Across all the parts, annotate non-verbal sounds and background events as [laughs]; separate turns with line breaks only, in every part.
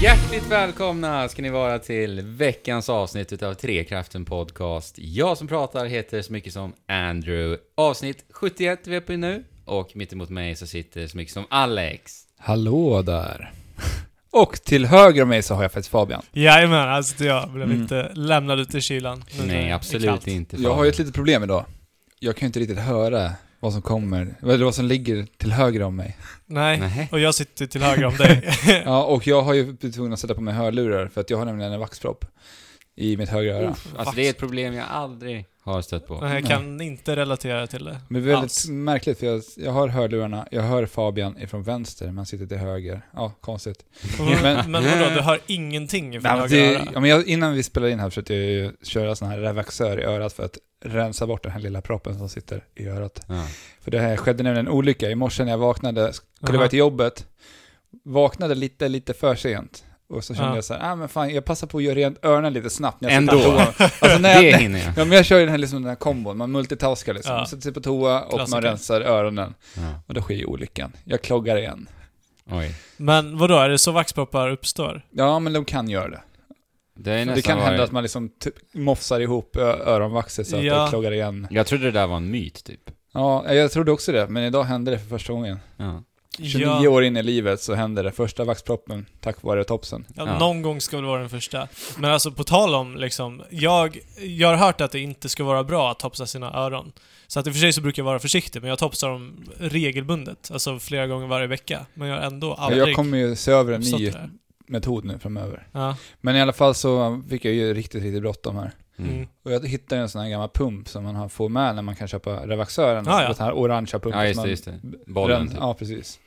Hjärtligt välkomna ska ni vara till veckans avsnitt utav Trekraften Podcast. Jag som pratar heter så mycket som Andrew. Avsnitt 71 vi är på nu och mitt emot mig så sitter så mycket som Alex. [laughs]
Hallå där. Och till höger om mig så har jag faktiskt Fabian.
Jajamän, här sitter jag. Blev
Mm.
inte lämnad ute i kylan. Nu när Mm. det
Nej,
är
absolut
kallt.
inte.
Jag har ju ett litet problem idag. Jag kan ju inte riktigt höra vad som kommer, eller vad som ligger till höger om [laughs] mig.
Nej.
Nej.
och jag sitter till höger
[laughs]
om dig.
Ja, och jag har ju blivit tvungen att sätta på mig hörlurar för att jag har nämligen en vaxpropp i mitt högra öra.
Uff, alltså det är ett problem jag aldrig har stött på.
Nej, jag kan inte relatera till det.
Men väldigt
alls.
märkligt för jag, jag har hörlurarna, jag hör Fabian ifrån vänster men han sitter till höger. Ja, konstigt.
Men, men vadå, du hör ingenting från
Nej, men
höger
det,
öra?
ja, men jag, innan vi spelade in här försökte jag ju köra sån här revaxör i örat för att rensa bort den här lilla proppen som sitter i örat.
Ja.
För det här skedde nämligen en olycka i morse när jag vaknade, skulle
Aha.
iväg till jobbet, vaknade lite, lite för sent. Och så kände
Ja.
jag så här, ah, men fan, jag passar på att göra rent öronen lite snabbt när jag
Ändå.
ska på toa. [laughs] Alltså när
Det
jag,
hinner jag.
ja, men jag kör ju den här, liksom, den här kombon, man multitaskar liksom.
Ja.
Sätter sig på toa och
Klassiker.
man rensar öronen.
Ja.
Och då sker ju olyckan. Jag kloggar igen.
Oj.
Men vadå, är det så vaxproppar uppstår?
Ja, men de kan göra det.
Det, är
det
nästan
kan hända
varit-
att man liksom typ mofsar ihop ö- öronvaxet så att
Ja.
det kloggar igen.
Jag trodde det där var en myt, typ.
Ja, jag trodde också det, men idag hände det för första gången.
Ja.
29 år in i livet så hände det. Första vaxproppen tack vare topsen.
Ja,
Ja.
Någon gång ska väl vara den första. Men alltså på tal om liksom, jag, jag har hört att det inte ska vara bra att topsa sina öron. Så att i och för sig så brukar jag vara försiktig, men jag topsar dem regelbundet. Alltså flera gånger varje vecka. Men jag har ändå
Ja,
aldrig
Jag kommer ju se över en
uppstått
ny
det där.
metod nu framöver.
Ja.
Men i alla fall så fick jag ju riktigt, riktigt bråttom här.
Mm.
Mm.
Och jag hittade en sån här gammal pump som man har- får med när man kan köpa Revaxören.
Ah, ja.
Den här orangea pumpen.
Ja, just
som
det,
man-
just det. Bollen,
Rön-
typ.
Ja, precis.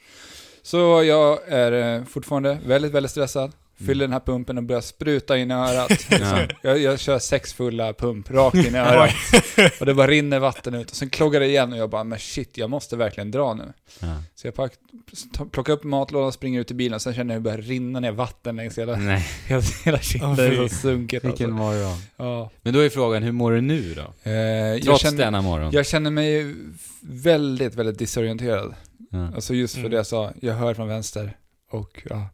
Så jag är eh, fortfarande väldigt, väldigt stressad. Fyller
Mm.
den här pumpen och börjar spruta in
[laughs]
i örat. liksom. jag, jag kör sex fulla pump rakt in i örat. och det bara rinner vatten ut. Och sen kloggar det igen och jag bara, men shit, jag måste verkligen dra nu.
Ja.
Så jag pack, ta- plockar upp matlådan, springer ut i bilen, sen känner jag hur det börjar rinna ner vatten längs hela, [laughs]
Nej,
hela, hela kinden.
Åh,
Det
fy.
är så sunkigt alltså.
morgon.
Ja.
Men då är frågan, hur mår du nu då?
Eh, jag,
Trots
känner,
denna morgon.
jag känner mig väldigt, väldigt disorienterad.
Ja.
Alltså just för
Mm.
det jag sa, jag hör från vänster. Och ja.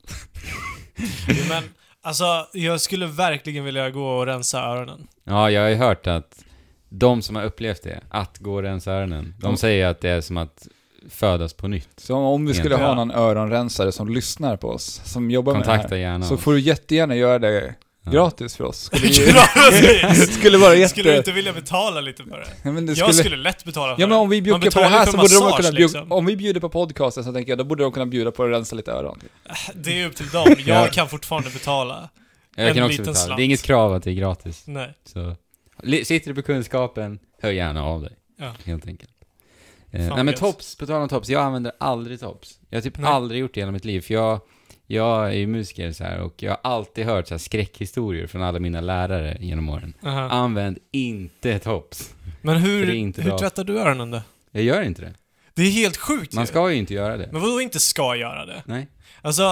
Jo, Men alltså, jag skulle verkligen vilja gå och rensa öronen.
Ja, jag har ju hört att de som har upplevt det, att gå och rensa öronen, de
Mm.
säger att det är som att födas på nytt.
Så om vi skulle
Egentligen.
ha någon öronrensare som lyssnar på oss, som jobbar med
Kontakta
det
gärna
här, så
oss.
får du jättegärna göra det
Ja.
gratis för oss. Skulle ju, det
Gratis!
[laughs] skulle vara jätte...
Skulle du inte vilja betala lite för det?
Ja, men det
Jag skulle lätt betala för
Ja men
det.
om vi
Man
bjuder på det
betalar
här
för
så borde de
massage,
kunna bjuda...
liksom.
Om vi bjuder på podcasten så tänker jag, då borde de kunna bjuda på att rensa lite öron.
Det är upp till dem.
Ja.
Jag kan fortfarande betala.
Jag
en
kan också
liten
betala.
slant.
Det är inget krav att det är gratis.
Nej.
Så. li- Sitter du på kunskapen, hör gärna av dig.
Ja.
Helt enkelt. Eh,
Fan,
nej men
gött.
tops, på tal om tops, jag använder aldrig tops. Jag har typ
Nej.
aldrig gjort det i hela mitt liv, för jag, jag är ju musiker så här, och jag har alltid hört så här skräckhistorier från alla mina lärare genom åren.
Aha.
Använd inte tops.
Men
För
hur,
det är inte
hur
bra.
tvättar du öronen då?
Jag gör inte det.
Det är helt sjukt
Man
ju.
ska ju inte göra det.
Men vadå inte ska göra det?
Nej.
Alltså,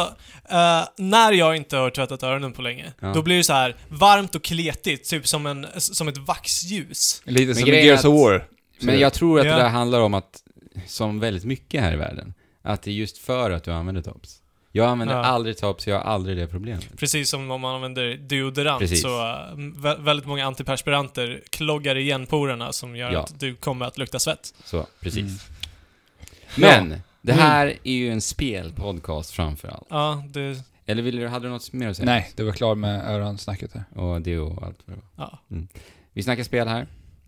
eh, när jag inte har tvättat öronen på länge,
Ja.
då blir det så här varmt och kletigt, typ som, en, som ett vaxljus.
Lite som i
grejen är
Gears of
att-
War.
Men jag tror att
Ja.
det där handlar om att, som väldigt mycket här i världen, att det är just för att du använder tops. Jag använder
Ja.
aldrig tops, jag har aldrig det problemet.
Precis som om man använder deodorant
Precis.
så eh, vä- väldigt många antiperspiranter kloggar igen porerna som gör
Ja.
att du kommer att lukta svett.
Så,
Mm.
precis.
Ja.
Men, det
Mm.
här är ju en spelpodcast framför allt.
Ja, det...
Eller ville du, hade du något mer att säga?
Nej, det var klar med öronsnacket där.
Och det och allt vad det var. Mm.
Ja.
Vi snackar spel här.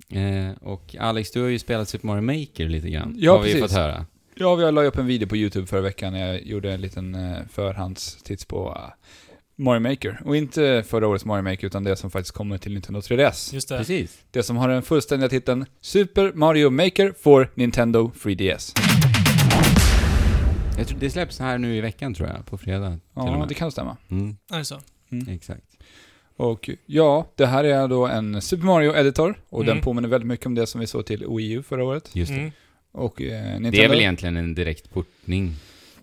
Eh, och Alex, du har ju spelat Super Mario Maker lite grann.
Ja,
har vi ju
precis.
fått höra.
Ja, vi har la upp en video på YouTube förra veckan när jag gjorde en liten eh, förhandstitt på eh, Mario Maker. Och inte förra årets Mario Maker, utan det som faktiskt kommer till Nintendo 3DS.
Just det.
Precis.
Det som har den fullständiga titeln Super Mario Maker for Nintendo 3DS.
Jag tror, det släpps här nu i veckan tror jag, på fredag till och
Ja,
med.
det kan stämma.
Mm,
Är det så?
exakt.
Och ja, det här är då en Super Mario Editor och den
Mm.
påminner väldigt mycket om det som vi såg till Wii U förra året.
Just det.
Mm.
Och eh, Nintendo...
Det är väl egentligen en direkt portning,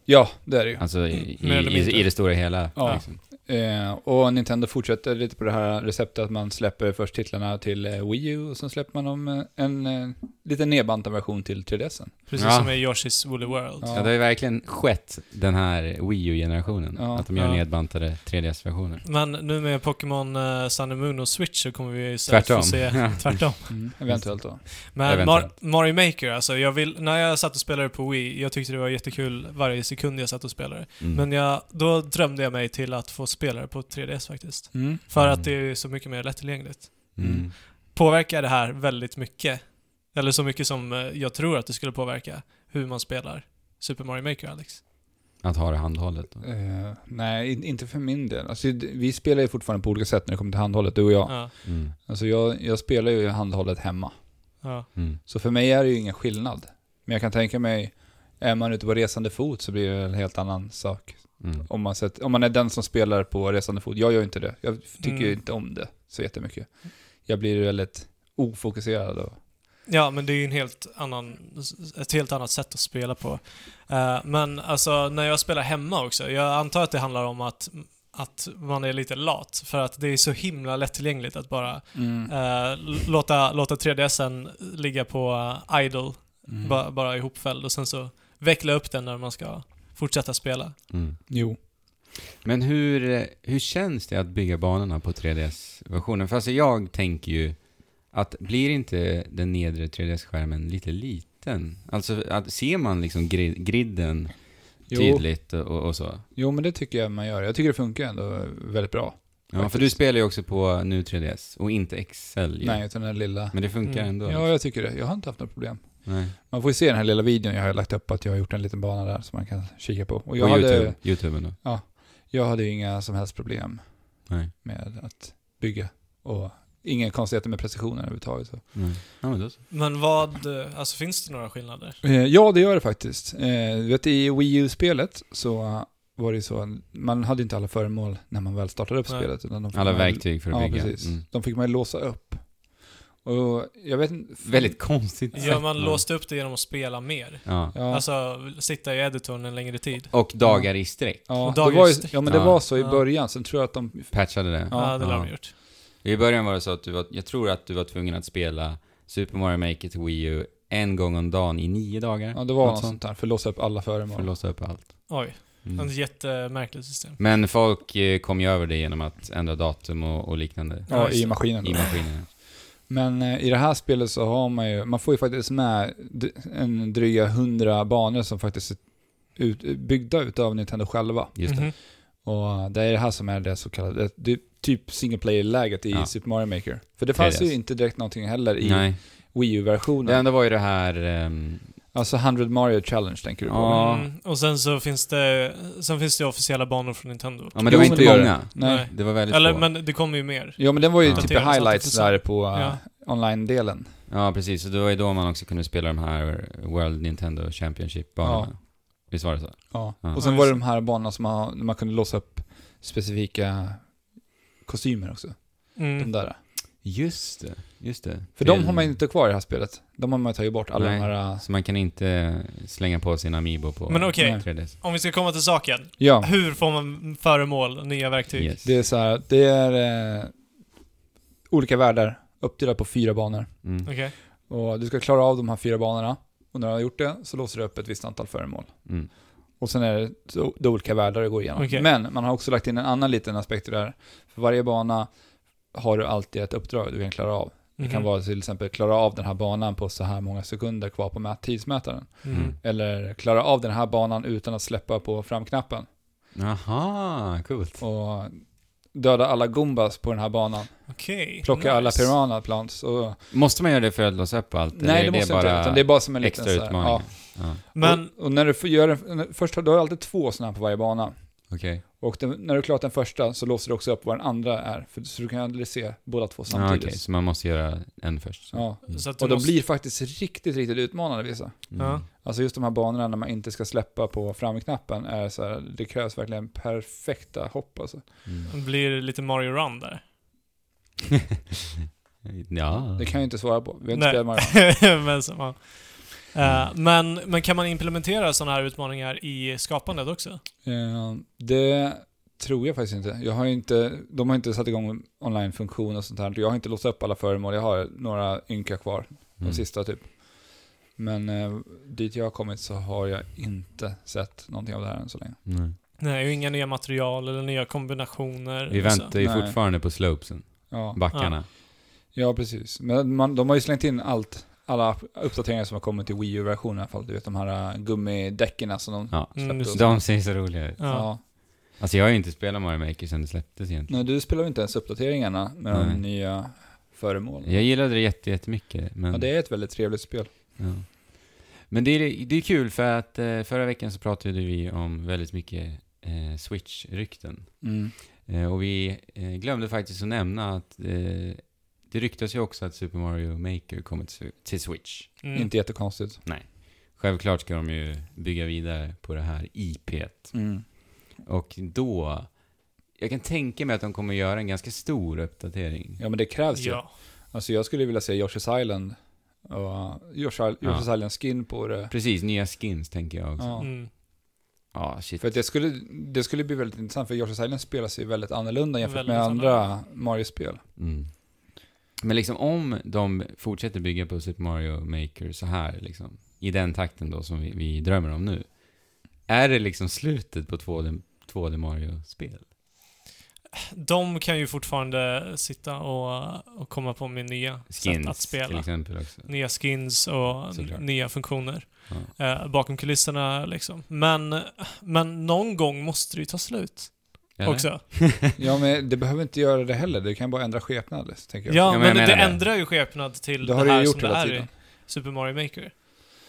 Ja, det är det ju.
alltså i,
Mm, mer eller
i,
mindre.
i det stora hela.
Ja.
liksom.
Eh, och Nintendo fortsätter lite på det här receptet att man släpper först titlarna till eh, Wii U och sen släpper man dem eh, en eh, lite nedbantad version till 3DSen.
Precis
Ja.
som i Yoshi's Woolly World.
Ja,
Ja.
det har ju verkligen skett den här Wii U-generationen.
Ja.
Att de gör
Ja.
nedbantade 3DS-versioner.
Men nu med Pokémon eh, Sun and Moon och Switch så kommer vi istället
Tvärtom. [laughs]
få se tvärtom.
Mm. Eventuellt då.
Men Mar
Eventuellt.
Mario Maker alltså, jag vill, när jag satt och spelade på Wii, jag tyckte det var jättekul varje sekund jag satt och spelade.
Mm.
Men jag, då drömde jag mig till att få spela det på 3DS faktiskt.
Mm.
För
Mm.
att det är så mycket mer lättillgängligt.
Mm.
Påverkar det här väldigt mycket? Eller så mycket som eh, jag tror att det skulle påverka hur man spelar Super Mario Maker, Alex?
Att ha det handhållet. då.
Eh, nej, in- inte för min del. Alltså, d- vi spelar ju fortfarande på olika sätt när det kommer till handhållet, du och jag.
Ja.
Mm.
Alltså, jag, jag spelar ju handhållet hemma.
ja.
Mm.
Så för mig är det ju ingen skillnad. Men jag kan tänka mig, är man ute på resande fot så blir det en helt annan sak.
Mm.
Om man, sett, om man är den som spelar på resande fot, jag gör ju inte det. Jag tycker ju
Mm.
inte om det så jättemycket. Jag blir väldigt ofokuserad och...
Ja, men det är ju en helt annan, ett helt annat sätt att spela på. Eh, men alltså, när jag spelar hemma också, jag antar att det handlar om att, att man är lite lat, för att det är så himla lättillgängligt att bara eh, l- låta, låta 3DSen ligga på eh, idle,
Mm.
ba, bara ihopfälld, och sen så veckla upp den när man ska fortsätta spela.
Mm.
Jo.
Men hur, eh, hur känns det att bygga banorna på 3DS-versionen? För alltså jag tänker ju att blir inte den nedre 3DS-skärmen lite liten? Alltså att ser man liksom gri- griden
Jo.
tydligt och, och så?
jo, men det tycker jag man gör. Jag tycker det funkar ändå väldigt bra.
Ja, för du spelar ju också på nu 3DS och inte Excel ju.
Nej, utan den lilla...
Men det funkar
Mm.
ändå?
Ja, jag tycker det. Jag har inte haft några problem.
Nej.
Man får ju se den här lilla videon jag har lagt upp, att jag har gjort en liten bana där som man kan kika på. Och jag,
på
hade,
YouTube, YouTube ändå?
jag hade ju inga som helst problem
Nej.
med att bygga. Och inga konstigheter med precisionen överhuvudtaget. Så.
Nej. Ja, men då så.
Men vad, eh, alltså finns det några skillnader?
Eh, Ja, det gör det faktiskt. Eh, Du vet, i Wii U-spelet så var det ju så, man hade inte alla föremål när man väl startade upp
Nej.
spelet. Utan de fick
Alla
man-
verktyg för att
Ja,
bygga.
precis.
Mm.
De fick man ju låsa upp. Och jag vet inte...
Väldigt konstigt
Ja,
sätt,
man
va?
låste upp det genom att spela mer.
Ja.
Ja,
Alltså, sitta i editorn en längre tid.
Och dagar i sträck.
ja,
och
det
dagar
var ju,
stäckta.
ja, men det
Ja.
var så i
Ja.
början. Sen tror jag att de...
Patchade det. Ja.
Ja, det lär de ha gjort.
I början var det så att du var, jag tror att du var tvungen att spela Super Mario Maker till Wii U en gång om dagen i nio dagar.
Ja, det var
Något
alltså. något sånt där, för att låsa upp alla
För att
föremål.
låsa upp allt.
Oj,
Mm.
ett jättemärkligt system.
Men folk eh, kom ju över det genom att ändra datum och, och liknande
Ja,
Ja, just
i
det.
maskinen.
i maskinerna.
Men eh, i det här spelet så har man ju, man får ju faktiskt med d- en dryga hundra banor som faktiskt är ut, byggda utav Nintendo själva.
Just det.
Mhm.
Och eh, det är det här som är det så kallade, det är typ single player-läget i
Ja.
Super Mario Maker. För det fanns
3DS.
ju inte direkt någonting heller i
Nej.
Wii
Det
U-versionen.
enda var ju det här... ehm,
Alltså 100 Mario Challenge tänker du på?
Ja.
Mm. Och sen så finns det, sen finns det officiella banor från Nintendo.
ja, men det
Jo,
var
men
inte
det var
många.
Nej.
Nej.
Det var väldigt
Eller,
få.
men det kommer ju mer.
Jo men den var ju
Ja.
typ
Daterades
highlights
alltid
där på eh,
Ja.
online-delen.
Ja, precis. Så det var ju då man också kunde spela de här World Nintendo Championship-banorna. Visst var det så?
Ja.
Ja.
Och sen
Ja,
var det
just
de här banorna som man, man kunde låsa upp specifika kostymer också.
Mm.
De där.
Just det. Just det.
För de har man ju inte kvar i det här spelet. De har man tagit bort, alla
Nej.
de här... eh,
Så man kan inte slänga på sin Amiibo på
Men okej,
Nej.
3DS.
om vi ska komma till saken.
Ja,
Hur får man föremål, nya verktyg?
Yes.
det är så här, det är eh, olika världar uppdelade på fyra banor.
Mm.
Okej.
Och du ska klara av de här fyra banorna. Och när du har gjort det så låser du upp ett visst antal föremål.
Mm.
Och sen är det så- det är olika världar du går igenom.
Okej.
Men man har också lagt in en annan liten aspekt i det här. För varje bana har du alltid ett uppdrag du kan klara av. Det kan
Mhm.
vara till exempel klara av den här banan på så här många sekunder kvar på mät- tidsmätaren.
Mhm.
Mm.
Eller klara av den här banan utan att släppa på framknappen.
Aha, coolt.
Och döda alla gumbas på den här banan.
Okej.
Plocka alla
nice.
piranha plants. Och,
Måste man göra det för att låsa upp allt? eller
nej, det
är
måste
bara
bara inte. Utan det är bara som en liten...
extra
så här-
utmaning.
ja.
Ja. ja.
Men,
Och, och när du får gör den, först har du har alltid två sådana här på varje bana.
Okej.
Och den, när du klarat den första så låser du också upp vad den andra är. För, så du kan aldrig se båda två
Ja,
samtidigt.
okej, så man måste göra en först. så.
ja.
Mm.
så att du
Och de
måste...
blir faktiskt riktigt, riktigt utmanande vissa.
Mm.
Ja.
Alltså just de här banorna när man inte ska släppa på framknappen är så här, det krävs verkligen perfekta hopp alltså.
Mm. [laughs]
det blir lite Mario Run där.
ja.
Det kan jag ju inte svara på. Vi har inte
Nej.
spelat
[laughs]
Mario.
men, så, ja. Eh, men, men kan man implementera sådana här utmaningar i skapandet också?
Eh, det tror jag faktiskt inte. Jag har ju inte. De har inte satt igång online-funktion och sånt här. Jag har inte låst upp alla föremål. Jag har några ynka kvar. De
Mm.
sista typ. Men eh, dit jag har kommit så har jag inte sett någonting av det här än så länge.
Nej.
Nej, och inga nya material eller nya kombinationer.
Vi
och så.
väntar ju
Nej.
fortfarande på slopesen,
Ja,
backarna.
ja precis. Men man, de har ju slängt in allt, alla uppdateringar som har kommit till Wii U-versionen i alla fall. Du vet de här eh, gummidäcken som de...
Ja.
Mm, just det.
De ser så roliga ut.
Ja.
Ja.
Alltså jag har ju inte spelat Mario Maker sen det släpptes egentligen.
Nej, du spelar ju inte ens uppdateringarna med
Nej.
de nya föremålen.
Jag gillade det jätte- jättemycket. Men,
Ja, det är ett väldigt trevligt spel.
ja. men det, är, det är kul för att eh, förra veckan så pratade vi om väldigt mycket eh, Switch-rykten.
Mm.
Eh, och vi eh, glömde faktiskt att nämna att eh, det ryktas ju också att Super Mario Maker kommer till, till Switch.
Mm.
Inte jättekonstigt.
Självklart ska de ju bygga vidare på det här IPet.
Mm.
Och då, jag kan tänka mig att de kommer göra en ganska stor uppdatering.
Ja, men det krävs ju.
Ja.
Alltså jag skulle vilja se Yoshi's Island och Yoshi's,
Ja.
Yoshi's Island skin på det.
Precis, nya skins tänker jag också. Ja,
Ja.
Mm.
shit.
För att det skulle, det skulle bli väldigt intressant för Yoshi's Island spelar sig väldigt annorlunda jämfört
Väldigt
med andra Mario-spel.
Mm. Men liksom om de fortsätter bygga på Super Mario Maker så här, liksom, i den takten då som vi, vi drömmer om nu. Är det liksom slutet på 2D, 2D Mario-spel?
De kan ju fortfarande sitta och, och komma på med nya
Skins
sätt att
till
spela.
exempel också.
Nya skins och
Såklart.
nya funktioner. Eh, bakom kulisserna liksom. Men, men någon gång måste det ju ta slut
Eller?
också.
Ja, men det behöver inte göra det heller. Det kan bara ändra skepnad, tänker
Ja,
jag.
men
men,
jag
det,
menar det.
ändrar ju skepnad till
det
det,
har det
här
ju
som
gjort
det
hela
är
tiden.
i Super Mario Maker.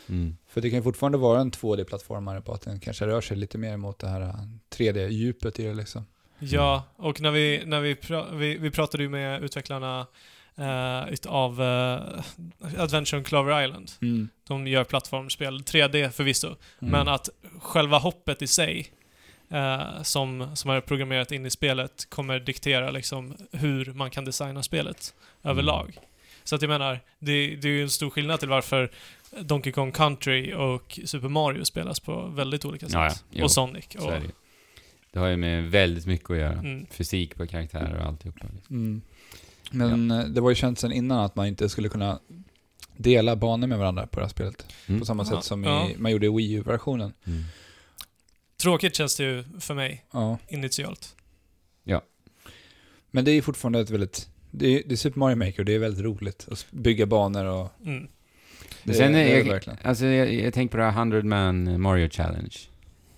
Mm.
För det kan ju fortfarande vara en 2D-plattformare på att den kanske rör sig lite mer mot det här eh, 3D-djupet i det liksom.
Ja, och när vi, när vi, pra- vi, vi pratade ju med utvecklarna eh, utav eh, Adventure on Clover Island.
Mm.
De gör plattformsspel, 3D förvisso,
Mm.
Mm. men äh, att själva hoppet i sig eh, som, som är programmerat in i spelet kommer diktera liksom, hur man kan designa spelet överlag.
Mm.
Så att jag menar, det, det är ju en stor skillnad till varför Donkey Kong Country och Super Mario spelas på väldigt olika sätt.
Ja, ja. Jo,
och Sonic.
Så
Och,
är det. ju. det har ju med väldigt mycket att göra.
mm,
Fysik på karaktärer och alltihopa. Liksom.
Mm. Men eh, det var ju känt sedan innan att man inte skulle kunna dela banor med varandra på det här spelet.
Mm.
På samma
Ja,
sätt som
ja.
i, man gjorde i Wii U-versionen.
Mm.
tråkigt känns det ju för mig
Ja.
initialt.
Men det är ju fortfarande ett väldigt... Det är, det är Super Mario Maker och det är väldigt roligt att bygga banor och...
Mm.
Det,
Sen är
det är
jag-
det verkligen.
Alltså jag, jag tänker på det här 100 man Mario Challenge.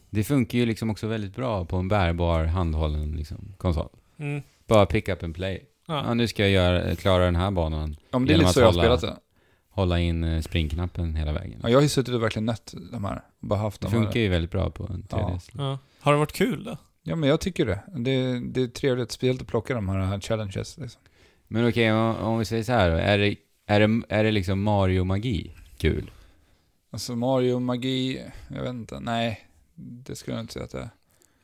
Det funkar ju liksom också väldigt bra på en bärbar, handhållen liksom, konsol.
Mm.
Bara pick up and play. Ja.
Ja.
nu ska jag göra, klara den här banan.
Ja, men det är
Genom
lite
att
så jag har
hålla-
spelat det.
Hålla in eh, springknappen hela vägen.
Ja, jag har ju suttit och verkligen nött de här. och Bara haft
det
de
funkar
här.
ju väldigt bra på en 3DS.
Ja. Har det varit kul då?
Ja, men jag tycker det. Det, det är trevligt, speciellt att plocka de här challenges. Liksom.
Men okej, om, om vi säger så här då. Är det, är det, är det liksom Mario-magi kul?
Alltså Mario, magi, jag vet inte. Nej, det skulle jag inte säga att det är.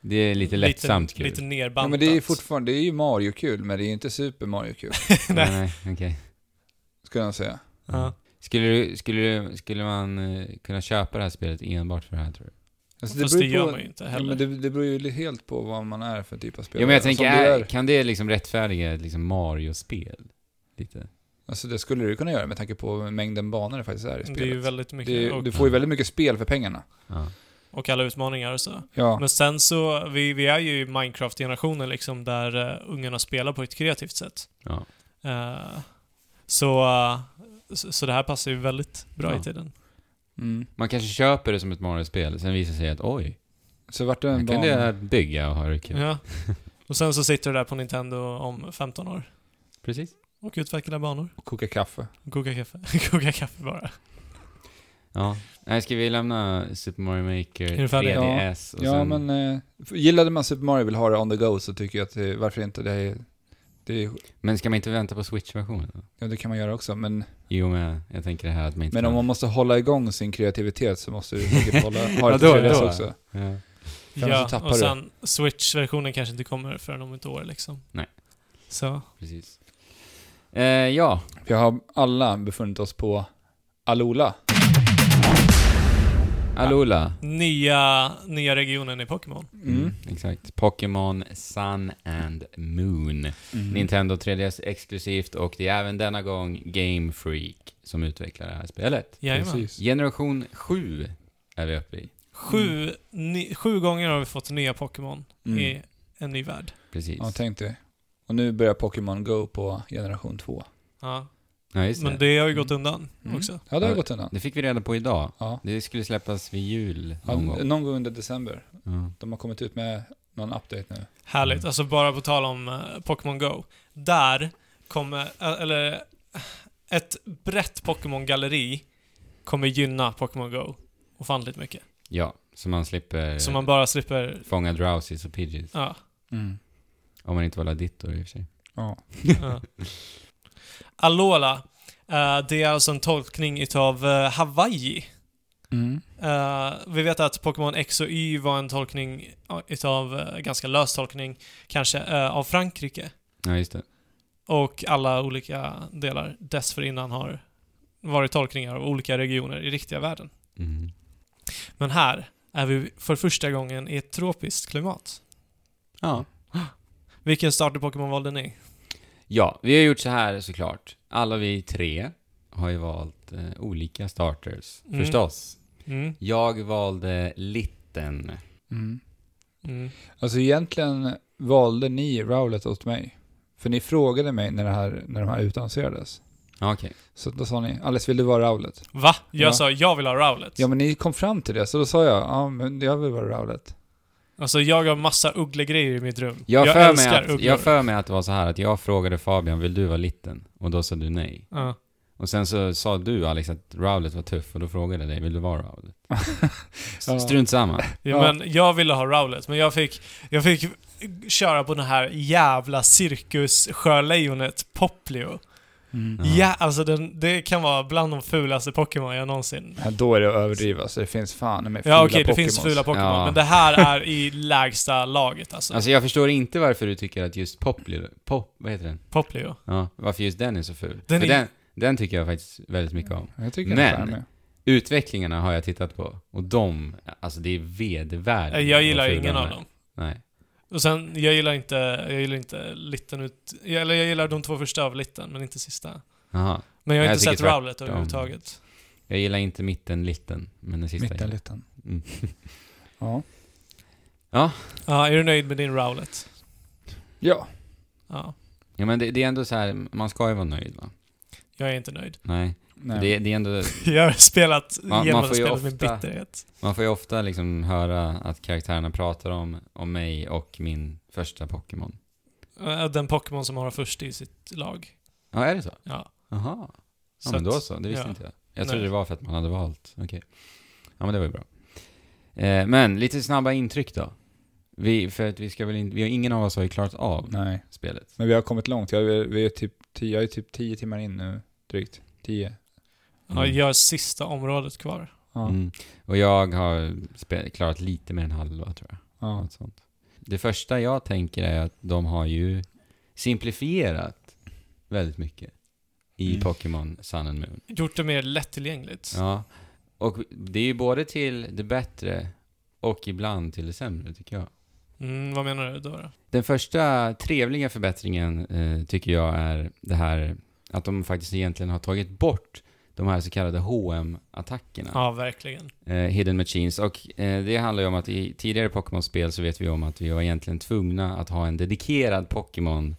Det är lite lättsamt kul.
Lite nerbantat.
Ja, men det är ju fortfarande, det är ju Mario-kul, men det är ju inte Super Mario-kul,
nej, nej, okej.
skulle jag säga.
Mm.
Ja.
Alltså,
Skulle, du- skulle, du- skulle man eh, kunna köpa det här spelet enbart för det här tror du?
Alltså,
Fast det
beror
gör
på-
man ju inte
Ja,
heller.
men det, det beror ju helt på vad man är för typ av spelare.
Ja, men jag
Alltså, om
tänker,
du
är,
är-
kan det liksom rättfärdiga ett liksom Mario-spel? Lite.
Alltså det skulle du kunna göra med tanke på mängden banor det faktiskt är i
det,
spelet.
är ju väldigt mycket.
Det är-
och,
du får ju väldigt mycket spel för pengarna.
Ja.
och alla utmaningar och så.
Ja,
Men sen så, vi, vi är ju i Minecraft-generationen liksom där eh, ungarna spelar på ett kreativt sätt.
ja.
Eh, så, eh, så, så det här passar ju väldigt bra
Ja.
i tiden.
mm.
Man kanske köper det som ett Mario-spel, sen visar det sig att oj,
så vart det en
jag
bana.
kunde jag bygga och ha det kul. [laughs]
Ja. Och sen så sitter du där på Nintendo om 15 år
Precis.
och utvecklar banor.
Och koka kaffe.
Och kokar kaffe. [laughs] kokar kaffe bara.
Ja. Nej, ska vi lämna Super Mario Maker,
du färdig?
3DS och
ja,
sen...
men eh, gillade man Super Mario och vill ha det on the go så tycker jag att det, varför inte? Det, är, det, är,
men ska man inte vänta på Switch-versionen? då?
ja, det kan man göra också, men,
I och med, jag tänker det här att man inte...
men om man måste hålla igång sin kreativitet så måste du
[laughs]
säkert hålla, ha det
Vadå,
till
då?
också.
Ja.
Sen så
Ja,
tappar
och
du.
sen Switch-versionen kanske inte kommer förrän om ett år liksom.
Nej.
Så,
Precis. Eh, ja.
Vi har alla befunnit oss på Alola.
Alola.
Nya, nya regionen i Pokémon.
Mm. Exakt. Pokémon Sun and Moon.
Mm.
Mm. Nintendo 3DS exklusivt och det är även denna gång Game Freak som utvecklar det här spelet.
Jajamän.
Precis.
Generation 7 är vi uppe i.
Sju, ni, sju gånger har vi fått nya Pokémon
Mm.
eh,
i en ny värld.
Precis.
Ja, tänk dig. Och nu börjar Pokémon Go på generation 2.
Ja.
Ja, just
Men
det.
det har ju gått undan
Mm.
också.
Ja, det har
Ja.
gått undan.
Det fick vi reda på idag.
Ja.
Det skulle släppas vid jul
Ja,
någon gång.
någon gång under december.
Ja.
De har kommit ut med någon update nu.
Härligt.
Mm.
Alltså bara på tal om eh, Pokémon Go. Där kommer, eh, eller eh, ett brett Pokémon-galleri kommer gynna Pokémon Go ofantligt mycket.
ja, så man slipper
Eh.
Så man bara slipper,
fånga Drowsies och Pidgeys.
ja.
Mm. Om man inte var Ladittor i och för sig.
Ja.
[laughs] ja. Alola. eh, det är alltså en tolkning utav eh, Hawaii.
Mm.
Eh, vi vet att Pokémon X och Y var en tolkning ja, utav, eh, ganska lös tolkning, kanske, eh, av Frankrike.
Ja, just det.
Och alla olika delar dessförinnan har varit tolkningar av olika regioner i riktiga världen.
Mm.
Men här är vi för första gången i ett tropiskt klimat.
Ja.
Vilken starter Pokémon valde ni?
ja, vi har gjort så här såklart. Alla vi tre har ju valt eh, olika starters,
Mm.
förstås.
Mm.
Jag valde Litten.
Mm.
Mm.
Alltså egentligen valde ni Rowlet åt mig. För ni frågade mig när, det här, när de här utannonserades.
Ja, Okej.
Så då sa ni, Alice vill du vara Rowlet?
Va? Jag
Ja.
sa jag vill ha Rowlet.
Ja men ni kom fram till det, så då sa jag, ja men jag vill vara Rowlet.
Alltså jag har massa ugglegrejer i mitt rum.
Jag, för mig
älskar
att,
ugglor.
jag för mig att det var så här att jag frågade Fabian, vill du vara Litten? Och då sa du nej.
Ja.
Och sen så sa du Alex att Rowlet var tuff och då frågade jag dig, vill du vara Rowlet?
Ja.
Strunt samma.
Ja,
Ja.
men jag ville ha Rowlet, men jag fick, jag fick köra på den här jävla cirkussjölejonet Poplio.
Ja.
Ja, alltså den, det kan vara bland de fulaste Pokémon jag någonsin...
Ja, då är det att överdriva, så det finns fan med fula
Ja okej, det
Pokémons.
finns fula Pokémon,
Ja.
men det här är i lägsta laget alltså.
Alltså jag förstår inte varför du tycker att just Poplio, pop, vad heter den?
Poplio.
Ja, varför just den är så ful.
Den
För
är-
den, den tycker jag faktiskt väldigt mycket om.
Jag tycker
Men-
men, med.
Utvecklingarna har jag tittat på och de, alltså det är vedervärdigt.
Jag
vad
gillar
fula
ingen
de
av
är.
dem.
Nej.
Och sen, jag gillar inte, jag gillar inte Litten ut... Eller jag gillar de två första av Litten, men inte sista.
Jaha.
Men jag har
Jag
inte
tycker
sett Rowlet
tvärtom.
överhuvudtaget.
Jag gillar inte mitten, litten, men den sista
Mitten
gillar
liten.
jag. mm.
[laughs] Ja.
Ja, är du nöjd med din Rowlet?
ja.
Ja.
Ja men det, det är ändå så här, man ska ju vara nöjd va?
Jag är inte nöjd.
Nej.
Nej.
Det, det är ändå,
[laughs] Jag har spelat
Man- man
igenom
får ju
spelet med
ofta-
bitterhet.
man får ju ofta liksom höra att karaktärerna pratar om, om mig och min första Pokémon.
Eh, Den Pokémon som man har först i sitt lag.
Ja, är det så?
Ja.
Jaha. Ja,
Så
men då
att-
så. Det visste
ja.
inte jag. Jag
Nej.
trodde det var för att man hade valt. Okej. Ja, men det var ju bra. Eh, men lite snabba intryck då. Vi, för att vi ska väl in, vi har ingen av oss har ju klarat av
Nej.
spelet.
Men vi har kommit långt. Jag är, vi är typ, tio, jag är typ tio timmar in nu, drygt. Tio.
Ja, jag har sista området kvar.
Ja.
Mm. Och jag har spe, klarat lite mer än halva tror jag.
Ja.
Något sånt. Det första jag tänker är att de har ju simplifierat väldigt mycket i
Mm.
Pokémon Sun and Moon.
Gjort det mer lättillgängligt.
Ja. Och det är ju både till det bättre och ibland till det sämre tycker jag.
Mm, vad menar du då? då?
Den första trevliga förbättringen eh, tycker jag är det här att de faktiskt egentligen har tagit bort de här så kallade HM-attackerna.
Ja, verkligen.
Eh, hidden Machines. Och eh, det handlar ju om att i tidigare Pokémon-spel så vet vi om att vi var egentligen tvungna att ha en dedikerad Pokémon eh,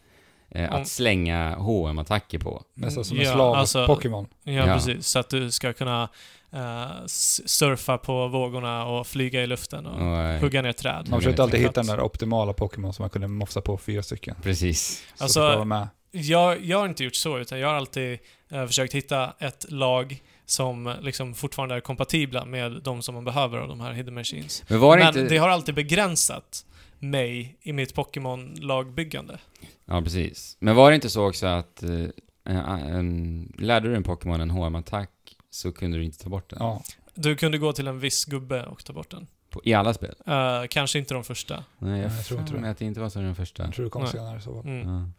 Mm.
att slänga HM-attacker på.
Nästan som
Ja,
en slav
alltså-
Pokémon.
Ja,
Ja.
precis. Så att du ska kunna eh, s- surfa på vågorna och flyga i luften och
Och, eh,
hugga ner träd.
Ja,
Man försökte alltid hitta
Exakt.
den där optimala Pokémon som man kunde mofsa på fyra stycken.
Precis.
Så
Alltså-
alltså, vara med.
Jag, jag har inte gjort så, utan jag har alltid eh, försökt hitta ett lag som eh, liksom fortfarande är kompatibla med de som man behöver av de här Hidden Machines.
Men var det
Men
inte...
det har alltid begränsat mig i mitt Pokémon-lagbyggande.
Ja, precis. Men var det inte så också att eh, en, en, lärde du en Pokémon en HM-attack så kunde du inte ta bort den?
Ja.
Du kunde gå till en viss gubbe och ta bort den.
På, I alla spel?
Eh, kanske inte de första.
Nej, jag,
jag tror
tror
inte det.
att det inte var så i den första.
Jag tror det kom
Nej.
senare. Så.
Mm.
Ja.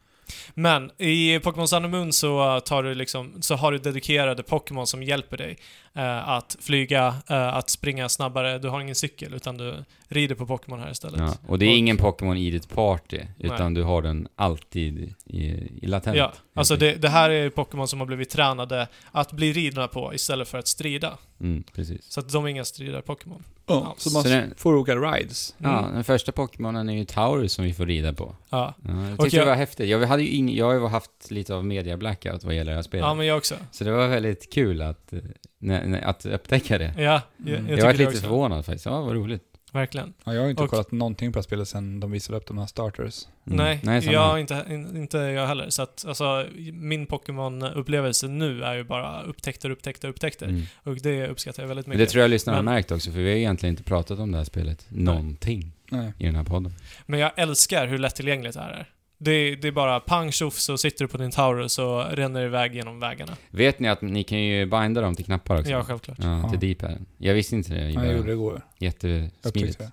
Men i Pokémon Sun och Moon så, eh, tar du liksom, så har du dedikerade Pokémon som hjälper dig eh, att flyga, eh, att springa snabbare. Du har ingen cykel utan du rider på Pokémon här istället.
Ja, och det är ingen Pokémon i ditt party, utan du har den alltid i, i latent.
Ja, alltså det, det här är ju Pokémon som har blivit tränade att bli ridna på istället för att strida.
Mm, precis.
Så att de är inga stridar-Pokémon.
Ja, så man
Så den-
får olika rides.
Mm.
Ja, den första Pokémonen är ju Taurus som vi får rida på.
Ja.
Ja, jag tyckte
Och jag-
det var häftigt. Jag, hade ju ing, jag har ju haft lite av media blackout vad gäller det här spelet.
ja, men jag också.
Så det var väldigt kul att, eh, nej, nej, att upptäcka det.
Ja, jag,
Mm. Jag
jag
Jag,
tycker
var
det
lite
också.
förvånad faktiskt. Ja, vad roligt.
Verkligen.
Ja, jag har inte
Och-
kollat någonting på det här spelet sen de visade upp de här starters.
Mm.
Nej,
samma här.
jag, inte, in- inte jag heller. Så att, alltså, min Pokémon-upplevelse nu är ju bara upptäckter, upptäckter, upptäckter.
Mm.
Och det uppskattar jag väldigt
Men
mycket.
det tror jag lyssnarna har
Men-
märkt också, för vi har egentligen inte pratat om det här spelet någonting
Nej.
i den här podden.
Men jag älskar hur lättillgängligt det här är. Det, det är bara pang tjoff så sitter du på din Taurus och ränner iväg genom vägarna.
Vet ni att ni kan ju binda dem till knappar också?
Ja, självklart.
Ja, till D-paden. Jag visste inte det i
Ja, jag
början.
gjorde det igår.
Jättesmidigt.
Upptäckte
Så
det.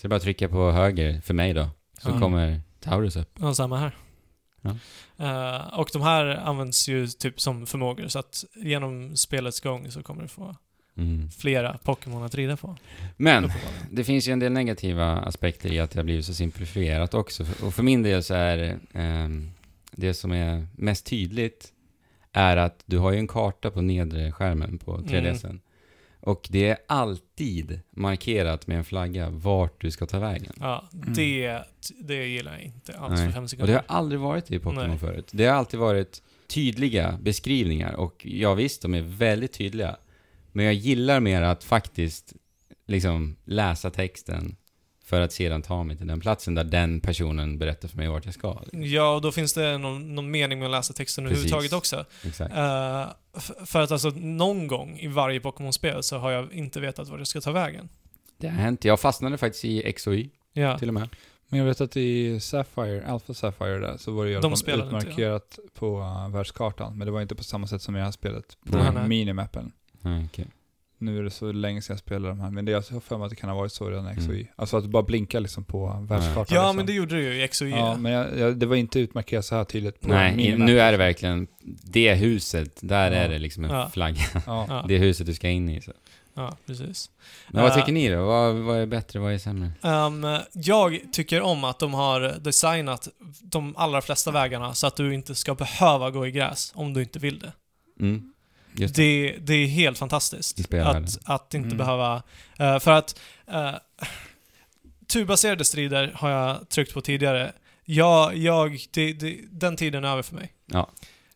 det är bara att trycka på höger, för mig då, så
Ja.
kommer Taurus upp.
Ja, samma här.
Ja.
Eh, och de här används ju typ som förmågor, så att genom spelets gång så kommer du få
Mm.
flera Pokémon att rida på.
Men,
uppenbarligen.
det finns ju en del negativa aspekter i att det har blivit så simplifierat också. Och för min del så är ehm, det som är mest tydligt är att du har ju en karta på nedre skärmen på
Mm.
3DSen. Och det är alltid markerat med en flagga vart du ska ta vägen.
Ja,
Mm.
det, det gillar jag inte alls
Nej.
för fem
Och det
sekunder.
har aldrig varit det i Pokémon
Nej.
förut. Det har alltid varit tydliga beskrivningar och ja visst, de är väldigt tydliga. Men jag gillar mer att faktiskt liksom läsa texten för att sedan ta mig till den platsen där den personen berättar för mig vart jag ska.
Ja, och då finns det någon, någon mening med att läsa texten
Precis.
överhuvudtaget också.
Exakt.
Eh, f- för att alltså någon gång i varje Pokémon-spel så har jag inte vetat vart jag ska ta vägen.
Det har hänt. Jag fastnade faktiskt i X och Y
Ja,
till och med.
Men jag vet att i Sapphire, Alpha Sapphire där, så var det ju i alla
De
fall
spelade inte,
utmarkerat på uh, världskartan. Men det var inte på samma sätt som i det här spelet, på
Nej,
nej.
minimappen.
Ja, okej.
Nu är det så länge sedan jag spelade de här, men det alltså, jag har för mig att det kan ha varit så redan i X och
Mm.
Y. Alltså att du bara blinkar liksom på världskartan.
ja
liksom.
men det gjorde du ju i X och Y.
Ja, men jag, jag, det var inte utmarkerat så här tydligt på
Nej, i-
minimappen.
nu är det verkligen det huset. Där
Ja.
är det liksom en
Ja.
flagga.
Ja.
ja,
Det huset du ska in i. Så.
ja precis.
Men vad
Ja.
tycker ni då? Vad, vad är bättre, vad är sämre?
Ehm, jag tycker om att de har designat de allra flesta
Mm.
vägarna så att du inte ska behöva gå i gräs om du inte vill det.
Mm. Just det.
Det, det är helt fantastiskt
I spelvärlden.
att, att inte
Mm.
behöva... eh, för att uh, turbaserade strider har jag tryckt på tidigare. Jag, jag, det, det, den tiden är över för mig.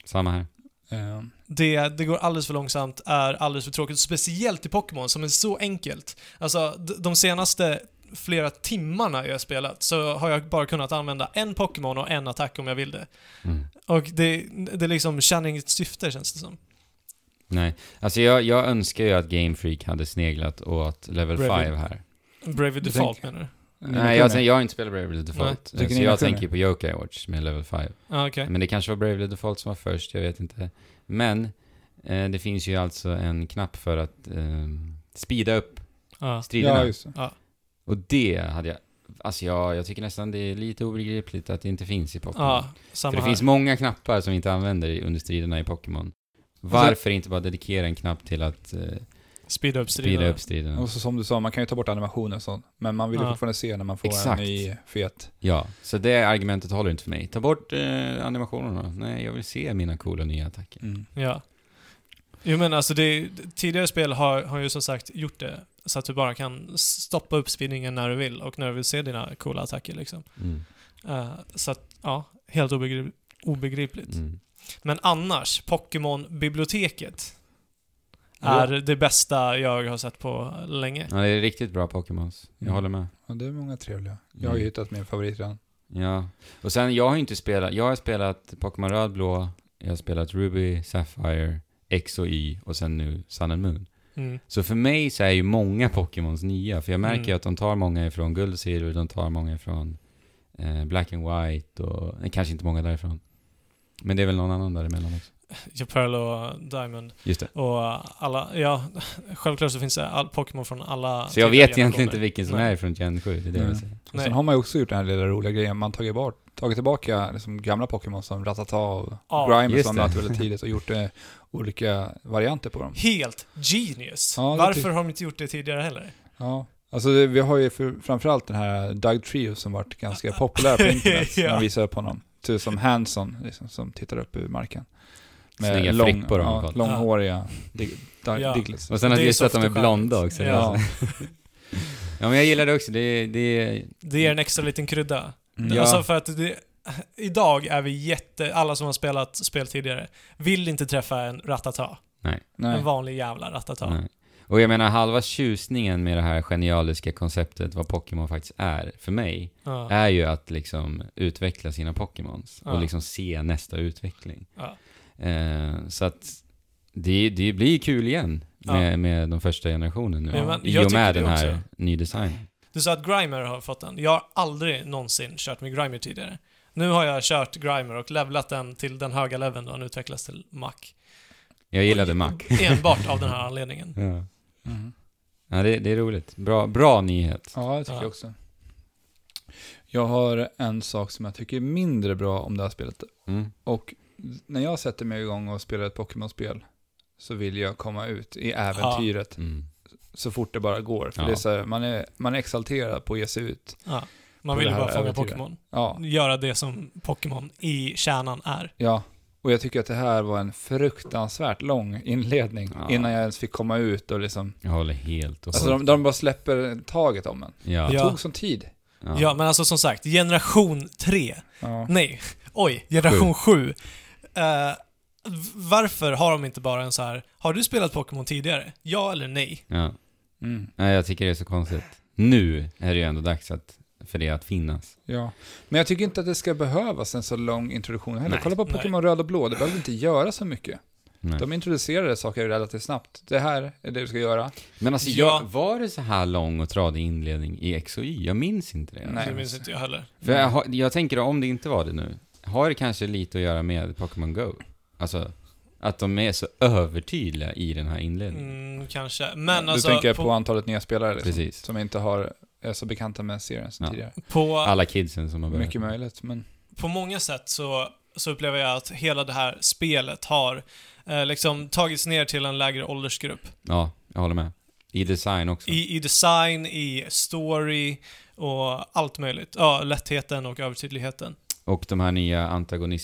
Samma här.
Eh,
Det, det går alldeles för långsamt, är alldeles för tråkigt. Speciellt i Pokémon som är så enkelt. Alltså, d- de senaste flera timmarna jag har spelat så har jag bara kunnat använda en Pokémon och en attack om jag vill det.
Mm.
Och det, det liksom tjänar inget syfte känns det som.
Nej, alltså jag, jag önskar ju att Game Freak hade sneglat åt Level
Bravely.
5 här.
Bravely
tänker-
Default menar du?
Nej, jag, tänk- jag har inte spelat Bravely Default.
Nej, tycker
så
ni
jag
verkligen
tänker ju på Yokai Watch med Level 5.
Ja, okej.
Men det kanske var Bravely Default som var först, jag vet inte. Men eh, det finns ju alltså en knapp för att eh, speeda upp
Ja.
striderna.
Ja, just det.
Och det hade jag... Alltså jag, jag tycker nästan det är lite obegripligt att det inte finns i Pokémon.
ja, samma
För det
här.
finns många knappar som vi inte använder i- under striderna i Pokémon. Varför inte bara dedikera en knapp till att eh,
Speeda
speeda
upp striderna.
upp striderna?
Och så, som du sa, man kan ju ta bort animationer och sånt. Men man vill ju
Ja.
fortfarande se när man får
Exakt.
en ny fet.
Ja, så det argumentet håller inte för mig. Ta bort eh, animationerna. Nej, jag vill se mina coola nya attacker.
Mm.
Ja. Jo men alltså det, tidigare spel har, har ju som sagt gjort det så att du bara kan stoppa upp spinningen när du vill och när du vill se dina coola attacker liksom.
Mm,
Eh, så att, ja, helt obegri- obegripligt.
Mm.
Men annars, Pokémon-biblioteket
Ja.
är det bästa jag har sett på länge.
Ja, det är riktigt bra Pokémons. Jag
Mm.
håller med.
Ja, det är många trevliga. Jag har ju
Mm.
hittat min favorit redan.
Ja. Och sen, jag har ju inte spelat... Jag har spelat Pokémon Röd, Blå, jag har spelat Ruby, Sapphire, X och Y och sen nu Sun and Moon.
Mm.
Så för mig så är ju många Pokémons nya, för jag märker
Mm.
ju att de tar många ifrån Guld och Silver, de tar många ifrån eh, Black and White och... Nej, kanske inte många därifrån. Men det är väl någon annan däremellan också?
Ja, Pearl och Diamond
Just det.
och alla, ja, självklart så finns det all Pokémon från alla
Så jag
tidigare
vet egentligen inte
generationer.
vilken som
Nej.
är Alltså, från Gen 7, det är det jag
Nej.
vill säga.
Och sen
Nej.
har man ju också gjort den här lilla roliga grejen, man tagit, bort, tagit tillbaka liksom gamla Pokémon som Ratata och
Ja,
Grime och
just
sånt
det.
där väldigt tidigt och gjort eh, olika varianter på dem.
Helt genius!
Ja, det
Varför
tycker-
har de inte gjort det tidigare heller?
Ja. Alltså det, vi har ju för, framförallt den här Doug Trio som varit ganska populär på internet,
[laughs] Ja.
när de visar upp honom. Ser ut som Hanson, liksom, som tittar upp ur marken.
Snygga frippor har de
ja,
fått.
långhåriga dig, dig,
Ja.
Diglets.
Och sen att
Det är
just att de är
soft-skärmt.
blonda också.
Ja.
Ja. ja, men jag gillar det också. Det, det,
Det ger en extra liten krydda.
Mm.
Ja.
Alltså för att det, idag är vi jätte, alla som har spelat spel tidigare, vill inte träffa en ratata.
Nej.
En vanlig jävla ratata.
nej. Och jag menar, halva tjusningen med det här genialiska konceptet vad Pokémon faktiskt är, för mig,
Ja.
är ju att liksom utveckla sina Pokémons och
Ja.
liksom se nästa utveckling.
Ja.
Eh, så att det, det blir kul igen med, med de första generationen nu.
Men man-
I
jag
och med
tycker
den
det
här
också.
ny design.
Du sa att Grimer har fått den. Jag har aldrig någonsin kört med Grimer tidigare. Nu har jag kört Grimer och levlat den till den höga leveln då den utvecklas till Mac.
Jag gillade Mac.
Enbart av den här anledningen.
[laughs] Ja,
Mm.
ja det, det är roligt. Bra, bra nyhet.
Ja, det tycker
Ja.
jag också. Jag har en sak som jag tycker är mindre bra om det här spelet.
Mm.
Och när jag sätter mig igång och spelar ett Pokémon-spel så vill jag komma ut i äventyret
Mm.
så fort det bara går. För
Ja.
det är så här, man, är, man är exalterad på att ge sig ut.
Ja. Man
Och
vill
det
ju
här
bara fånga
äventyret.
Pokémon.
Ja,
Göra det som Pokémon i kärnan är.
ja. Och jag tycker att det här var en fruktansvärt lång inledning
Ja.
innan jag ens fick komma ut och liksom...
Jag håller helt och
Alltså de, de bara släpper taget om en.
ja.
Det
Ja.
tog sån tid.
Ja.
Ja, men alltså som sagt, generation 3.
Ja.
Nej, oj, generation 7. varför har de inte bara en så här, har du spelat Pokémon tidigare? Ja eller nej?
Ja.
Mm.
Nej, jag tycker det är så konstigt. Nu är det ju ändå dags att, för det att finnas.
Ja, men jag tycker inte att det ska behövas en så lång introduktion heller.
Nej.
Kolla på
Nej.
Pokémon Röd och Blå, det behöver inte göra så mycket.
Nej.
De introducerade saker relativt snabbt. Det här är det du ska göra.
Men alltså,
Ja.
jag, var det så här lång och tradig inledning i X och Y? Jag minns inte det.
Nej.
Det minns inte jag heller.
För jag, har- jag tänker om det inte var det nu, har det kanske lite att göra med Pokémon Go? Alltså, att de är så övertydliga i den här inledningen.
Mm, kanske. Men
du
alltså,
tänker på, antalet nya spelare liksom,
Precis.
som inte har, är så bekanta med serien sen
Ja.
tidigare.
på,
Alla kidsen som har börjat.
Mycket möjligt, men
på många sätt så, så upplever jag att hela det här spelet har eh, liksom tagits ner till en lägre åldersgrupp.
Ja, jag håller med. I design också.
I, I design, i story och allt möjligt. Ja, lättheten och övertydligheten.
Och de här nya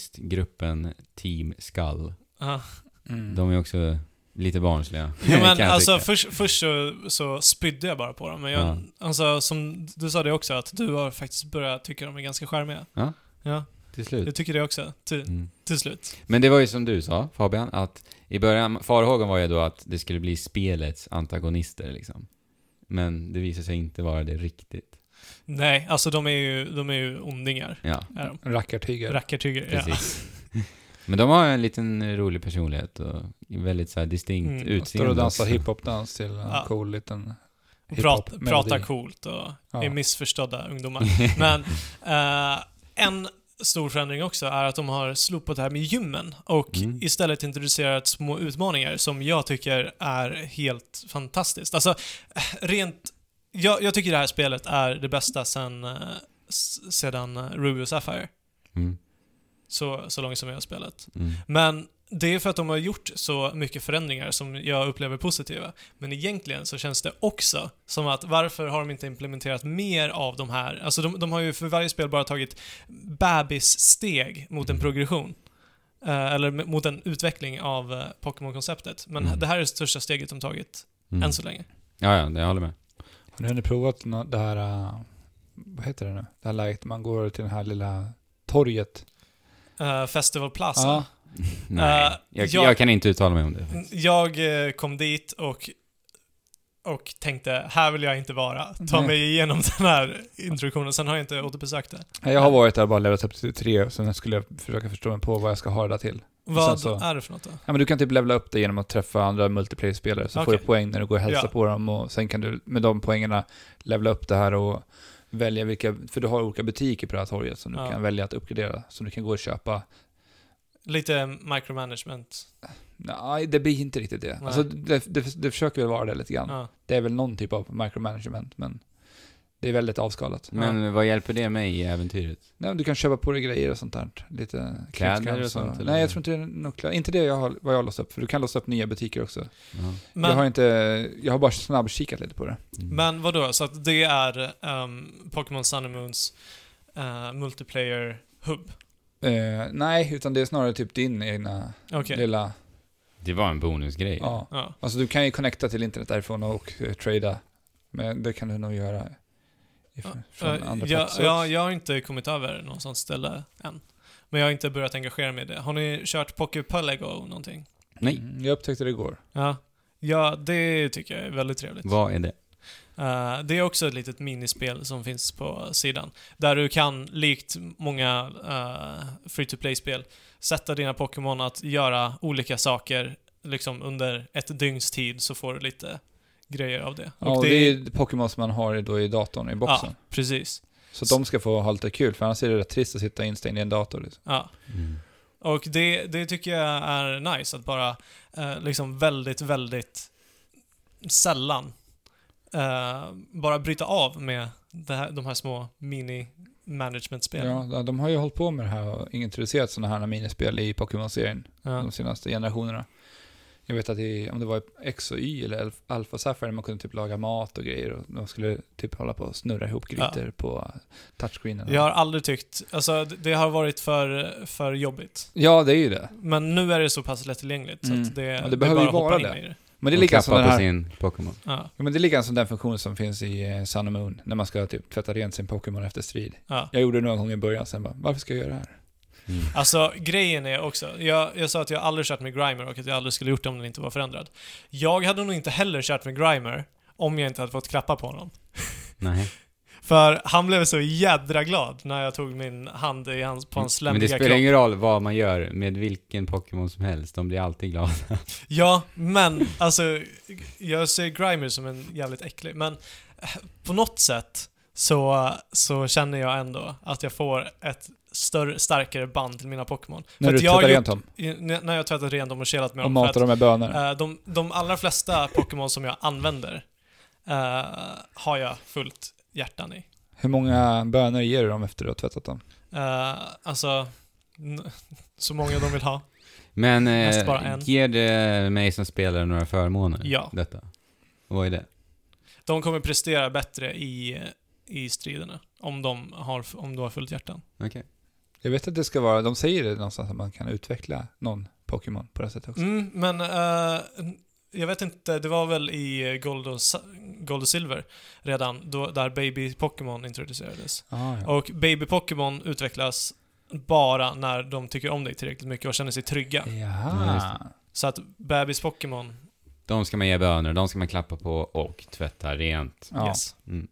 antagonistgruppen Team Skull.
Ja.
De är också lite barnsliga.
Mm. [laughs] Ja, men
kan jag
alltså
tycka.
först, först så, så spydde jag bara på dem, men jag, alltså, som du sa det också, att du har faktiskt börjat tycka de är ganska charmiga.
Ja.
Ja,
Till slut.
jag tycker det också, till,
Mm.
till slut.
Men det var ju som du sa Fabian, att i början, farhågan var ju då att det skulle bli spelets antagonister liksom. Men det visade sig inte vara det riktigt.
Nej, alltså de är ju, de är ju ondingar.
Ja,
Är de.
rackartyger.
Rackartyger. Ja. [laughs]
precis. Men de har en liten rolig personlighet och väldigt så här distinkt
Mm.
Står
utseende.
och dansar
också.
hiphopdans till en
Ja.
cool liten
Och prat,
hiphop-melodi.
pratar coolt och
Ja.
är missförstådda ungdomar. Men eh, en stor förändring också är att de har slopat det här med gymmen och
Mm.
istället introducerat små utmaningar som jag tycker är helt fantastiskt. Alltså, eh, rent... Jag, jag tycker det här spelet är det bästa sen, eh, s- sedan eh, Ruby och Sapphire.
[laughs] Mm.
Så, så långt som jag har spelat.
Mm.
Men det är för att de har gjort så mycket förändringar som jag upplever positiva. Men egentligen så känns det också som att varför har de inte implementerat mer av de här? Alltså de, de har ju för varje spel bara tagit bebissteg mot
Mm.
en progression. Eh, eller m- mot en utveckling av eh, Pokémon-konceptet. Men
Mm.
det här är det största steget de tagit
Mm.
än så länge.
Ja, ja, jag håller
[laughs]
med.
Har ni hunnit provat nå- det här, eh, vad heter det nu? Det här läget man går till det här lilla torget.
Uh, Festival Plaza.
Ja.
Nej,
Eh,
jag,
jag-
jag... kan inte uttala mig om det.
N- Jag eh, kom dit och, och tänkte, här vill jag inte vara. Ta
Nej.
mig igenom [laughs] den här introduktionen. Sen har jag inte återbesökt det.
Nej, Jag har varit där och bara levlat upp till tre, och sen skulle jag försöka förstå mig på vad jag ska ha det där till.
Vad
så-
är det för något då?
Ja, men du kan typ levla upp det genom att träffa andra multiplayer-spelare, så får
Okej.
du poäng när du går och hälsar
Ja.
på dem och sen kan du med de poängerna levla upp det här och välja vilka, för du har olika butiker på det här torget som du
Ja.
kan välja att uppgradera, som du kan gå och köpa
Lite micromanagement.
Nej, det blir inte riktigt det.
Nej.
Alltså, det, det, det försöker väl vara det lite grann.
Ja.
Det är väl någon typ av micromanagement, men det är väldigt avskalat.
Men vad hjälper det mig i äventyret?
Nej, men du kan köpa på dig grejer och sånt där. Lite
Kläder
knivskarp
och sånt, eller?
Nej, jag tror inte det är något kläder. Inte det jag har, vad jag har låst upp, för du kan låsa upp nya butiker också.
Ja.
Men,
Jag har inte, jag har bara snabbkikat lite på det.
men vadå, så att det är ehm, Pokémon Sun and Moons eh, multiplayer hub?
Eh, nej, utan det är snarare typ din egna
Okej.
lilla,
Det var en bonusgrej.
ja.
Ja.
Alltså du kan ju connecta till internet därifrån och eh, trada. Men det kan du nog göra ifrån, från
Eh,
andra
jag,
platser.
jag, jag har inte kommit över någon sån ställe än. Men jag har inte börjat engagera mig i det. Har ni kört Poké Pelego någonting?
Nej,
Mm, jag upptäckte det igår.
Ja. Ja, det tycker jag är väldigt trevligt.
vad är det?
Eh, det är också ett litet minispel som finns på sidan. Där du kan, likt många eh, free to play-spel, sätta dina Pokémon att göra olika saker liksom under ett dygns tid så får du lite grejer av det.
Ja, och det är ju Pokémon som man har då i datorn, i boxen.
Ja, precis.
Så att de ska få ha lite kul, för annars är det rätt trist att sitta instängd i en dator. Liksom.
Ja.
Mm.
Och det, det tycker jag är nice, att bara eh, liksom väldigt, väldigt sällan eh, bara bryta av med det här, de här små mini-management-spelen.
Ja, de har ju hållit på med det här och introducerat sådana här minispel i Pokémon-serien
Ja.
de senaste generationerna. Jag vet att i, om det var i X och Y eller Alf- Alpha Sapphire, man kunde typ laga mat och grejer och de skulle typ hålla på och snurra ihop grytor på touchscreenen.
Jag har aldrig tyckt, alltså det det har varit för, för jobbigt.
Ja, det är ju det.
Men nu är det så pass lättillgängligt så
Mm.
att det,
Ja, det
det
behöver
bara
ju vara
hoppar in
det.
i det.
Men det är
De
lika som
klappar
den
på
här...
sin Pokémon.
Ja,
Ja, men det är lika som den funktionen som finns i eh, Sun och Moon, när man ska typ tvätta rent sin Pokémon efter strid.
ja.
Jag gjorde det några gånger i början, sen bara, varför ska jag göra det här?
Mm.
Alltså grejen är också, jag, jag sa att jag aldrig kört med Grimer och att jag aldrig skulle gjort det om den inte var förändrad. Jag hade nog inte heller kört med Grimer om jag inte hade fått klappa på honom.
Nej.
För han blev så jädra glad när jag tog min hand i hans, på hans
Men det
slemmiga
spelar
kropp.
ingen roll vad man gör med vilken Pokémon som helst, de blir alltid glada.
Ja, men alltså jag ser Grimer som en jävligt äcklig, men eh, på något sätt så, så känner jag ändå att jag får ett större, starkare band till mina Pokémon.
När
För
du
att jag har
tvättar
gjort-
rent dem
I- n- När jag har tvättat rent dem och kelat med
och
dem.
matar
för att,
dem med bönor.
eh, de, de allra flesta Pokémon som jag använder eh, har jag fullt hjärtan i.
Hur många bönor ger du dem efter du har tvättat dem?
Eh, alltså, n- [laughs] så många de vill ha.
Men
Mest bara
eh,
en.
ger det mig som spelare några förmåner?
Ja.
Detta? Och Vad är det?
De kommer prestera bättre i, i striderna om de, har, om de har fullt hjärtan.
Okej.
Jag vet att det ska vara, de säger det någonstans att man kan utveckla någon Pokémon på det här sättet också.
Mm, men eh, jag vet inte, det var väl i Gold och, Sa- Gold och Silver redan, då, där Baby Pokémon introducerades.
Ah, ja.
Och Baby Pokémon utvecklas bara när de tycker om dig tillräckligt mycket och känner sig trygga.
Ja,
Jaha.
just
Så att Babys Pokémon,
De ska man ge bönor, de ska man klappa på och tvätta rent.
Ja.
yes.
Mm.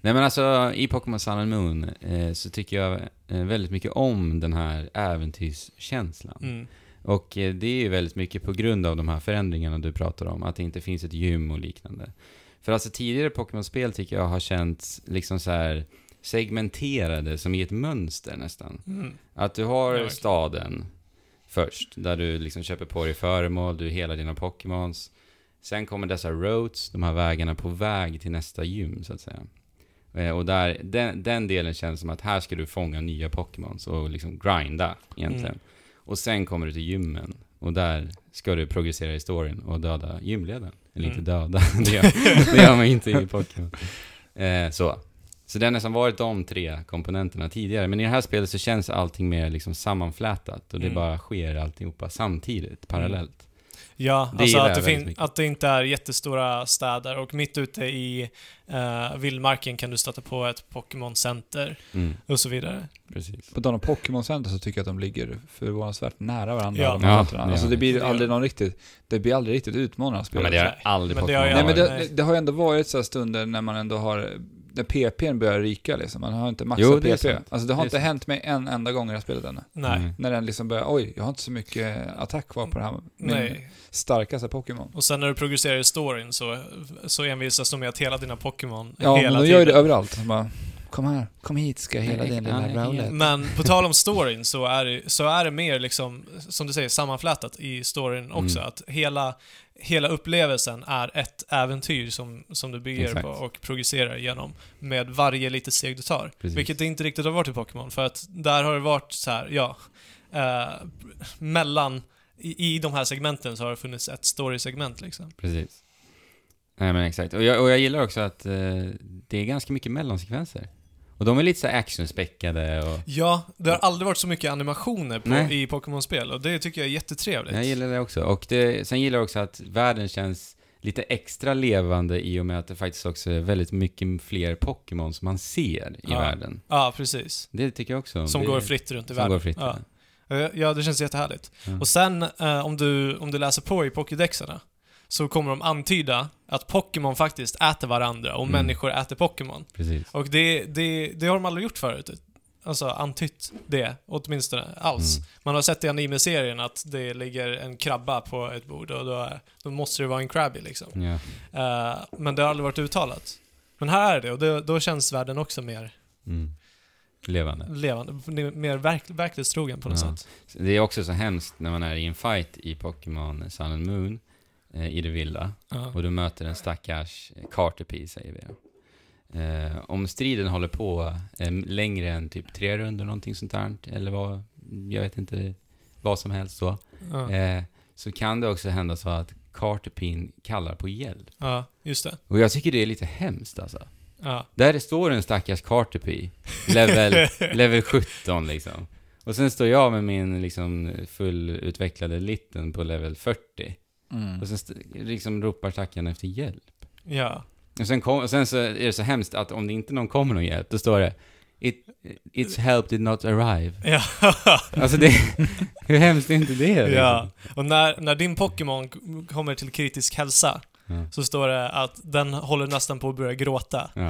Nej men alltså, i Pokémon Sun and Moon eh, så tycker jag eh, väldigt mycket om den här äventyrskänslan.
Mm.
Och eh, det är ju väldigt mycket på grund av de här förändringarna du pratar om, att det inte finns ett gym och liknande. För alltså tidigare Pokémon-spel tycker jag har känts liksom så här segmenterade, som i ett mönster nästan.
Mm.
Att du
Ja,
har
verkligen.
staden först, där du liksom köper på dig föremål, du helar dina Pokémons. Sen kommer dessa roads, de här vägarna på väg till nästa gym så att säga. Eh, Och där, den, den delen känns som att här ska du fånga nya Pokémons och liksom grinda egentligen.
Mm.
Och sen kommer du till gymmen och där ska du progressera i storyn och döda gymledaren. Eller
Mm.
inte döda, [laughs] det gör, det gör man inte i Pokémon. Eh, så. Så det har nästan varit de tre komponenterna tidigare. Men i det här spelet så känns allting mer liksom sammanflätat och det
Mm.
bara sker alltihopa samtidigt, parallellt.
Ja,
Det
alltså
gillar
att det,
jag väldigt
fin-
mycket.
att det inte är jättestora städer och mitt ute i eh, vildmarken kan du stöta på ett Pokémon-center
Mm,
och så vidare.
precis.
På tal om Pokémon Center så tycker jag att de ligger förvånansvärt nära varandra.
Ja.
de här
Ja,
centerna.
det
alltså
gör
det
de.
blir
Det gör
aldrig någon riktigt, det blir aldrig riktigt utmanande att
Ja,
spela.
men det har aldrig
Men det
Pokémon
har jag-
Nej men
varit.
det, det har ju ändå varit så här stunder när man ändå har, när PPn börjar ryka liksom. Man har inte maxat
Jo, det är
PP.
sant.
Alltså det har
Det är
inte hänt mig en enda gång i det här spelet ännu.
Nej.
Mm.
När den liksom börjar, oj, jag har inte så mycket attack kvar på det här, min
Nej.
starkaste Pokémon.
Och sen när du progresserar i storyn så, så envisas de med att hela dina Pokémon
Ja,
hela
men de gör ju det överallt. Man, Kom här, kom hit ska jag hela
Nej,
din
nej,
lilla rowlet.
Men på tal om storyn så är, det- så är det mer liksom, som du säger, sammanflätat i storyn också.
Mm.
Att hela, hela upplevelsen är ett äventyr som, som du bygger
Exakt.
på och progresserar genom med varje litet steg du tar.
Precis.
Vilket det inte riktigt har varit i Pokémon, för att där har det varit så här, ja, eh, mellan i, I de här segmenten så har det funnits ett story-segment liksom.
Precis. Nej men exakt. Och jag, och jag gillar också att eh, det är ganska mycket mellansekvenser. Och de är lite så här actionspäckade och...
Ja, det har aldrig varit så mycket animationer på,
Nej.
i Pokémon-spel och det tycker jag är jättetrevligt.
Jag gillar det också. Och det, sen gillar jag också att världen känns lite extra levande i och med att det faktiskt också är väldigt mycket fler Pokémon som man ser i
Ja.
världen.
Ja, precis.
Det tycker jag också. om.
Som
det,
går fritt runt i
Som
världen.
går fritt.
Ja.
Ja.
Eh, Ja, det känns jättehärligt.
Ja.
Och sen eh, om, du, om du läser på i Pokédexarna så kommer de antyda att Pokémon faktiskt äter varandra och
Mm.
människor äter Pokémon.
Precis.
Och det, det, det har de aldrig gjort förut. Alltså antytt det, åtminstone alls.
Mm.
Man har sett i anime-serien att det ligger en krabba på ett bord och då, är, då måste det vara en Krabby liksom.
Ja.
Eh, men det har aldrig varit uttalat. Men här är det och det, då känns världen också mer
Mm. Levande.
levande, mer verk, verklighetstrogen på något
Ja.
sätt.
Det är också så hemskt när man är i en fight i Pokémon Sun and Moon eh, i det vilda.
Ja.
Och du möter en stackars Carterpie, säger vi. då. Eh, om striden håller på eh, längre än typ tre runder någonting sånt där, eller vad, jag vet inte, vad som helst så,
Ja.
eh, så kan det också hända så att Carterpin kallar på hjälp.
Ja, just det.
Och jag tycker det är lite hemskt alltså.
Ja.
Där det står en stackars Carterpie,
[laughs]
level, level 17 liksom. Och sen står jag med min liksom fullutvecklade litten på level 40.
Mm.
Och sen st- liksom ropar stackaren efter hjälp.
Ja.
Och sen, kom, och sen så är det så hemskt att om det inte någon kommer någon hjälp, då står det It, It's help did not arrive.
Ja.
Alltså det, [laughs] hur hemskt är inte det? liksom?
ja. Och när, när din Pokémon k- kommer till kritisk hälsa
Ja.
så står det att den håller nästan på att börja gråta.
ja.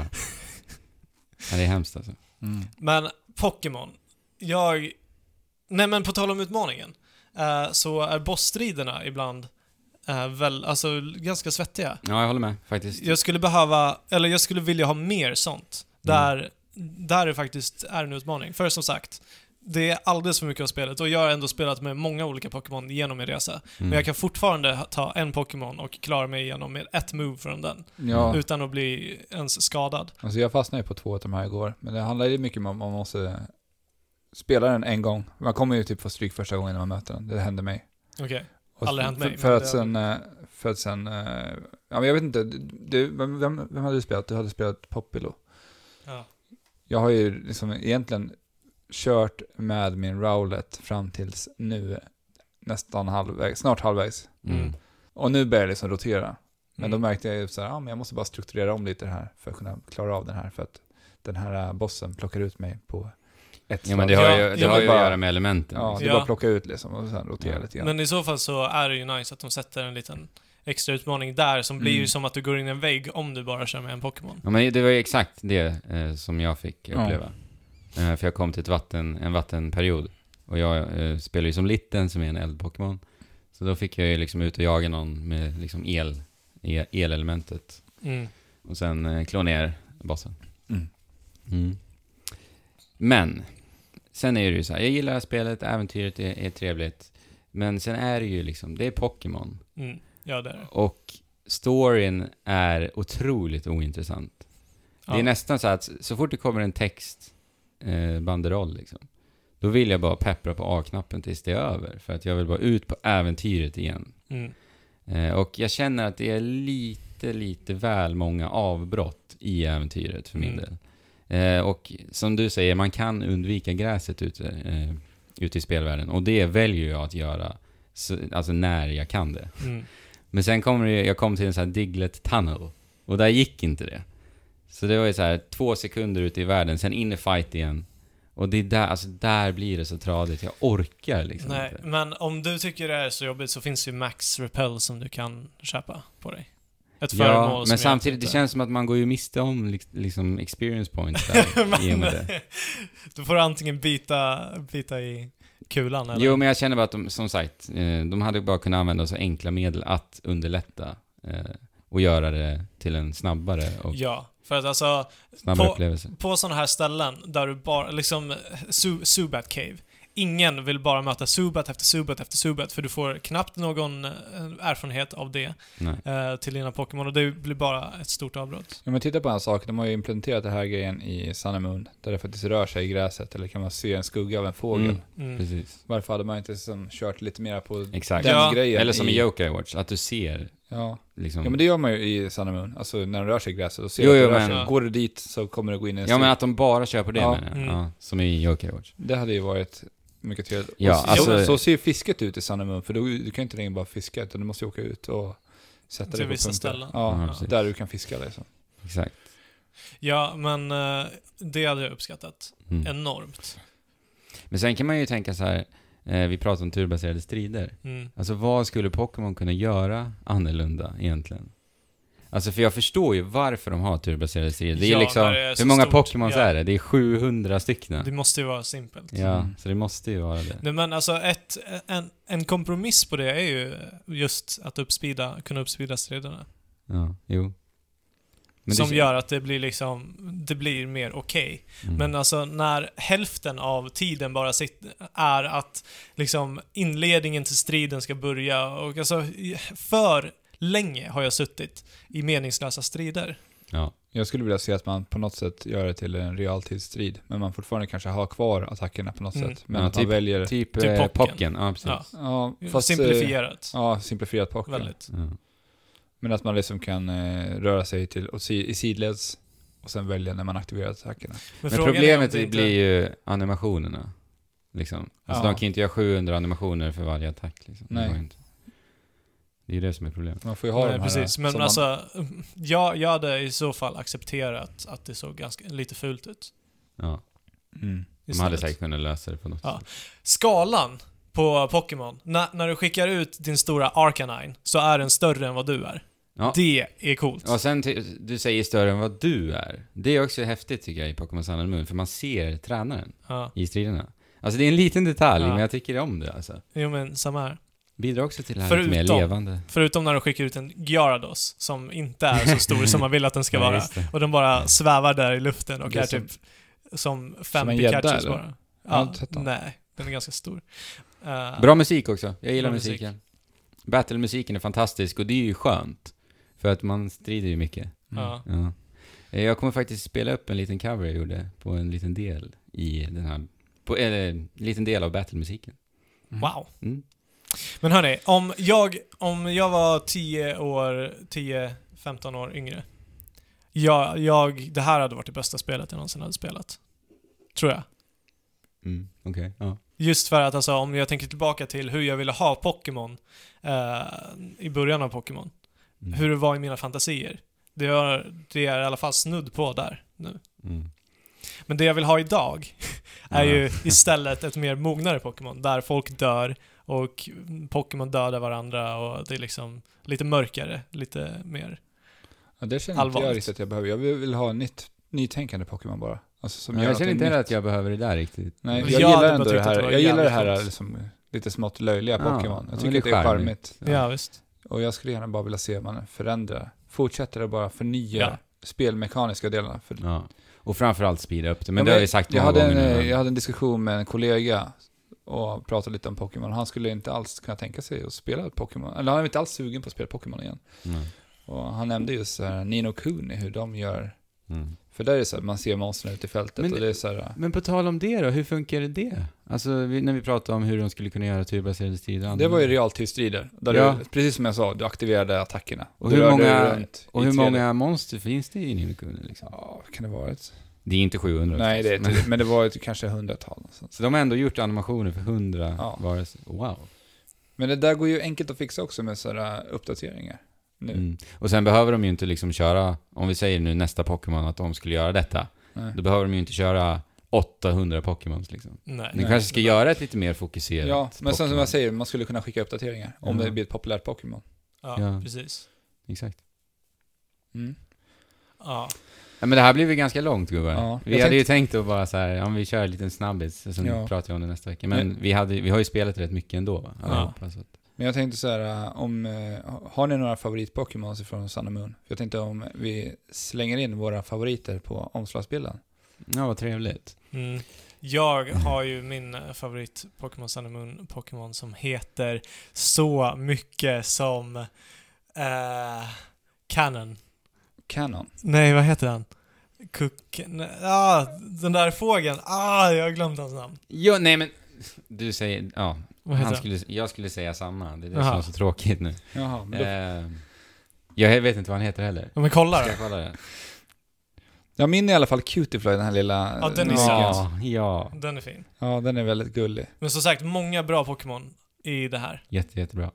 Ja, det är hemskt alltså.
Mm.
Men Pokémon, jag... Nej men på tal om utmaningen, eh, så är bossstriderna ibland eh, väl, alltså ganska svettiga.
Ja, jag håller med faktiskt.
Jag skulle behöva, eller jag skulle vilja ha mer sånt.
Mm.
Där, där det faktiskt är en utmaning. För som sagt, det är alldeles för mycket av spelet och jag har ändå spelat med många olika Pokémon genom min resa.
Mm.
Men jag kan fortfarande ha- ta en Pokémon och klara mig igenom med ett move från den.
Ja,
Utan att bli ens skadad.
alltså jag fastnade ju på två av de här igår. Men det handlar ju mycket om att man måste spela den en gång. Man kommer ju typ få stryk första gången när man möter den. Det hände mig.
Okej.
Och
Aldrig hänt mig,
För,
men
för
det
att sen, eh, för att sen, eh, ja men jag vet inte, du, vem, vem, vem hade du spelat? Du hade spelat Poppilo.
Ja.
Jag har ju liksom egentligen kört med min Rowlet fram tills nu, nästan halvvägs, snart halvvägs.
Mm.
Och nu börjar jag liksom rotera. Men
Mm.
då märkte jag ju så här, ja men jag måste bara strukturera om lite det här för att kunna klara av den här. För att den här eh, bossen plockar ut mig på ett
Ja, men det
slag.
har
Ja,
ju, det
jag
har
vill
ju
bara-
att göra med elementen.
Ja, det är
Ja.
bara att plocka ut liksom och sen rotera
Ja.
lite grann.
Men i så fall så är det ju nice att de sätter en liten extra utmaning där som blir
Mm.
ju som att du går in i en vägg om du bara kör med en Pokémon.
Ja, men det var ju exakt det eh, som jag fick
Ja.
uppleva. Eh, för jag kom till ett vatten, en vattenperiod. Och jag eh, spelar ju som Litten, som är en eldpokémon. Så då fick jag ju liksom ut och jaga någon med liksom el, e- elelementet.
Mm.
Och sen eh, klå ner bossen.
Mm.
Mm. Men, sen är det ju så här, jag gillar spelet, äventyret är, är trevligt. Men sen är det ju liksom, det är Pokémon.
Mm. Ja, det är det.
Och storyn är otroligt ointressant.
Ja.
Det är nästan så att så fort det kommer en text, eh, banderoll liksom, då vill jag bara peppra på A-knappen tills det är över. För att jag vill bara ut på äventyret igen.
Mm.
Eh, och jag känner att det är lite, lite väl många avbrott i äventyret för min
Mm.
del. Eh, och som du säger, man kan undvika gräset ute, eh, ute i spelvärlden. Och det väljer jag att göra, så, alltså när jag kan det.
Mm.
Men sen kommer det, jag kom till en sån här Diglett Tunnel. Och där gick inte det. Så det var ju så här två sekunder ute i världen, sen in i fight igen. Och det är där, alltså där blir det så tradigt. Jag orkar liksom
Nej,
inte.
men om du tycker det är så jobbigt så finns ju Max Repel som du kan köpa på dig. Ett föremål
Ja,
som
men
jag
samtidigt, det
[laughs] inte-
känns som att man går ju miste om li- liksom experience points
[laughs]
där. i och med det.
Då får du antingen bita, bita i kulan eller...
Jo, men jag känner bara att de, som sagt, eh, de hade bara kunnat använda så enkla medel att underlätta eh, och göra det till en snabbare och
Ja, För att alltså,
Snabbare
På-
upplevelse.
på sådana här ställen där du bara, liksom, Su- Subat Cave. Ingen vill bara möta Subat efter Subat efter Subat, för du får knappt någon eh, erfarenhet av det
Nej.
eh, till dina Pokémon och det blir bara ett stort avbrott.
Om man tittar på en sak, de har ju implementerat den här grejen i Sun and Moon, där det faktiskt rör sig i gräset, eller kan man se en skugga av en fågel.
Mm.
Mm.
Precis.
Varför hade man inte som, kört lite mer på
Exakt.
den
Ja,
grejen?
Eller som i Yokai Watch, att du ser
Ja.
liksom...
ja, men det gör man ju i Sun and Moon, alltså när de rör sig i gräset, då ser
Jo,
du
jo,
att det rör
men-
sig. Går du dit så kommer du gå in i en
Ja, men
stor-
att de bara kör på det
Ja.
menar jag.
Mm.
Ja, som i Yokai Watch.
Det hade ju varit mycket trevligt.
Ja,
och så,
alltså-
så ser ju fisket ut i Sun and Moon, för då, du kan ju inte längre bara fiska, utan du måste ju åka ut och sätta
Till
dig på
vissa
punkter.
ställen.
Ja,
Ja, precis.
där du kan fiska liksom.
Exakt.
Ja, men eh, det hade jag uppskattat
Mm.
enormt.
Men sen kan man ju tänka så här, eh, vi pratar om turbaserade strider.
Mm.
Alltså vad skulle Pokémon kunna göra annorlunda egentligen? Alltså för jag förstår ju varför de har turbaserade strider. Det är
Ja,
liksom,
när det är så
hur många
stort,
Pokémons
ja.
är det? Det är 700 stycken.
Det måste ju vara simpelt.
Ja,
Mm.
så det måste ju vara det.
Nej, men alltså ett, en, en kompromiss på det är ju just att uppspida, kunna uppspida striderna.
Ja, jo.
som
det,
gör att det blir liksom, det blir mer okej.
Mm.
Men alltså när hälften av tiden bara sitt, är att liksom inledningen till striden ska börja och alltså i- för länge har jag suttit i meningslösa strider.
Ja,
Jag skulle vilja se att man på något sätt gör det till en realtidsstrid, men man fortfarande kanske har kvar attackerna på något
Mm.
sätt. Men
Ja,
att man väljer...
typ,
typ
eh,
Pocken.
Pocken. Ja, precis.
Ja.
Ja.
Ja, fast, eh,
Simplifierat.
Ja, simplifierat pocken.
Väldigt.
Men att man liksom kan eh, röra sig till och si, i sidleds och sen välja när man aktiverar attackerna.
Men,
frågan är om
problemet
det
det
inte-
blir ju animationerna. Liksom. Alltså
Ja.
de kan ju inte göra 700 animationer för varje attack. Liksom.
Nej.
Det, går inte. det är ju det som är problemet.
Man får ju ha de
Nej,
här eh,
Eh, precis.
som
Men
man-
alltså, jag, jag hade i så fall accepterat att det såg ganska, lite fult ut.
Ja.
Mm.
De hade
istället.
säkert kunnat lösa det på något
Ja.
sätt.
Skalan på Pokémon, när, när du skickar ut din stora Arcanine så är den större än vad du är.
Ja.
Det är coolt.
Och sen, ty- du säger större än vad du är. Det är också häftigt tycker jag i Pokémon Sun and Moon, för man ser tränaren
Ja.
i striderna. Alltså det är en liten detalj,
Ja.
men jag tycker om det alltså.
Jo men samma här.
Bidrar också till det här lite
Förutom-
mer levande.
Förutom när de skickar ut en Gyarados som inte är så stor som man vill att
[laughs]
den ska
Ja,
vara.
just det.
Och den bara svävar där i luften och
Det är
är
som-
typ som fem
som en gädda,
Pikachus
eller?
bara.
Jag har
Ja,
inte sett den.
nej, den är ganska stor. Eh,
Bra musik också. Jag gillar
Bra musik.
musiken. Battle-musiken är fantastisk och det är ju skönt. För att man strider ju mycket.
Mm.
ja.
Ja. Eh, Jag kommer faktiskt spela upp en liten cover jag gjorde på en liten del i den här... På, eller, en liten del av battle-musiken.
Wow.
Mm.
Men hörni, om jag, om jag var 10 år, 10-15 år yngre. Jag, jag, det här hade varit det bästa spelet jag någonsin hade spelat. Tror jag.
Mm. Okej. Ja.
Just för att alltså, om jag tänker tillbaka till hur jag ville ha Pokémon eh, i början av Pokémon.
Mm.
Hur det var i mina fantasier. Det är, det är i alla fall snudd på där nu.
Mm.
Men det jag vill ha idag är
Ja. [laughs]
ju istället ett mer mognare Pokémon, där folk dör och Pokémon dödar varandra och det är liksom lite mörkare, lite mer.
Ja, det känner inte jag
Allvarligt.
riktigt att jag behöver. Jag vill, vill ha nytt, nytänkande Pokémon bara. Alltså, som
Men
gör
jag känner
någonting
inte heller
nytt.
att jag behöver det där riktigt.
Nej,
Men
jag,
jag hade
gillar
bara
ändå det
tyckt att
här,
det var
jag gillar det
jävligt
här
coolt.
liksom, lite smått löjliga
Ja,
Pokémon. Jag
men
tycker
det är
att det är charmigt.
charmigt.
Ja, visst.
Och jag skulle gärna bara vilja se man förändrar, fortsätter att bara förnya
Ja.
spelmekaniska delarna. För,
Ja. Och framförallt speeda upp det. Men
Ja,
det har jag ju sagt
jag
många
hade,
gånger
en,
nu.
eh, jag hade en diskussion med en kollega och pratade lite om Pokémon. Han skulle inte alls kunna tänka sig att spela Pokémon. Eller han är inte alls sugen på att spela Pokémon igen.
Mm.
Och han nämnde just så här, Nino Kuni, hur de gör.
Mm.
För där är det så här, man ser monstren ute i fältet
Men-
och det är så här,
Men på tal om det då, hur funkar det? Alltså vi, när vi pratade om hur de skulle kunna göra turbaserade strider
Det var ju realtidsstrider. Där
Ja.
du, precis som jag sa, du aktiverade attackerna.
Och
du
hur
rörde
många-
dig runt
Och
i
hur
tre-
många monster finns det i Ninokuni liksom?
Ja, vad kan det vara? Ett?
Det är inte 700
Nej, det är
förstås,
inte det. Men det var ett, kanske hundratal. någonstans.
Så de har ändå gjort animationer för 100
Ja.
varelser. Wow.
Men det där går ju enkelt att fixa också med sådana uppdateringar. Nu.
Mm. Och sen behöver de ju inte liksom köra, om vi säger nu nästa Pokémon att de skulle göra detta,
Nej.
då behöver de ju inte köra 800 Pokémons liksom.
Nej.
Ni kanske ska göra ett lite mer fokuserat
Ja, men sen som
Pokémon.
jag säger, man skulle kunna skicka uppdateringar om
Ja.
det blir ett populärt Pokémon.
Ja,
Ja.
precis.
Exakt.
Mm.
Ja.
Ja, men det här blev ju ganska långt gubbar.
Ja.
vi
Jag
hade ju tänkt att bara så här, ja, men vi kör en liten snabbis, och sen
Ja.
pratar vi om det nästa vecka. Men
Men-
vi, hade, vi har ju spelat rätt mycket ändå va? Allihopa, så att,
Men jag tänkte så här, äh, om, äh, har ni några favorit-Pokémons ifrån Sun and Moon? För Jag tänkte om vi slänger in våra favoriter på omslagsbilden.
Ja, vad trevligt.
Mm. Jag har ju min eh, favorit Pokémon Sun and Moon Pokémon som heter så mycket som eh, Cannon.
Canon.
Nej, vad heter den? Cook... nej, Ah, den där fågeln. Ah, jag har glömt hans namn.
Jo, nej men... Du säger... Ja.
Vad heter
Han
den?
skulle, jag skulle säga samma. Det är det
Aha.
som är så tråkigt nu.
Jaha, men då,
Eh, jag vet inte vad han heter heller.
Ja, men kolla
Ska
då.
jag kolla det?
Jag minns i alla fall Cutiefly, den här lilla...
Ja, den är
ja.
Ja, ja.
Den är fin.
ja, den är väldigt gullig.
Men som sagt, många bra Pokémon i det
Mm,
här.
Jätte, jättebra.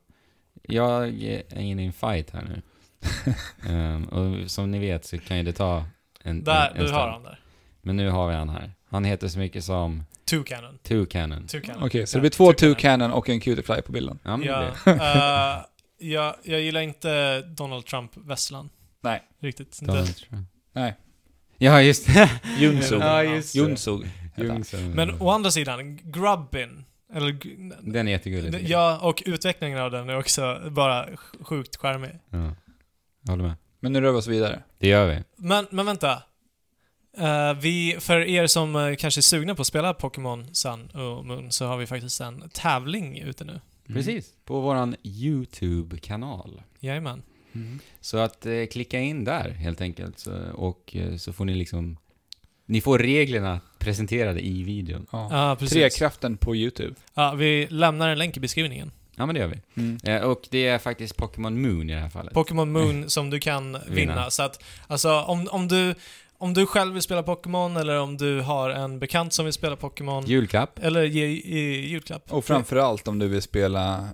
Jag är inne i en fight här [laughs] nu. Ehm, och som ni vet så kan ju det ta en,
Där,
en, en
du har han där.
Men nu har vi han här. Han heter så mycket som
Two Cannon.
Two Cannon.
Two Cannon.
Okej, så det
Ja,
blir två
Two
Two Cannon och en Cutiefly på bilden.
Ja, men det
[laughs] Ja,
blir-
[laughs]
eh, jag, jag gillar inte Donald Trump-vesslan.
Nej.
Riktigt.
[laughs] Donald Trump.
Nej.
Ja, just [laughs] det.
[laughs]
Junsug.
Ja, just det.
Junsug. heter han.
Jungsson.
Men å andra sidan, Grubbin, eller... g-
Den är jättegullig. tycker jag.
Ja, och utvecklingen av den är också bara sj- sjukt charmig.
Ja. Jag håller med.
Men nu rör vi oss vidare.
Det gör vi.
Men, men vänta. Eh, vi, för er som eh, kanske är sugna på att spela Pokémon Sun och Moon så har vi faktiskt en tävling ute nu.
Precis. På våran YouTube-kanal.
Jajamän.
Mm.
Så att eh, klicka in där helt enkelt. Så, och eh, så får ni liksom... Ni får reglerna presenterade i videon.
Ja.
Ja, precis.
Trekraften på YouTube.
Ja, vi lämnar en länk i beskrivningen.
Ja, men det gör vi.
Mm.
Eh, och det är faktiskt Pokémon Moon i det här fallet.
Pokémon Moon som du kan vinna.
Mm. Vinna.
Så att, alltså om, om du... Om du själv vill spela Pokémon eller om du har en bekant som vill spela Pokémon.
Julklapp.
Eller ge i julklapp.
Och framförallt om du vill spela,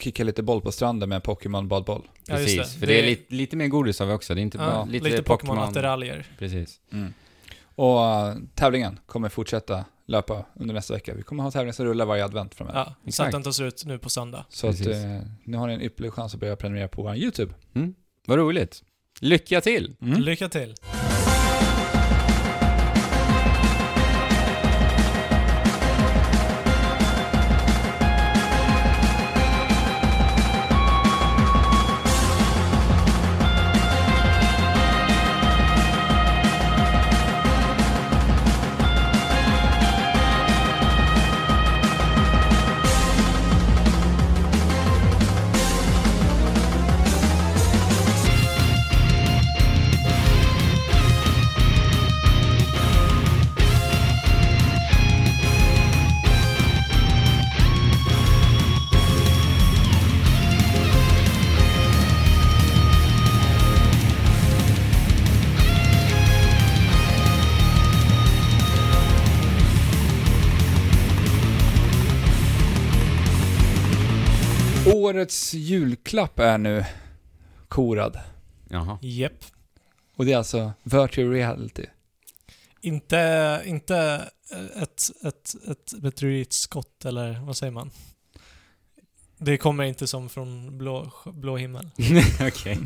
kicka lite boll på stranden med Pokémon badboll.
Ja, just
Precis.
det.
För
Det
det är
är-
lite, lite mer godis har vi också. Det är inte bara
Ja,
lite,
lite
Pokémon.
Pokémon-attiraljer.
Precis.
Och eh, tävlingen kommer fortsätta löpa under nästa vecka. Vi kommer ha tävlingar som rullar varje advent framöver.
Ja, så
Exakt.
att den tar slut nu på söndag.
Så att,
Precis.
eh, nu har ni en ypperlig chans att börja prenumerera på vår YouTube.
Vad roligt. Lycka till!
Mm.
Lycka till!
Årets julklapp är nu korad.
Jaha. [laughs]
Jep.
Och det är alltså virtual reality.
Inte, inte ett, ett, ett meteoritskott eller vad säger man? Det kommer inte som från blå, blå himmel.
Okej.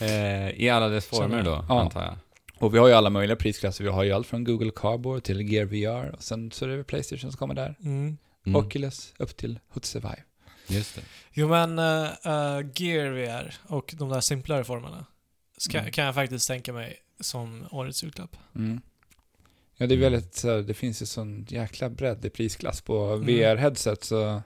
Eh, I alla dess former då,
Ja.
antar jag.
Och vi har ju alla möjliga prisklasser. Vi har ju allt från Google Cardboard till Gear VR. Och sen så är det Playstation som kommer där.
Mm.
Mm.
Oculus upp till Hood Survive.
Just det.
Jo men, eh, eh, Gear VR och de där simplare formerna ska,
Mm.
kan jag faktiskt tänka mig som årets julklapp.
Mm. Ja, det är väldigt så här, det finns ju sån jäkla bredd i prisklass på
Mm.
VR-headset så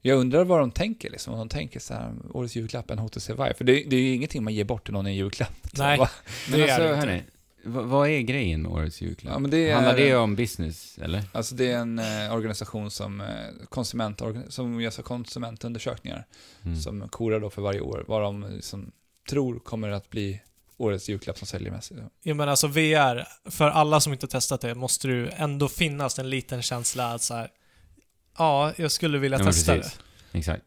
jag undrar vad de tänker liksom, om de tänker så här, årets julklapp, en HTC Vive. För det, det är ju ingenting man ger bort till någon i en julklapp. Så
Nej,
bara-
Men
det
alltså,
är det inte.
hörni. v- Vad är grejen med årets julklapp?
Ja, men det är,
Handlar det om business, eller?
Alltså det är en eh, organisation som, eh, konsument, som gör så konsumentundersökningar
Mm.
som korar då för varje år vad de liksom, tror kommer att bli årets julklapp som säljer mest. liksom.
Jo men alltså VR, för alla som inte har testat det måste det ju ändå finnas en liten känsla att så här, ja, jag skulle vilja
Ja, men
testa det.
precis. Exakt.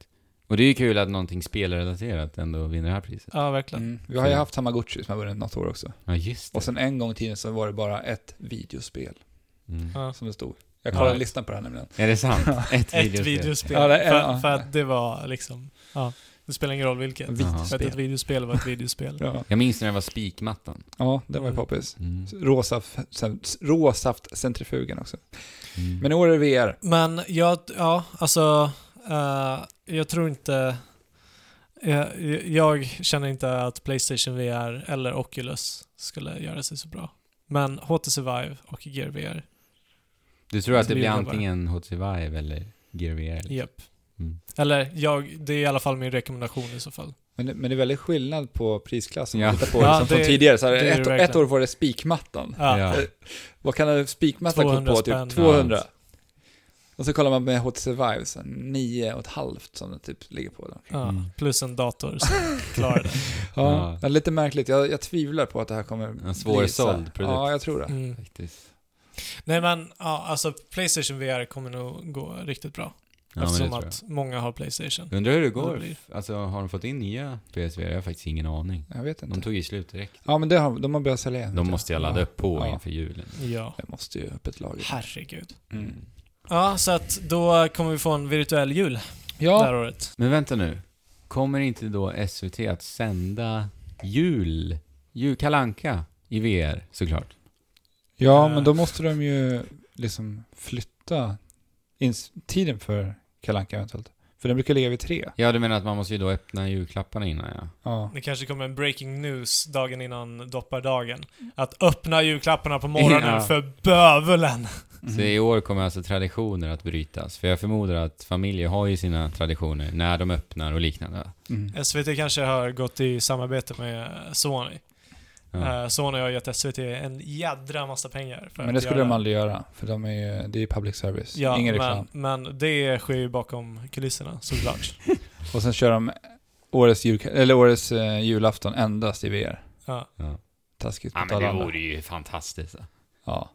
Och det är ju kul att någonting spelrelaterat ändå vinner det här priset.
Ja, verkligen.
Mm. Vi har ju haft Tamagotchi som har vunnit något år också.
Ja, just
Och
det.
sen en gång i tiden så var det bara ett videospel.
Mm.
Ja.
som det stod. Jag kollade
Ja.
listan på det här nämligen.
Är det sant? Ett,
Ett
videospel.
videospel.
Ja, det är-
för,
ja.
för att det var liksom, ja, det spelar ingen roll vilket. För att ett
Videospel.
videospel var ett videospel.
Ja,
Jag minns när det var spikmattan.
ja den var ju
Mm.
poppis.
Mm.
Råsaftcentrifugen också.
Mm.
Men i år är det VR.
Men jag, ja, alltså, eh, jag tror inte... eh, jag känner inte att Playstation VR eller Oculus skulle göra sig så bra. Men HTC Vive och Gear VR,
Du tror att det
Det
blir
blir bara-
antingen HTC Vive eller Gear VR?
japp.
Mm.
Eller jag, det är i alla fall min rekommendation i så fall.
Men det, men det är väldigt skillnad på prisklassen.
Ja.
Ja. Titta på
Ja,
liksom, från
det-
tidigare, så här,
det är det
ett, ett
verkligen.
år var det spikmattan.
Ja.
Ja.
Vad kan en spikmatta gå
200
på? Typ
spänn.
200.
Ja.
Och så kollar man med HTC Vive, så här, nio och ett halvt som det typ ligger på. Då.
Ja,
Mm.
Plus en dator som klarar det.
Ja.
Ja. Det är lite märkligt, jag, jag tvivlar på att det här kommer bli så här.
svårsåld produkt.
Ja, jag tror det.
Mm.
Faktiskt.
Nej men, ja, alltså Playstation VR kommer nog gå riktigt bra.
Ja, men det
eftersom
tror jag.
att många har Playstation.
Undrar hur det
det
går.
blir.
Alltså, har de fått in nya PSVR? Jag har faktiskt ingen aning.
Jag vet
De
inte.
tog ju slut direkt.
Ja, men det har, de har börjat sälja igen.
De måste jag ladda upp på
Ja.
inför julen.
Ja.
Jag måste ju öppet lager.
Herregud.
Mm.
Ja, så att då kommer vi få en virtuell jul det
Ja,
här året.
Men vänta nu. Kommer inte då SVT att sända jul, jul Kalanka i VR såklart?
ja,
Eh.
men då måste de ju liksom flytta ins- tiden för Kalle Anka eventuellt. För den brukar ligga vid tre.
Ja, du menar att man måste ju då öppna julklapparna innan ja.
Ja.
Det kanske kommer en breaking news dagen innan doppardagen. Att öppna julklapparna på morgonen
Ja.
för bövelen.
Mm.
Så
Mhm.
i år kommer alltså traditioner att brytas. För jag förmodar att familjer har ju sina traditioner när de öppnar och liknande.
Mm.
SVT kanske har gått i samarbete med Sony.
Ja.
Eh, Sony har gett SVT en jädra massa pengar för
Men det
att
skulle
göra.
de aldrig göra, för de är ju, det är ju public service.
Ja,
Ingen reklam.
men, men det sker ju bakom kulisserna såklart.
Och sen kör de årets, jul, eller årets eh, julafton endast i VR.
ja,
Ja.
Taskigt
ja,
mot
men
alla
det
andra.
vore ju fantastiskt.
Ja.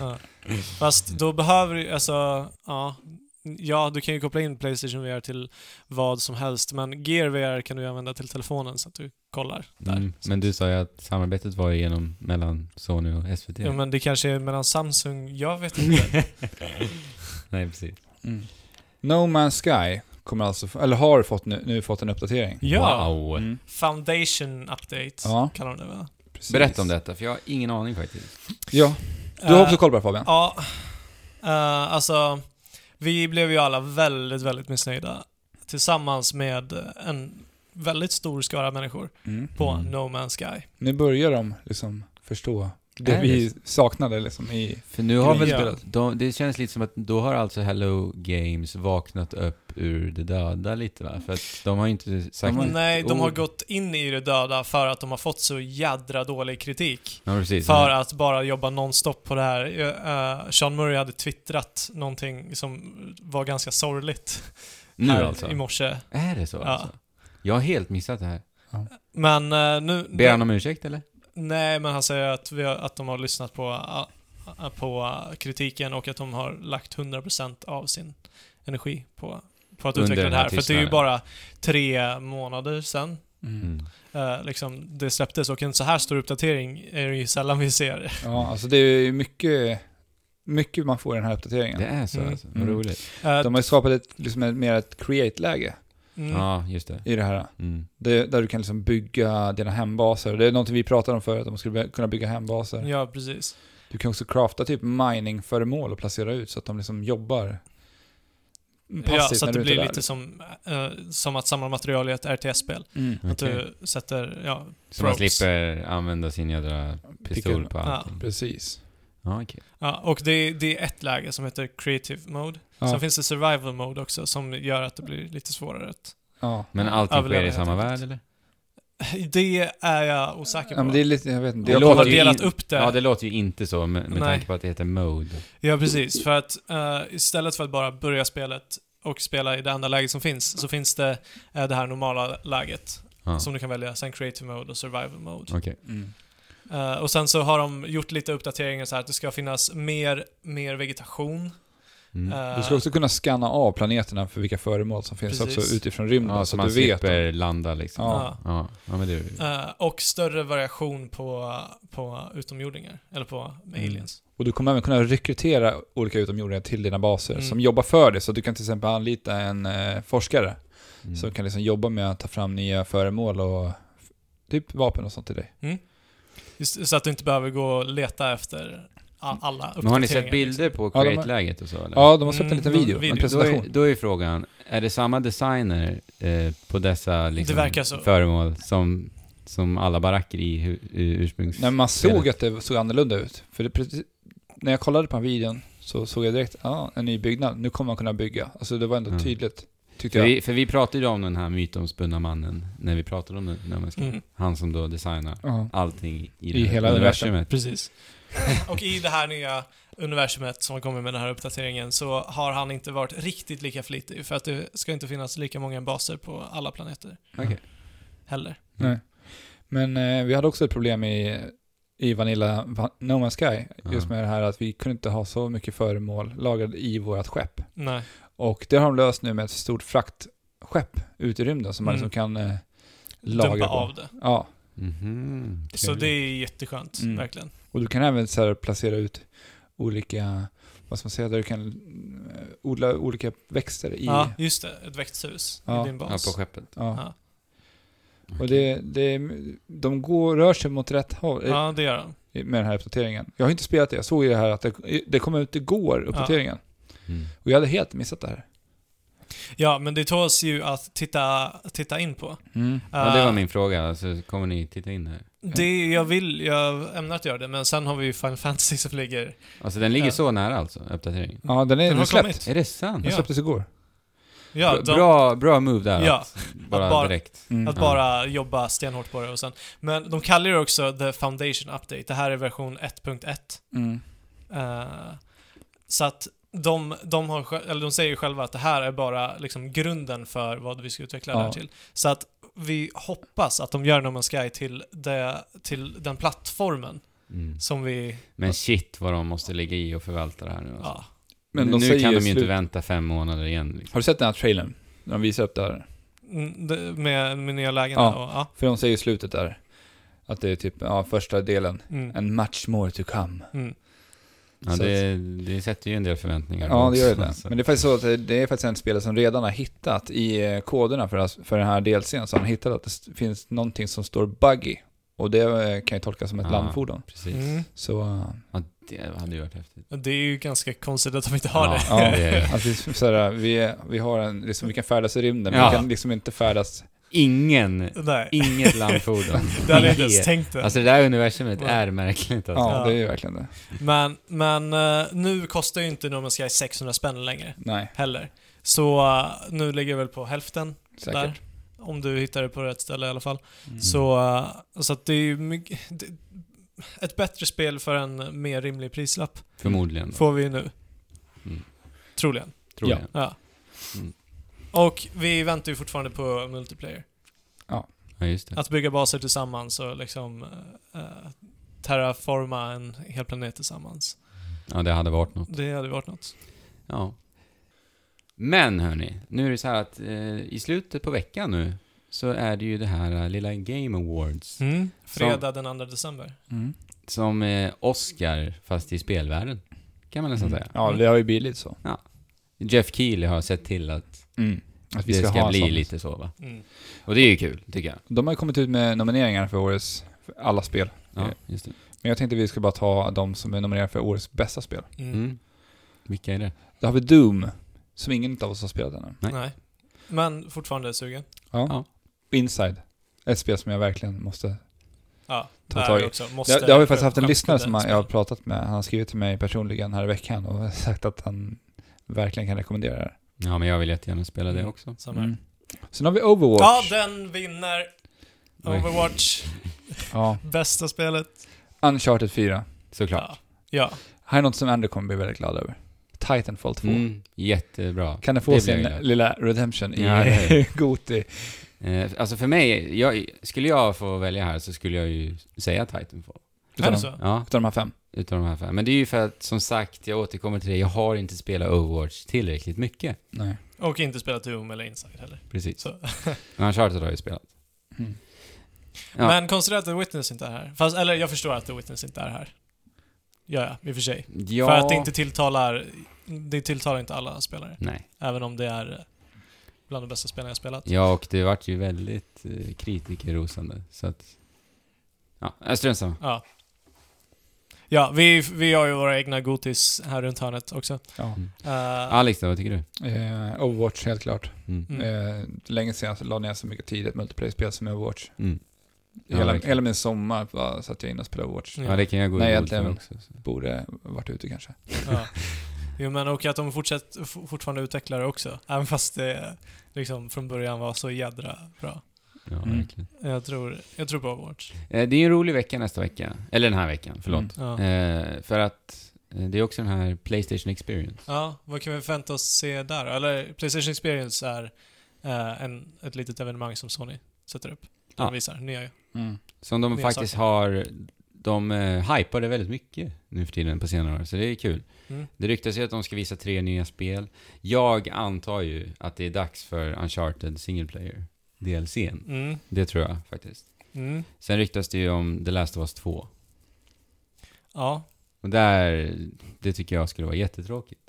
ja. Fast då behöver du alltså, ja. Ja, du kan ju koppla in Playstation VR till vad som helst, men Gear VR kan du ju använda till telefonen så att du kollar där.
Mm. Men du sa ju att samarbetet var ju genom mellan Sony och SVT.
Ja, men det kanske är mellan Samsung, jag
[laughs]
vet inte.
Nej, precis.
Mm. No Man's Sky kommer alltså, få- eller har fått nu, nu fått en uppdatering.
ja,
Wow.
Mm,
Foundation Update
Ja.
kallar de det va?
precis.
Berätta om detta, för jag har ingen aning faktiskt.
Ja, du har
Eh,
också koll på det Fabian?
Ja, Eh, alltså vi blev ju alla väldigt, väldigt missnöjda tillsammans med en väldigt stor skara människor
Mm.
på
Mm.
No Man's Sky.
Nu börjar de liksom förstå det
Är
vi saknade liksom i...
För nu har väl...
Ja.
De, det känns lite som att då har alltså Hello Games vaknat upp ur det döda lite va? För att de har ju inte sagt...
Mm.
Nej, de har
Oh.
gått in i det döda för att de har fått så jädra dålig kritik.
Ja, precis.
För att bara jobba nonstop på det här. Eh, Sean Murray hade twittrat någonting som var ganska sorgligt
Nu
här
alltså.
i morse.
Är det så
Ja.
alltså? Jag har helt missat det här.
Men eh, nu...
Ber han om ursäkt eller?
Nej, men han säger att, vi har, att de har lyssnat på, ah, ah, på ah, kritiken och att de har lagt 100% av sin energi på, på att
Under
utveckla
den
det
här
här. För att det är ju
tystnaden.
bara tre månader sedan
Mm.
eh, liksom, det släpptes och en så här stor uppdatering är det ju sällan vi ser.
Ja, alltså det är ju mycket, mycket man får i den här uppdateringen.
Det är så
Mm.
alltså? Vad
Mm.
roligt.
Eh,
De har ju skapat ett, liksom ett, mer ett create-läge
mm,
Ja, just det.
i det här.
Mm.
Det, där du kan liksom bygga dina hembaser. Det är någonting vi pratade om förut, att man skulle kunna bygga hembaser.
ja, precis.
Du kan också crafta typ mining-föremål och placera ut så att de liksom jobbar passivt
Ja, så att
när
det
du inte
blir
är där.
lite som, eh, som att samla material i ett RTS-spel.
Mm.
Att
Okej.
du sätter, ja,
Så man
Probes.
slipper använda sin jädra pistol
Pickel.
på allting?
Precis.
Ja, okej.
ja och det, det är ett läge som heter Creative Mode.
Ja.
Sen finns det survival mode också som gör att det blir lite svårare. att- [laughs]
Ja.
Men allting sker
Överleva
i
helt
samma
enkelt.
värld eller?
Det är jag osäker på.
ja, men det är lite, jag vet inte.
Det
Jag
De har
låter ju
kollar,
delat
in-
upp det.
Ja, det låter ju inte så med, med
Nej.
tanke på att det heter mode.
Ja, precis. För att eh, istället för att bara börja spelet och spela i det enda läget som finns, så finns det eh, det här normala läget
Ja.
som du kan välja. Sen creative mode och survival mode.
Okej.
mm.
Eh, och sen så har de gjort lite uppdateringar så här att det ska finnas mer, mer vegetation.
Mm.
Eh,
Du ska också kunna scanna av planeterna för vilka föremål som finns
Precis.
också utifrån rymden.
ja, så
så
man
att du vet.
slipper
dem.
landa liksom.
Ja.
Ja. Ja. men det är det.
eh, och större variation på, på utomjordingar, eller på
Mm.
aliens.
Och du kommer även kunna rekrytera olika utomjordingar till dina baser
Mm.
som jobbar för dig. Så du kan till exempel anlita en eh, forskare
Mm.
som kan liksom jobba med att ta fram nya föremål och f- typ vapen och sånt till dig.
Just, så att du inte behöver gå och leta efter a- alla uppdateringar.
Men har ni sett
liksom.
bilder på
Ja, de har-
Create-läget och så eller?
Ja, de har släppt en
Mm,
liten
de-
video,
video.
en
Då är,
presentation.
då är frågan, är det samma designer eh, på dessa liksom,
Det verkar så.
föremål som, som alla baracker i hu- i ursprungs...
När man såg att det såg annorlunda ut. För det, precis- när jag kollade på den här videon så såg jag direkt, ja, ah, en ny byggnad. Nu kommer man kunna bygga. Alltså det var ändå
Mm.
tydligt, tyckte
för,
jag.
vi, för vi pratade ju om den här mytomspunna mannen när vi pratade om den. När man ska,
Mm,
Han som då designar
Ja.
allting i, det
I
här
hela
universumet.
precis. [laughs] Och i det här nya universumet som kommer med den här uppdateringen så har han inte varit riktigt lika flitig för att det ska inte finnas lika många baser på alla planeter
Okej.
heller.
Men eh, vi hade också ett problem i, i Vanilla Va- No Man's Sky. Just
Ja.
med det här att vi kunde inte ha så mycket föremål lagrade i vårt skepp.
Nej.
Och det har de löst nu med ett stort fraktskepp ut i rymden som man
Mm.
liksom kan eh,
Dumpa
lagra på.
av det.
Ja,
Mhm.
Så det är jätteskönt,
Mm.
verkligen.
och du kan även så här placera ut olika, vad ska man säga, där du kan eh, odla olika växter i.
Ja, just det. Ett växthus
Ja.
i din
Ja,
bas.
på skeppet.
Ja.
Ja.
Och det, det, de går, rör sig mot rätt håll eh,
ja, det gör han.
med den här uppdateringen. Jag har inte spelat det, jag såg ju det här att det, det kom ut igår, uppdateringen.
Mm.
Och jag hade helt missat det här.
Ja, men det tåls ju att titta, titta in på.
Ja, det var
Eh,
min fråga. Alltså, kommer ni titta in här?
Det jag vill, jag ämnar att göra det, men sen har vi ju Final Fantasy som ligger...
Alltså den ligger
Ja.
så nära alltså, uppdateringen.
Ja, den är
Den har
den släppt.
kommit.
Är det sant? Alltså,
Den
Ja.
släpptes igår.
Ja,
Bra-
de,
bra, bra move där.
Ja,
att bara,
bara-
direkt.
Mm.
Att bara jobba stenhårt på det och sen... Men de kallar det också The Foundation Update. Det här är version 1.1.
Mm.
Eh, så att de, de, har, sj- eller de säger ju själva att det här är bara liksom grunden för vad vi ska utveckla det här
Ja.
till. Så att vi hoppas att de gör No Man's Sky till, det, till den plattformen
Mm.
som vi...
Men shit vad de måste ligga i och förvalta det här nu. Alltså.
Ja,
Men
Men nu
de säger
kan de ju
slut-
inte vänta fem månader igen. Liksom.
Har du sett den här trailern? När de visar upp det här.
mm, det- med, med nya lägen
Ja.
och... Ja.
För de säger i slutet där att det är typ, ja, första delen.
Mm,
And much more to come.
mm.
Ja,
Så
det, det sätter ju en del förväntningar.
Ja, det gör ju
också,
det.
alltså.
Men det är faktiskt så att det- det är faktiskt en spelare som redan har hittat i eh, koderna för, as- för den här delsen, så han har hittat att det s- finns någonting som står buggy. Och det eh, kan ju tolkas som ett
Ah.
landfordon.
Precis.
Mm.
Så, eh,
Ja, det hade ju varit häftigt.
Det är ju ganska konstigt att de inte har
Ja.
det. [laughs]
ja,
Det är-
att vi, så här, vi, vi har en, liksom, vi kan färdas i rymden, men
Ja.
vi kan liksom inte färdas...
Ingen,
Nej,
inget landfordon.
[laughs] det hade jag inte ens tänkt det.
Alltså det där universumet
Ja.
är märkligt alltså.
Ja,
Ja.
det är ju verkligen det.
Men, men eh, nu kostar ju inte No Man's Sky 600 spänn längre
Nej,
heller. Så eh, nu ligger jag väl på hälften
säkert.
där. Om du hittar det på rätt ställe i alla fall.
Mm.
Så, eh, så att det är ju mycket, det, ett bättre spel för en mer rimlig prislapp
Förmodligen. Då.
får vi ju nu.
Mm.
Troligen.
Tror
Ja.
jag.
Ja.
Mm.
Och vi väntar ju fortfarande på multiplayer.
Ja, just det.
Att bygga baser tillsammans och liksom eh, eh, terraforma en hel planet tillsammans.
Ja, det hade varit något.
Det hade varit något.
Ja. Men hörni, nu är det så här att eh, i slutet på veckan nu så är det ju det här eh, lilla Game Awards
Mm. Fredag den 2 december.
Mm.
som eh, Oscar fast i spelvärlden. Kan man nästan säga.
Ja, det har ju blivit så.
Jeff Keely har sett till att,
Att vi
Mm. det
ska,
ska,
ha en
bli
sån.
lite så va.
Mm.
Och det är ju kul, tycker jag.
De har ju kommit ut med nomineringar för årets, för alla spel.
Ja,
Ja.
just det.
Men jag tänkte vi ska bara ta de som är nominerade för årets bästa spel.
Mm.
Mm. Vilka är det?
Då har vi Doom, som ingen av oss har spelat ännu.
Nej.
Nej. Men fortfarande sugen.
Ja.
Ja.
Inside, ett spel som jag verkligen måste...
Ja,
Ta
där
tag i.
också. Måste
Det, det har vi faktiskt haft en
skämta
lyssnare
med
som
det.
jag har pratat med. Han har skrivit till mig personligen här i veckan och sagt att han verkligen kan rekommendera det här.
Ja, men jag vill jättegärna spela det
Mm.
också.
Samma här.
Mm. Sen har vi Overwatch.
Ja, den vinner
Oj.
Overwatch.
Ja,
Bästa spelet.
Uncharted 4.
Såklart.
Ja. ja.
Här är något som Andrew kommer bli väldigt glad över. Titanfall 2.
Mm, jättebra.
Kan det få
Det blir
sin
jag glad.
lilla redemption i
Ja, det är
[laughs] Goti?
Eh, alltså för mig, jag, skulle jag få välja här så skulle jag ju säga Titanfall.
Är
Utav
det
de,
så?
Ja,
utav de här fem.
utav de här fem. Men det är ju för att, som sagt, jag återkommer till det, jag har inte spelat Overwatch tillräckligt mycket.
Nej.
Och inte spelat Doom eller Inside heller.
Precis.
Så.
Men Uncharted har jag ju spelat.
Mm.
Ja.
Men konstigt att The Witness inte är här. Fast, eller jag förstår att The Witness inte är här. Ja, ja, i och för sig.
Ja,
För att det inte tilltalar, det tilltalar inte alla spelare.
Nej.
Även om det är eh, bland de bästa spelen jag spelat.
Ja, och det vart ju väldigt eh, kritikerrosande, så att... Ja, strunt samma.
Ja. Ja, vi, vi har ju våra egna gotis här runt hörnet också.
Ja.
Eh,
Alex då, vad tycker du?
Eh, Overwatch helt klart.
Mm.
Mm.
Eh, länge sedan jag la ner så mycket tid i ett multiplayer-spel som Overwatch.
Mm. Ja,
Hela,
verkligen.
hela min sommar bara satt jag inne och spelade Overwatch.
Ja, det kan jag gå
Nej,
i god
egentligen-
för också. så.
Borde varit ute kanske.
Ja. Jo, men och att de fortsatt, f- fortfarande utvecklar det också. Även fast det liksom från början var så jädra bra.
Ja,
Mm.
verkligen.
Jag tror, jag tror på Overwatch.
Eh, Det är ju en rolig vecka nästa vecka. Eller den här veckan, förlåt.
Mm. Ja.
Eh, för att eh, det är också den här Playstation Experience.
ja, vad kan vi förvänta oss se där? Eller Playstation Experience är eh, en, ett litet evenemang som Sony sätter upp.
Ja.
De visar nya.
Mm.
Som de
Nya
faktiskt
saker.
har... De eh, hypar det väldigt mycket nu för tiden på senare år, så det är kul.
Mm.
Det ryktas ju att de ska visa tre nya spel. Jag antar ju att det är dags för Uncharted Single Player DLCn.
Mm.
Det tror jag faktiskt.
Mm.
Sen ryktas det ju om The Last of Us 2.
Ja.
Och där, det tycker jag skulle vara jättetråkigt.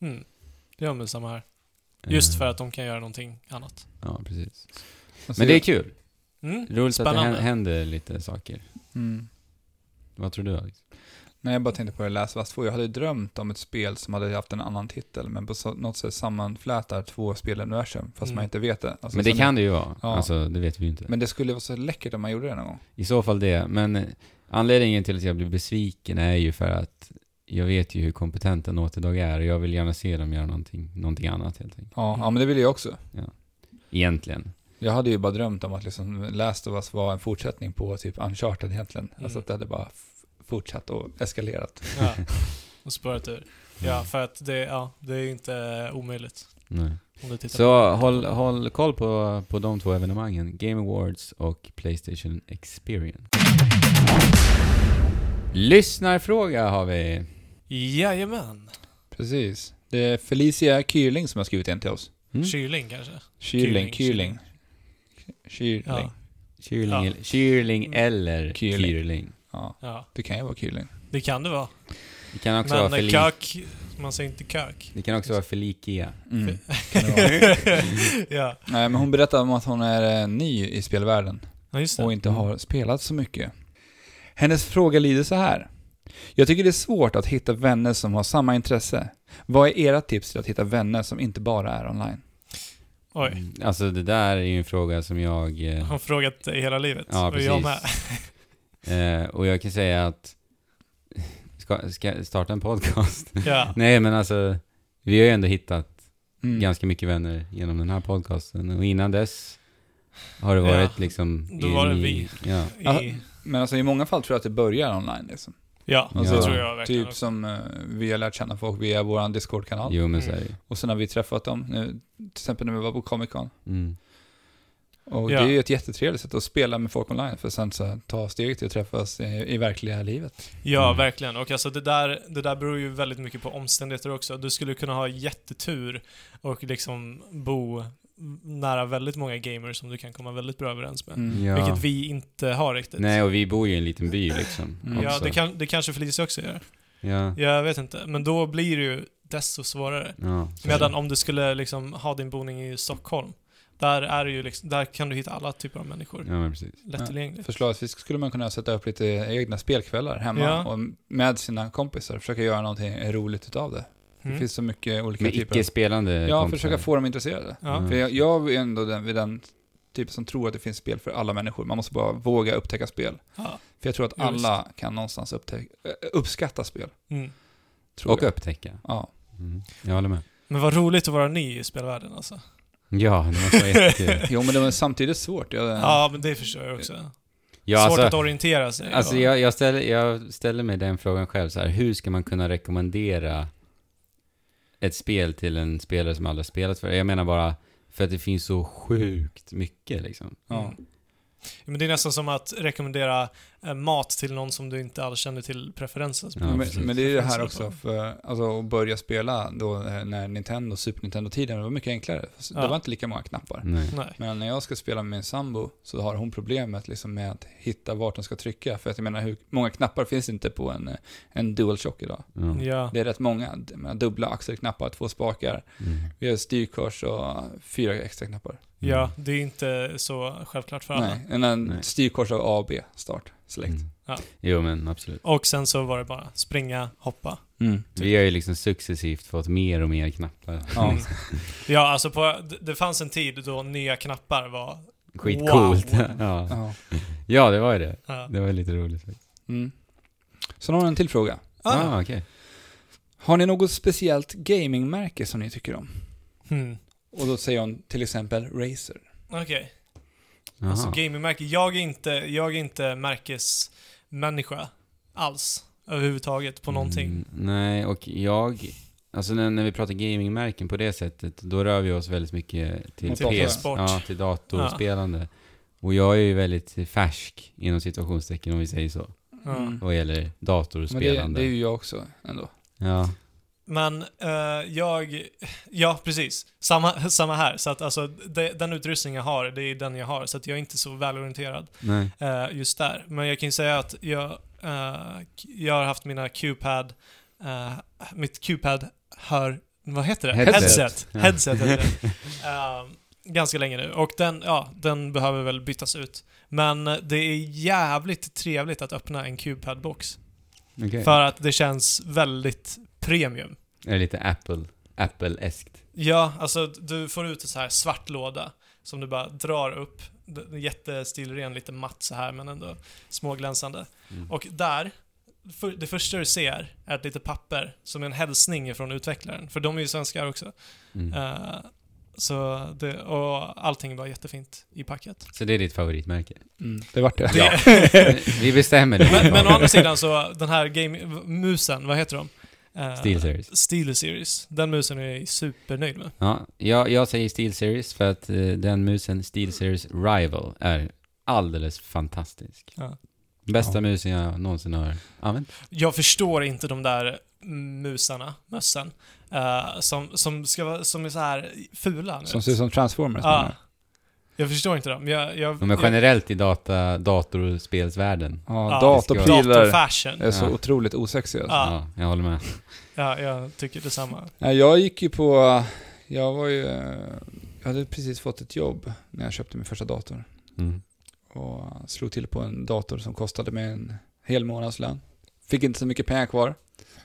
Mm. Det gör väl samma här. Just
Eh,
för att de kan göra någonting annat.
Ja, precis.
Alltså,
Men det är kul.
Mm.
Roligt att
Spännande.
det hän- händer lite saker.
Mm.
Vad tror du Alex?
Nej, jag bara tänkte på det Last of Us 2. Jag hade ju drömt om ett spel som hade haft en annan titel, men på så- något sätt sammanflätar två speluniversum, fast
Mm.
man inte vet det. Alltså,
Men det
sen-
kan det ju vara.
Ja.
Alltså, det vet vi ju inte.
Men det skulle vara så läckert om man gjorde det någon gång.
I så fall det. Men eh, anledningen till att jag blev besviken är ju för att jag vet ju hur kompetenta Naughty-Dog är och jag vill gärna se dem göra någonting, någonting annat helt enkelt.
Ja,
Mm.
ja, men det ville jag också.
Egentligen.
Jag hade ju bara drömt om att liksom Last of Us var en fortsättning på typ Uncharted egentligen. Alltså
Mm.
att det hade bara f- fortsatt och eskalerat.
Ja.
[laughs]
Och spårat ur. Ja, för att det, ja, det är inte eh, omöjligt.
Nej.
Om du tittar
Så håll, håll koll på, på de två evenemangen. Game Awards och Playstation Experience. Lyssnarfråga har vi.
Jajamän.
Precis. Det är Felicia Kyrling som har skrivit en till oss.
Mm?
Kyling kanske?
Kyrling,
Kyrling,
Kyrling. Kyrling.
Ja.
Ja.
Kyrling,
Ja.
el- Kyrling
Mm.
eller
Kyrling.
Kyrling.
ja.
det kan ju vara Kyrling.
Det kan det vara.
Det kan också vara
Men
Feli-
kök, man säger inte kök.
Det kan också vara Felicia.
Mm. Kan det
[laughs]
vara.
ja.
Nej, men hon berättar om att hon är eh, ny i spelvärlden.
ja, just
och
det. Mm.
inte har spelat så mycket. Hennes fråga lyder så här. Jag tycker det är svårt att hitta vänner som har samma intresse. Vad är era tips till att hitta vänner som inte bara är online?
Oj.
Mm, Alltså det där är ju en fråga som jag...
Jag
eh,
har frågat dig hela livet.
Ja,
och jag
precis.
med.
[laughs] Eh, och jag kan säga att... [laughs] Ska, ska jag starta en podcast?
[laughs] Ja.
Nej men alltså, vi har ju ändå hittat
Mm.
ganska mycket vänner genom den här podcasten. Och innan dess har det varit
Ja,
liksom...
då
in
var det
i-
vi.
Ja.
Ja.
I,
Men alltså i många fall tror jag att det börjar online liksom.
ja,
Alltså,
det tror jag verkligen.
Typ som eh, vi har lärt känna folk via vår Discord-kanal.
Jo men så
Mm.
är det ju.
Och sen har vi träffat dem, nu, till exempel när vi var på Comic Con.
mm.
Och
Ja.
det är ju ett jättetrevligt sätt att spela med folk online för sen så ta steget till att träffas i, i verkliga livet.
Ja,
Mm.
verkligen. Och alltså det där, det där beror ju väldigt mycket på omständigheter också. Du skulle kunna ha jättetur och liksom bo nära väldigt många gamers som du kan komma väldigt bra överens med.
Mm.
Ja.
Vilket vi inte har riktigt.
Nej och vi bor ju i en liten by liksom.
Mm.
ja,
också.
det, kan, det kanske Felicia också gör.
Ja.
Jag vet inte. Men då blir det ju desto svårare.
Ja, så är
Medan
det.
om du skulle liksom ha din boning i Stockholm, där, är det ju liksom, där kan du hitta alla typer av människor.
Ja men precis.
Lättillgängligt.
Förslagsvis skulle man kunna sätta upp lite egna spelkvällar hemma
Ja.
och med sina kompisar. Försöka göra någonting roligt utav det. Det
Mm.
finns så mycket olika
Med
typer.
icke-spelande
Ja,
kompisar.
försöka få dem intresserade.
Ja.
Mm.
För jag, jag är ändå den, vid den typ som tror att det finns spel för alla människor. Man måste bara våga upptäcka spel.
ja.
För jag tror att
Ja,
alla kan någonstans upptäcka, äh, uppskatta spel.
Mm.
Tror
Och
jag.
upptäcka.
Ja.
Mm. Jag håller
[laughs]
med.
Men vad roligt att vara ny i spelvärlden alltså.
Ja, det måste vara jättekul.
Jo, men det var samtidigt svårt. Jag,
Ja, men det förstår jag också.
Ja,
Svårt att
alltså,
orientera sig.
alltså
och-
jag, jag, ställer, jag ställer mig den frågan själv så här, hur ska man kunna rekommendera ett spel till en spelare som aldrig har spelat för? Jag menar bara, för att det finns så sjukt mycket liksom.
ja.
Mm. Ja, Men det är nästan som att rekommendera eh, mat till någon som du inte alls känner till preferensen.
Ja,
men,
precis.
men det är ju det här
Preferenserna
också, för, alltså, att börja spela då eh, när Nintendo, Super Nintendo-tiden var mycket enklare.
Ja.
Det var inte lika många knappar.
Nej.
på- Nej.
Men när jag ska spela med min sambo så har hon problemet liksom med att hitta vart hon ska trycka. För att jag menar, hur många knappar finns det inte på en, eh, en DualShock idag?
Ja.
Ja.
Det är rätt många. Jag menar, dubbla axelknappar, två spakar,
Mm.
vi har styrkors och fyra extra knappar.
ja, det är inte så självklart för alla.
Nej, när, men
Nej.
styrkors av A och B, start, select.
Mm.
Ja.
Jo, men absolut.
Och sen så var det bara springa, hoppa.
Mm.
Typ.
Vi har ju liksom successivt fått mer och mer knappar.
Ja.
Mm. Ja, alltså på, d- det fanns en tid då nya knappar var...
Skitcoolt.
Wow.
[laughs] Ja.
Ja.
ja, det var ju det.
Ja.
Det var lite roligt.
Mm. Sen har jag en till fråga.
Ah.
Ah, okej.
Har ni något speciellt gamingmärke som ni tycker om?
Hmm.
Och då säger hon till exempel Razer.
Okej.
Jaha.
Alltså gamingmärke. Jag är inte, jag är inte märkesmänniska alls. Överhuvudtaget på någonting.
Mm, nej, och jag... Alltså när, när vi pratar gamingmärken på det sättet, då rör vi oss väldigt mycket till,
Mot dator.
PS,
Sport.
Ja, till datorspelande. Och jag är ju väldigt färsk, inom situationstecken om vi säger så,
Ja.
Mm.
vad gäller
Men det,
datorspelande.
det är ju jag också ändå.
Ja.
Men eh, jag... Ja, precis. Samma, [laughs] samma här. Så att alltså, det, den utrustning jag har, det är den jag har. Så att jag är inte så välorienterad
Nej.
eh, just där. Men jag kan ju säga att jag, eh, k- jag har haft mina Q-pad, eh, mitt Q-pad hör, vad heter det?
Headset.
Headset,
Ja.
Headset heter det.
[laughs]
Eh, ganska länge nu. Och den, ja, den behöver väl bytas ut. Men det är jävligt trevligt att öppna en Q-pad-box.
okej.
För att det känns väldigt premium.
Är det lite Apple, Apple-eskt?
Ja, alltså du får ut en så här svart låda som du bara drar upp. D- Jättestilren, lite matt så här men ändå småglänsande.
Mm.
Och där, för, det första du ser är ett litet papper som är en hälsning från utvecklaren. För de är ju svenskar också.
Mm.
Eh, så det, och allting var jättefint i packet.
Så det är ditt
[laughs]
favoritmärke?
Mm. Det vart det.
Ja. vi bestämmer det.
Men, men å andra sidan så, den här game, musen, vad heter de? Uh,
SteelSeries.
Series. Den musen är jag supernöjd med.
Ja, jag, jag säger SteelSeries för att eh, den musen, SteelSeries Rival, är alldeles fantastisk.
Ja.
Bästa
Ja.
musen jag någonsin har använt.
Jag förstår inte de där musarna, mössen, eh, som, som, ska vara, som är så här fula nu.
Som ser ut som Transformers.
Ja.
menar
Jag förstår inte dem. Jag, jag,
De är
jag,
generellt i data, datorspelsvärlden.
jag. Ja,
Ja,
datorprylar
datorfashion.
är så
Ja.
otroligt osexiga. alltså.
Ja.
Ja, jag håller med.
Ja, jag tycker detsamma.
Nej, Jag gick ju på... Jag var ju... eh, Jag hade precis fått ett jobb när jag köpte min första dator.
Mm.
Och slog till på en dator som kostade mig en hel månadslön. Fick inte så mycket pengar kvar.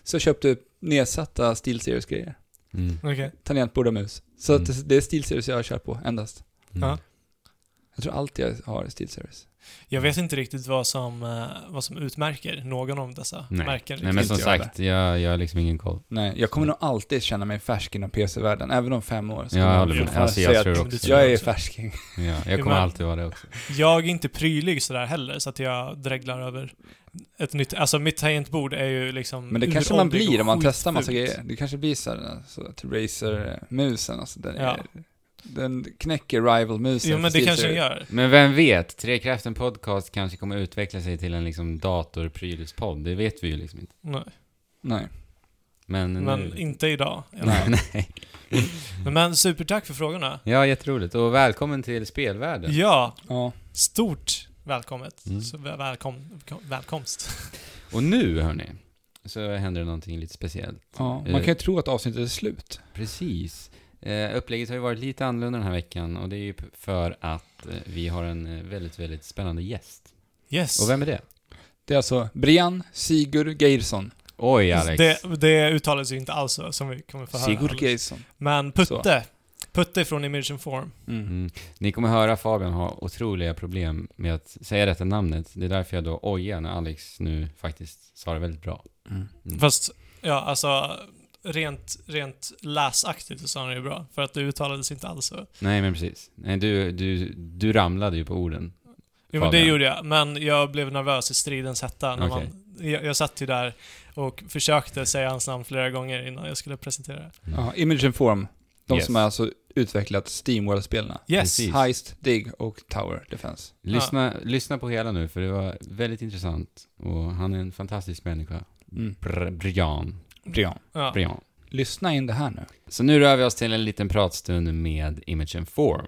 Så jag köpte nedsatta SteelSeries-grejer.
Mm. Mm.
Okej.
Tangentbord och mus. Så att det- det är SteelSeries jag kör på endast.
Ja.
Jag tror alltid jag har SteelSeries.
Jag vet inte riktigt vad som, eh, vad som utmärker någon av dessa
Nej.
märken.
Nej men
Inte
som
jag
sagt, jag, jag har liksom ingen koll.
Nej, jag kommer nog alltid känna mig färsk inom PC-världen, även om fem år. så
Mm. Ja,
kommer
jag håller
med.
fortfarande
Alltså, jag
säga
tror
att
också
Jag
det.
är färsking.
Ja, jag
Jo,
kommer
men-
alltid vara det också.
Jag är inte prylig sådär heller, så att jag dreglar över ett nytt... Alltså mitt tangentbord är ju liksom
Men det kanske man
uråldrig
blir om man
och
testar massa
skitfult.
grejer. Det kanske blir så här, så att Razer-musen, alltså den, är, den knäcker Rival-musen.
Jo, men
för
det kanske den
SteelSeries.
gör.
Men vem vet, Trekraften Podcast kanske kommer utveckla sig till en liksom datorprylspodd. Det vet vi ju liksom inte.
Nej.
Nej.
Men,
Men
nu-
inte idag. i alla fall.
Nej. [laughs] Nej.
Men supertack för frågorna.
Ja, jätteroligt. Och välkommen till spelvärlden.
Ja,
Ja.
stort välkommet.
Mm.
Så väl- välkom, välkomst.
Och nu, hörni, så händer det någonting lite speciellt.
ja. Man kan ju tro att avsnittet är slut.
Precis. Eh, upplägget har ju varit lite annorlunda den här veckan och det är ju p- för att eh, vi har en eh, väldigt, väldigt spännande gäst.
Yes.
Och vem är det?
Det är alltså Brian Sigurd Geirsson.
Oj, Alex.
Det, det uttalas ju inte alls så, som vi kommer få höra.
Sigurd
alldeles.
Geirsson.
Men Putte. Putte från Immersion Form.
Mm.
Mm. Ni kommer höra Fabian ha otroliga problem med att säga detta namnet. Det är därför jag då ojar när Alex nu faktiskt sa det väldigt bra.
Mm.
Mm.
Fast, ja alltså, rent, rent läsaktigt så sa han det ju bra. För att det uttalades inte alls så.
Nej, men precis. Nej, du, du, du ramlade ju på orden.
Jo men det
Fabian.
gjorde jag, men jag blev nervös i stridens hetta. När
Okej.
man, jag, jag satt ju där och försökte säga hans namn flera gånger innan jag skulle presentera det.
Ja, Image and Form. De
Yes.
som har alltså utvecklat Steamworld-spelarna.
Yes!
Precis.
Heist, Dig och Tower Defense.
Lyssna, lyssna på hela nu, för det var väldigt intressant. Och han är en fantastisk människa.
Mm.
Br- Brian.
Brian.
Ja.
Brian.
Lyssna in det här nu.
Så nu rör vi oss till en liten pratstund med Image and Form.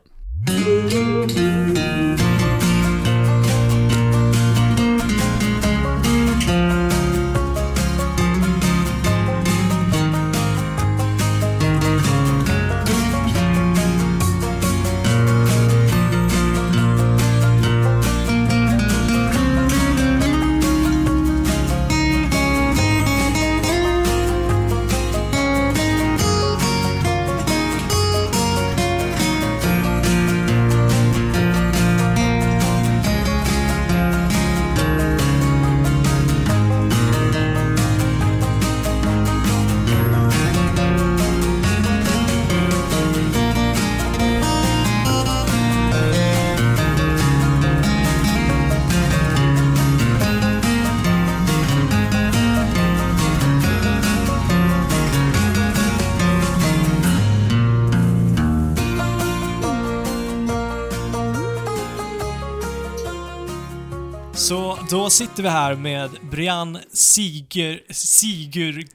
Så då sitter vi här med Brian Sigur...
[laughs]
Sigur...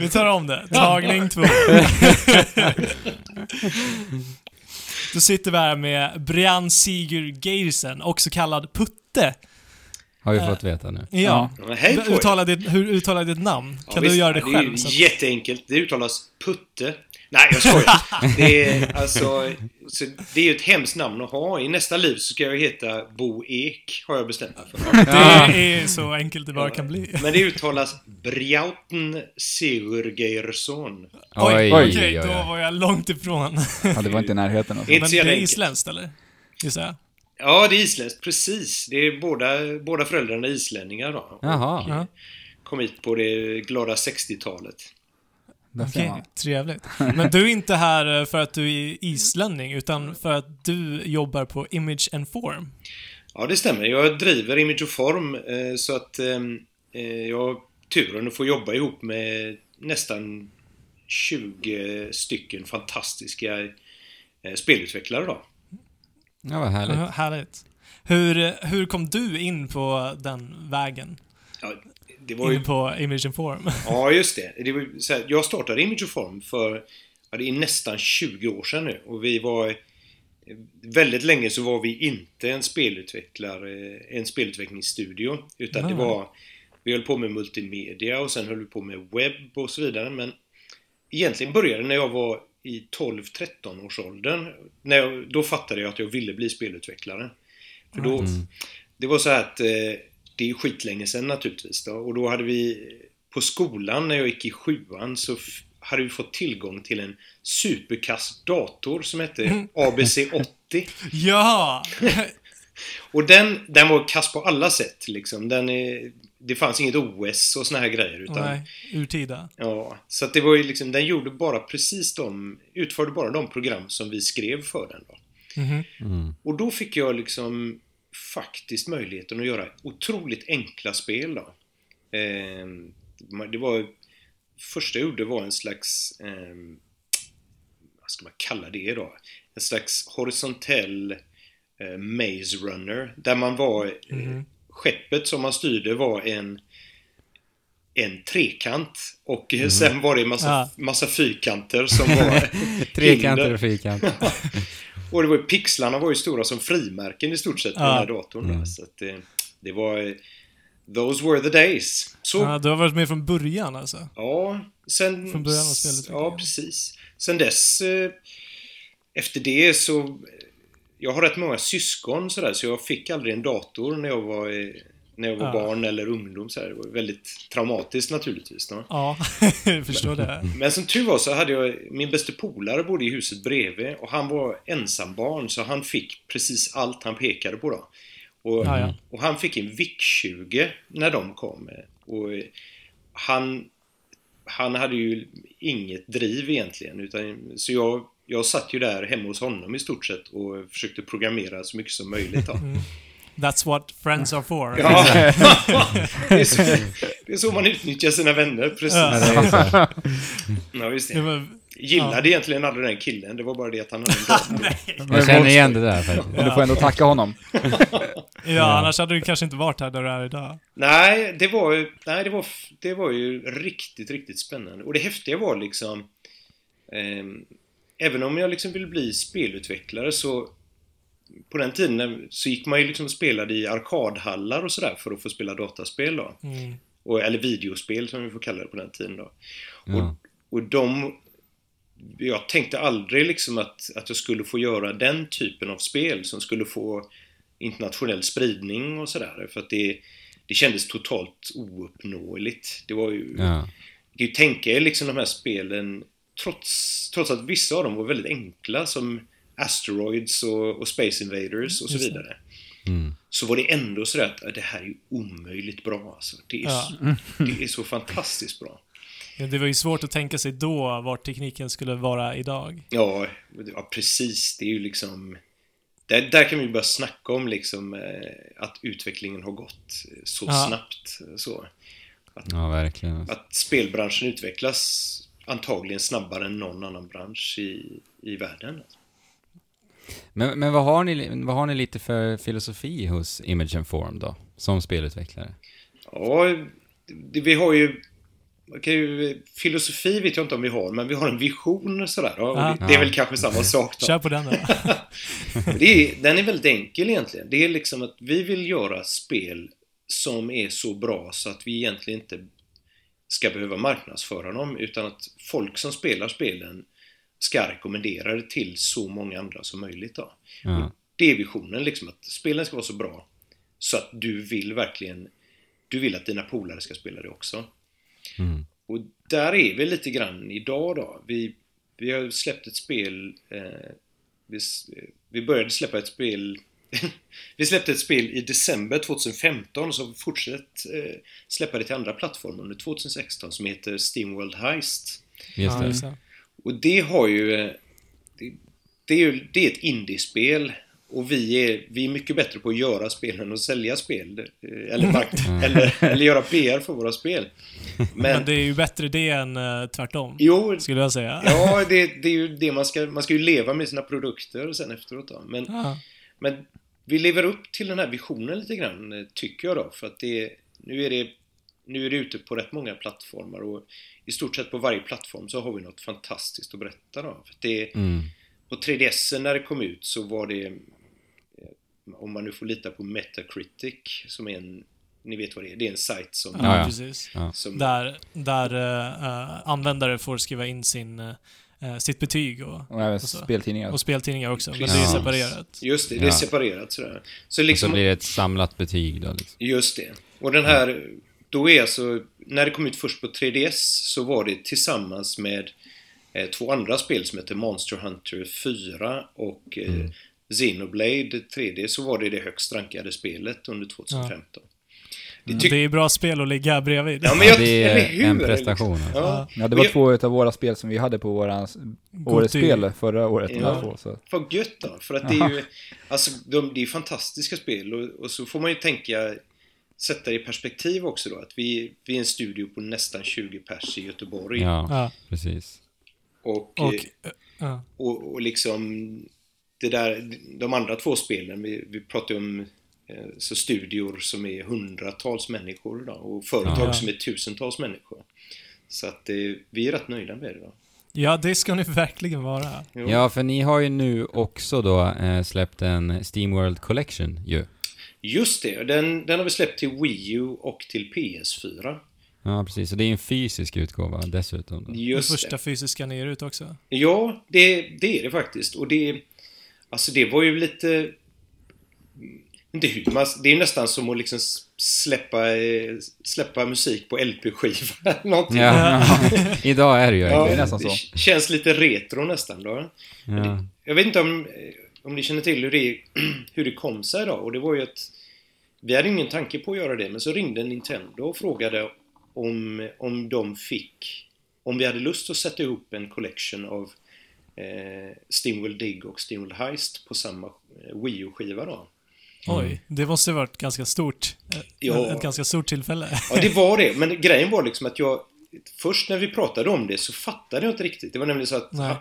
vi tar om det. Tagning två. Då sitter vi här med Brian Sigur Geirsen, också kallad Putte.
Har
Äh.
vi fått veta nu.
Ja.
Ja.
Ja, men Hej på er!
Uttala ditt, hur uttalar jag ditt namn?
Ja,
kan
visst,
du göra det
ja,
själv?
Det
så
är
att-
ju jätteenkelt. Det uttalas Putte. Nej, jag
[laughs]
skojar. det är alltså... Så det är ju ett hemskt namn att ha. I nästa liv så ska jag heta Bo Ek, har jag bestämt mig för.
Det är så enkelt det bara kan bli.
Men det uttalas Brjauten Sigurgeirsson.
Oj,
oj,
okej, då var jag långt ifrån.
Ja, det var inte i närheten. Alltså.
Inte
Men
så
det
jävla
är
enkelt.
isländskt eller? Gissar jag.
Ja, det är isländskt. Precis. Det är båda, båda föräldrarna är islänningar då.
Jaha.
Ja.
Kom hit på det glada 60-talet.
Där ser
Okej,
man. [laughs]
trevligt. Men du är inte här eh, för att du är islänning, utan för att du jobbar på Image and Form.
Ja, det stämmer. Jag driver Image och Form eh, så att ehm, eh, jag har turen att få jobba ihop med nästan 20 stycken fantastiska eh, spelutvecklare då.
Ja, vad härligt.
Ja, Härligt. Hur, eh, hur kom du in på den vägen?
Ja, det var ju...
In på Image and Form? [laughs]
[laughs] Ja, just det. det var, ju så här, jag startade Image och Form för ja, det är nästan 20 år sedan nu och vi var... Väldigt länge så var vi inte en spelutvecklare, eh, en spelutvecklingsstudio utan det
Nej.
var... Vi höll på med multimedia och sen höll vi på med webb och så vidare men egentligen började det när jag var i 12-13 års åldern. När jag, då fattade jag att jag ville bli spelutvecklare. För då, Det var så här att eh, det är skitlänge sedan naturligtvis då, och då hade vi på skolan när jag gick i sjuan så f- hade vi fått tillgång till en superkass dator som hette ABC80.
Ja!
Och den, den var kass på alla sätt liksom. Den är, det fanns inget OS och såna här grejer [laughs] utan
Nej, urtida.
Ja, så att det var ju liksom, den gjorde bara precis de, utförde bara de program som vi skrev för den då.
Mhm.
Mm.
Och då fick jag liksom faktiskt möjligheten att göra otroligt enkla spel då. Ehm, man- det var, första jag gjorde var en slags, ehm, vad ska man kalla det då? En slags horisontell eh, maze runner där man var,
Mhm.
eh, skeppet som man styrde var en en trekant och
Mhm.
eh, sen var det en massa,
Ah.
massa
[laughs]
fyrkanter som var
Trekanter
hinder.
och
[laughs]
fyrkant.
Och det var ju, pixlarna var ju stora som frimärken i stort sett på
Ja.
den här datorn. då. Så att, eh, det var... eh, Those were the days. Så,
Ja, du har varit med från början alltså?
ja, sen...
Från början av spelet, tycker
Ja,
jag.
precis. Sen dess... Eh, efter det så... eh, Jag har rätt många syskon sådär, så jag fick aldrig en dator när jag var, eh, när jag var
Ja.
barn eller ungdom. Sådär. Det var väldigt traumatiskt naturligtvis. Då.
Ja, [laughs] jag förstår det.
Men som tur var så hade jag, min bästa polare bodde i huset bredvid och han var ensambarn så han fick precis allt han pekade på då. Och,
Ja, ja.
och han fick en VIC-20 när de kom. Och eh, han, han hade ju inget driv egentligen utan, så jag, jag satt ju där hemma hos honom i stort sett och försökte programmera så mycket som möjligt då.
Mm. That's what friends are for. [laughs]
[laughs] Ja, det, är så, det är så man utnyttjar sina vänner, precis. Ja, just
Det
det.
var,
Gillade egentligen aldrig den killen, det var bara det att han hade en dator.
Jag känner igen det där faktiskt.
Men du får ändå tacka honom.
ja, annars hade du kanske inte varit här där du är idag.
Nej, det var ju, nej det, var, f- det var ju riktigt, riktigt spännande. Och det häftiga var liksom... ehm, även om jag liksom ville bli spelutvecklare så... På den tiden när- så gick man ju liksom och spelade i arkadhallar och sådär för att få spela dataspel då.
Mm.
Och, eller videospel som vi får kalla det på den tiden då. Och,
Ja.
och de... Jag tänkte aldrig liksom att, att jag skulle få göra den typen av spel som skulle få internationell spridning och sådär. För att det, det kändes totalt ouppnåeligt. Det var ju...
Ja.
Du kan ju tänka er liksom de här spelen, trots, trots att vissa av dem var väldigt enkla som Asteroids och, och Space Invaders och så
Just det.
vidare.
Mm.
Så var det ändå sådär att "Ja, det här är ju omöjligt bra alltså. Det är,
Ja. Mm.
så, det är så fantastiskt bra.
Ja, Det var ju svårt att tänka sig då vart tekniken skulle vara idag.
Ja, ja precis. Det är ju liksom... Där, där kan vi ju börja snacka om liksom eh, att utvecklingen har gått eh, så
Ja.
snabbt. Så.
ja, verkligen. alltså.
Att spelbranschen utvecklas antagligen snabbare än någon annan bransch i, i världen.
Men, men vad, har ni, vad har ni lite för filosofi hos Image and Form då? Som spelutvecklare?
Ja, det, vi har ju... man kan ju- filosofi vet jag inte om vi har, men vi har en vision sådär. Ja, och
Ah.
det, det är väl kanske samma sak. Då.
Kör på den då.
Det är, den är väldigt enkel egentligen. Det är liksom att vi vill göra spel som är så bra så att vi egentligen inte ska behöva marknadsföra dem utan att folk som spelar spelen ska rekommendera det till så många andra som möjligt. Då.
Ja.
Det är visionen, liksom att spelen ska vara så bra så att du vill verkligen, du vill att dina polare ska spela det också.
Mm.
Och där är vi lite grann idag då. Vi, vi har släppt ett spel, eh, vi, s- eh, vi började släppa ett spel [laughs] Vi släppte ett spel i december 2015 som fortsatt eh, släppa det till andra plattformar under 2016 som heter Steamworld Heist.
Just
Ja,
det.
just det.
Och det har ju... eh, Det, det är ju det är ett indiespel. Och vi är, vi är mycket bättre på att göra spel än att sälja spel. eh, Eller, mark- [laughs] eller, eller göra PR för våra spel. Men,
Men det är ju bättre det än eh, tvärtom,
jo,
skulle jag säga.
ja, det, det är ju det man ska... Man ska ju leva med sina produkter sen efteråt då. Men,
Ja.
men vi lever upp till den här visionen lite grann, eh, tycker jag då. För att det, nu, är det, nu är det ute på rätt många plattformar och i stort sett på varje plattform så har vi något fantastiskt att berätta då. För att det,
Mm.
på 3DS när det kom ut så var det, eh, om man nu får lita på Metacritic, som är en, ni vet vad det är, det är en sajt som...
Ja, ja.
precis.
som
Där, där eh, eh, användare får skriva in sin, eh, sitt betyg och,
Och även
så.
speltidningar.
och speltidningar också, men det är ju
Precis.
separerat.
Just det, det är
Ja.
separerat sådär. Så
Och så
liksom,
blir det ett samlat betyg då liksom.
just det. Och den här, då är alltså, när det kom ut först på 3DS så var det tillsammans med eh, två andra spel som heter Monster Hunter 4 och eh,
Mm.
Xenoblade 3D så var det det högst rankade spelet under 2015. Det
Det är ju bra spel att ligga bredvid.
Ja, men
Ja,
jag,
det är
eller hur?
en prestation,
Liksom.
alltså.
Ja.
Ja, det
Men
var
jag-
två utav våra spel som vi hade på våra årets
till-
spel förra året. de
Ja.
här två, så.
Vad gött då, för att det är ju, alltså de, det är fantastiska spel och, och så får man ju tänka, sätta det i perspektiv också då, att vi, vi är en studio på nästan 20 pers i Göteborg
Ja,
Ja.
precis.
och,
Och,
eh,
eh, ja.
och, och liksom det där, de andra två spelen, vi, vi pratar ju om eh, så studior som är hundratals människor idag och företag
Ja.
som är tusentals människor. Så att eh, vi är rätt nöjda med det då.
ja, det ska ni [laughs] verkligen vara.
Jo.
Ja, för ni har ju nu också då eh, släppt en Steamworld Collection ju.
Just det, den, den har vi släppt till Wii U och till PS4.
Ja, precis. Så det är en fysisk utgåva dessutom. Då.
Just
den första
det.
fysiska ni ger ut också.
Ja, det, det är det faktiskt. Och det... Alltså det var ju lite... Inte hur man... Det är ju nästan som att liksom släppa, eh, släppa musik på LP-skiva eller någonting.
Ja, [laughs] idag är det ju
Ja,
verkligen.
det är nästan så.
k- känns lite retro nästan då.
Ja.
Mm.
Jag vet inte om, eh, om ni känner till hur det, [clears throat] hur det kom sig då. Och det var ju att vi hade ingen tanke på att göra det, men så ringde Nintendo och frågade om, om de fick, om vi hade lust att sätta ihop en collection av eh, Steamworld Dig och Steamworld Heist på samma eh, Wii U-skiva då.
Oj, det måste ha varit ganska stort. eh,
Mm. Ja.
Ett ganska stort tillfälle.
Ja, det var det. Men grejen var liksom att jag... Först när vi pratade om det så fattade jag inte riktigt. Det var nämligen så att
Nej.
han-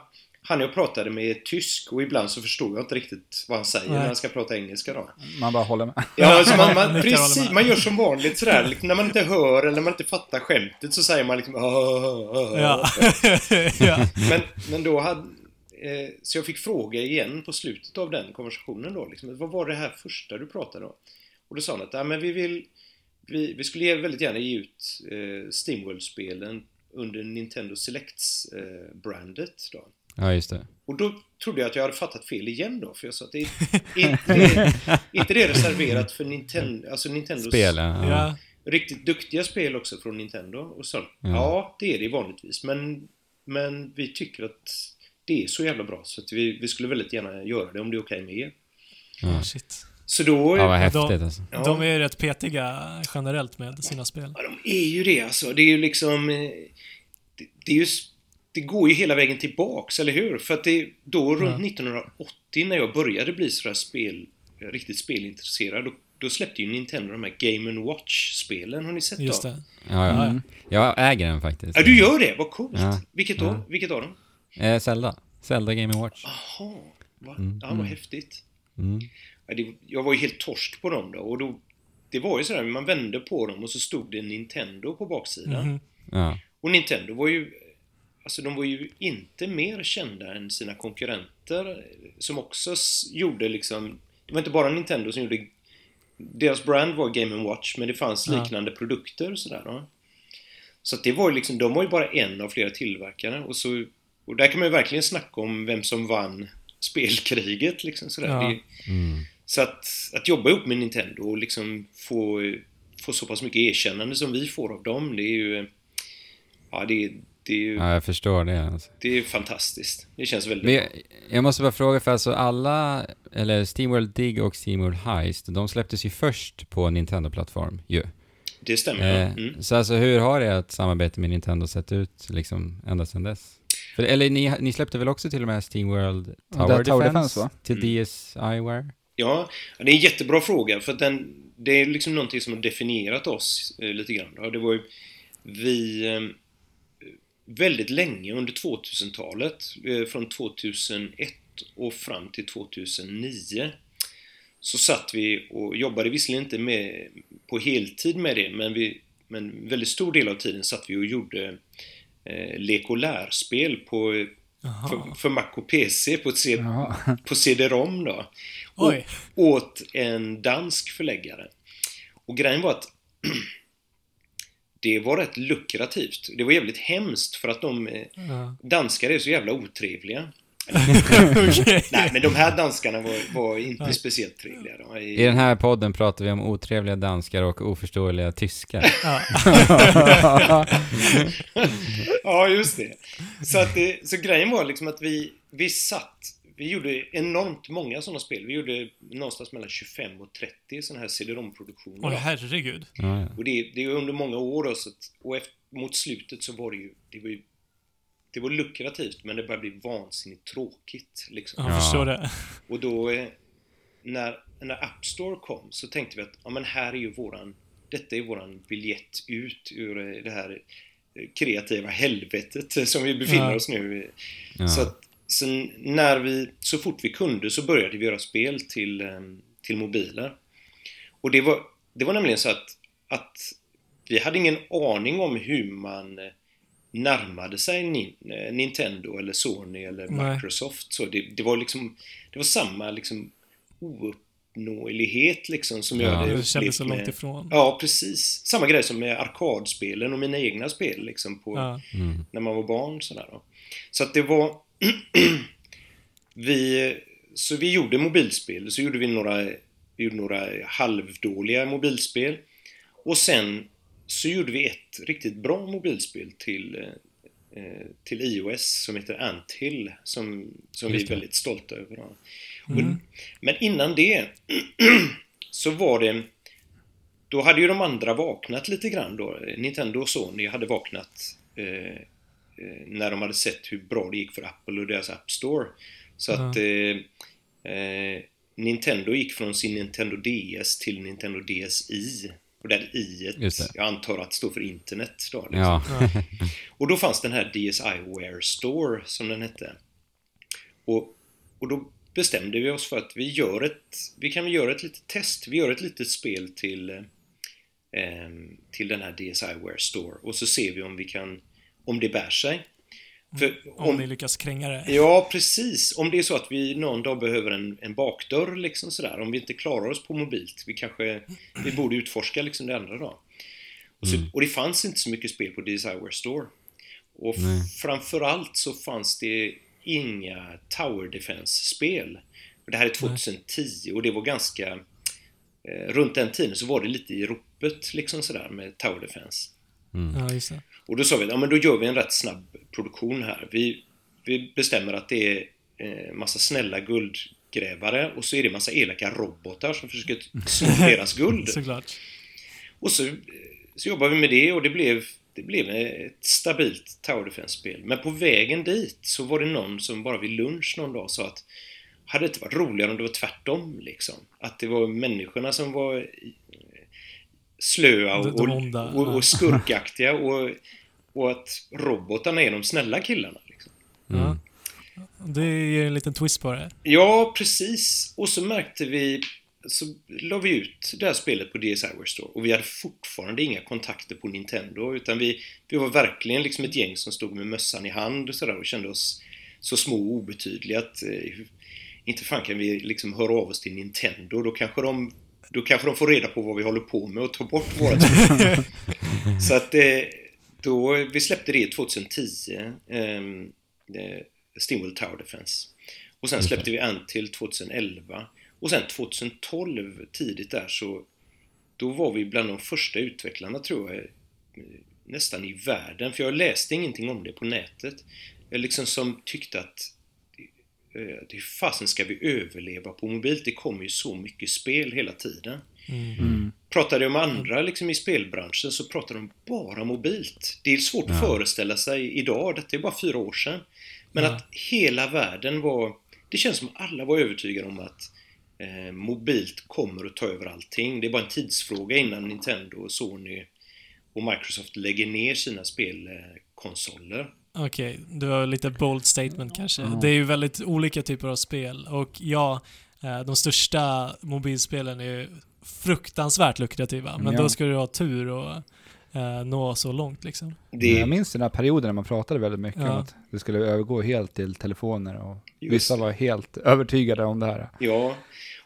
han jag pratade med är tysk och ibland så förstod jag inte riktigt vad han säger
Nej.
när han ska prata engelska då.
Man bara håller med.
Ja, alltså man,
Jag
man,
håller
precis,
med.
man gör som vanligt sådär. Liksom, när man inte hör eller när man inte fattar skämtet så säger man liksom "Åh, åh, åh, åh."
Ja. [laughs] ja.
ah." Men, men då hade... Eh, så jag fick fråga igen på slutet av den konversationen då. Liksom, vad var det här första du pratade om? Och då sa han att "Ja, men vi vill... Vi, vi skulle ge- väldigt gärna ge ut eh, Steamworld-spelen under Nintendo Selects-brandet. då.
ja, just det.
och då trodde jag att jag hade fattat fel igen då, för jag sa att det
[laughs]
är inte, är inte det reserverat för Nintendo, alltså Nintendos
Spel, ja. ja.
ja.
riktigt duktiga spel också från Nintendo. Och så, ja, det är det vanligtvis, men, men vi tycker att det är så jävla bra så att vi, vi skulle väldigt gärna göra det om det är okej med er.
Shit.
Så då...
Ja, vad
Ja,
häftigt
de-
alltså.
Ja.
De är ju rätt petiga generellt med sina spel.
Ja, de är ju det alltså. Det är ju liksom... eh, Det, det, är ju, s- det går ju hela vägen tillbaks, eller hur? För att det då runt 1980 när jag började bli sådär spel, riktigt spelintresserad, då, då släppte ju Nintendo de här Game Watch-spelen. Har ni sett
Just
dem?
det.
Ja, ja. Jag äger den faktiskt.
Ja, du gör det? Vad coolt!
Ja.
Vilket då? Vilket av dem?
Eh, Zelda. Zelda Game Watch.
Jaha. Va? Ja, vad häftigt.
Mm.
Ja, det, jag var ju helt torsk på dem då och då Det var ju sådär, man vände på dem och så stod det Nintendo på baksidan.
Mhm.
Ja.
Och Nintendo var ju Alltså de var ju inte mer kända än sina konkurrenter eh, som också s- gjorde liksom Det var inte bara Nintendo som gjorde Deras brand var Game Watch men det fanns liknande produkter och sådär. va. Så att det var ju liksom, de var ju bara en av flera tillverkare och så Och där kan man ju verkligen snacka om vem som vann spelkriget liksom sådär.
Ja.
Det, så att, att jobba ihop med Nintendo och liksom få, få så pass mycket erkännande som vi får av dem, det är ju... Ja, det, det, är, ju-
ja, jag förstår det. Alltså.
det är fantastiskt. Det känns väldigt
Men
bra.
jag, jag måste bara fråga, för alltså alla, eller SteamWorld Dig och SteamWorld Heist, de släpptes ju först på Nintendo-plattform ju.
Det stämmer. ja.
Eh,
Mm.
Så alltså hur har ert samarbete med Nintendo sett ut liksom ända sedan dess? För, eller ni, ni släppte väl också till och med SteamWorld
Ja,
Tower,
det är Tower
Defense,
Defense, va?
Mm.
till DSiWare?
Ja, det är en jättebra fråga för att den, det är liksom någonting som har definierat oss eh, lite grann. Ja, Det var ju vi eh, väldigt länge under 2000-talet, eh, från 2001 och fram till 2009 så satt vi och jobbade visserligen inte med, på heltid med det men, vi, men väldigt stor del av tiden satt vi och gjorde eh, lek och lärspel på, för, för Mac och PC på, ett C, på CD-ROM då
Oj.
åt en dansk förläggare. Och grejen var att [clears throat] det var rätt lukrativt. Det var jävligt hemskt för att de eh,
Ja.
danskar är så jävla otrevliga.
[laughs] Okej. [laughs]
Nej, men de här danskarna var, var inte speciellt trevliga. Då.
I den här podden pratar vi om otrevliga danskar och oförståeliga
[laughs]
tyskar.
Ja.
ja, just det. Så, att det, så grejen var liksom att vi, vi satt, vi gjorde enormt många sådana spel. Vi gjorde någonstans mellan 25 och 30 sådana här CD-ROM-produktioner.
Oj, herregud.
Ja, ja.
Och det, det är under många år då, så att, och efter, mot slutet så var det ju, det var ju det var lukrativt men det började bli vansinnigt tråkigt. Liksom.
Jag
Ja.
förstår det.
Och då eh, när, när App Store kom så tänkte vi att ja, men här är ju våran, detta är våran biljett ut ur eh, det här eh, kreativa helvetet [laughs] eh, som vi befinner
Ja.
oss nu i.
Ja.
Så, att, så, när vi, så fort vi kunde så började vi göra spel till, eh, till mobiler. Och det var, det var nämligen så att, att vi hade ingen aning om hur man eh, närmade sig Nin- eh, Nintendo eller Sony eller
Nej.
Microsoft. Så det, det var liksom, det var samma liksom ouppnåelighet liksom som jag
Ja.
hade
Det kändes så
upplevt
långt
med-
ifrån.
Ja, precis. Samma grej som med arkadspelen och mina egna spel liksom på,
Ja.
när man var barn sådär då. Så att det var [clears throat] vi, så vi gjorde mobilspel, så gjorde vi några, vi gjorde några halvdåliga mobilspel och sen så gjorde vi ett riktigt bra mobilspel till eh, eh, till iOS som heter Anthill som, som vi
Just
är
det. Mm.
väldigt stolta över. då. Och, men innan det [clears throat] så var det då hade ju de andra vaknat lite grann då. Nintendo och Sony hade vaknat eh, eh, när de hade sett hur bra det gick för Apple och deras App Store. Så att eh, eh, Nintendo gick från sin Nintendo DS till Nintendo DSi. Och där i
Just det.
jag antar att står för internet då. Liksom. [laughs]
Ja.
Och då fanns den här DSiWare Store som den hette. Och, och då bestämde vi oss för att vi gör ett, vi kan väl göra ett litet test, vi gör ett litet spel till eh, ehm, till den här DSiWare Store och så ser vi om vi kan, om det bär sig. För
Om ni lyckas kränga det.
Ja, precis. Om det är så att vi någon dag behöver en, en bakdörr, liksom sådär. Om vi inte klarar oss på mobilt. Vi kanske, vi borde utforska liksom det andra då. Och, så, och det fanns inte så mycket spel på Desireware Store. Och f- framförallt så fanns det inga Tower Defense-spel. Och Det här är 2010 och det var ganska... Eh, runt den tiden så var det lite i ropet liksom sådär med Tower Defense.
Mm.
Ja, just det.
Och då sa vi, ja men då gör vi en rätt snabb produktion här. Vi, vi bestämmer att det är eh, massa snälla guldgrävare och så är det massa elaka robotar som försöker sno deras
Mm.
guld.
Såklart.
Och så, eh, så jobbade vi med det och det blev, det blev ett stabilt Tower Defense-spel. Men på vägen dit så var det någon som bara vid lunch någon dag sa att hade det inte varit roligare om det var tvärtom liksom? Att det var människorna som var eh, slöa och,
De- de onda,
och, och,
ja.
och
Mm.
skurkaktiga och, och att robotarna är de snälla killarna. Liksom.
Ja. Det ger en liten twist på det.
Ja, precis. Och så märkte vi, så la vi ut det här spelet på DSiWare Store och vi hade fortfarande inga kontakter på Nintendo utan vi, vi var verkligen liksom ett gäng som stod med mössan i hand och sådär och kände oss så små och obetydliga att eh, inte fan kan vi liksom höra av oss till Nintendo, då kanske de då kanske de får reda på vad vi håller på med och tar bort våra spel. Så att eh, då, vi släppte det 2010, ehm, eh, Stingwell Tower Defense. Och sen släppte vi Antil 2011. Och sen 2012, tidigt där, så då var vi bland de första utvecklarna, tror jag, eh, nästan i världen. För jag läste ingenting om det på nätet. Jag liksom som tyckte att eh, hur fasen ska vi överleva på mobilt? Det kommer ju så mycket spel hela tiden. Pratar jag med andra liksom, i spelbranschen så pratar de bara mobilt. Det är svårt att föreställa sig idag, detta är bara fyra år sedan. Men
Ja.
att hela världen var... Det känns som alla var övertygade om att eh, mobilt kommer att ta över allting. Det är bara en tidsfråga innan Nintendo, och Sony och Microsoft lägger ner sina spelkonsoler.
Okej, det var lite bold statement kanske. Det är ju väldigt olika typer av spel och ja, eh, de största mobilspelen är ju fruktansvärt lukrativa, men
Ja.
då ska du ha tur och eh, nå så långt liksom.
Det
Jag minns den här perioden när man pratade väldigt mycket om
Ja.
att det skulle övergå helt till telefoner och
Just
vissa
det.
var helt övertygade om det här.
Ja,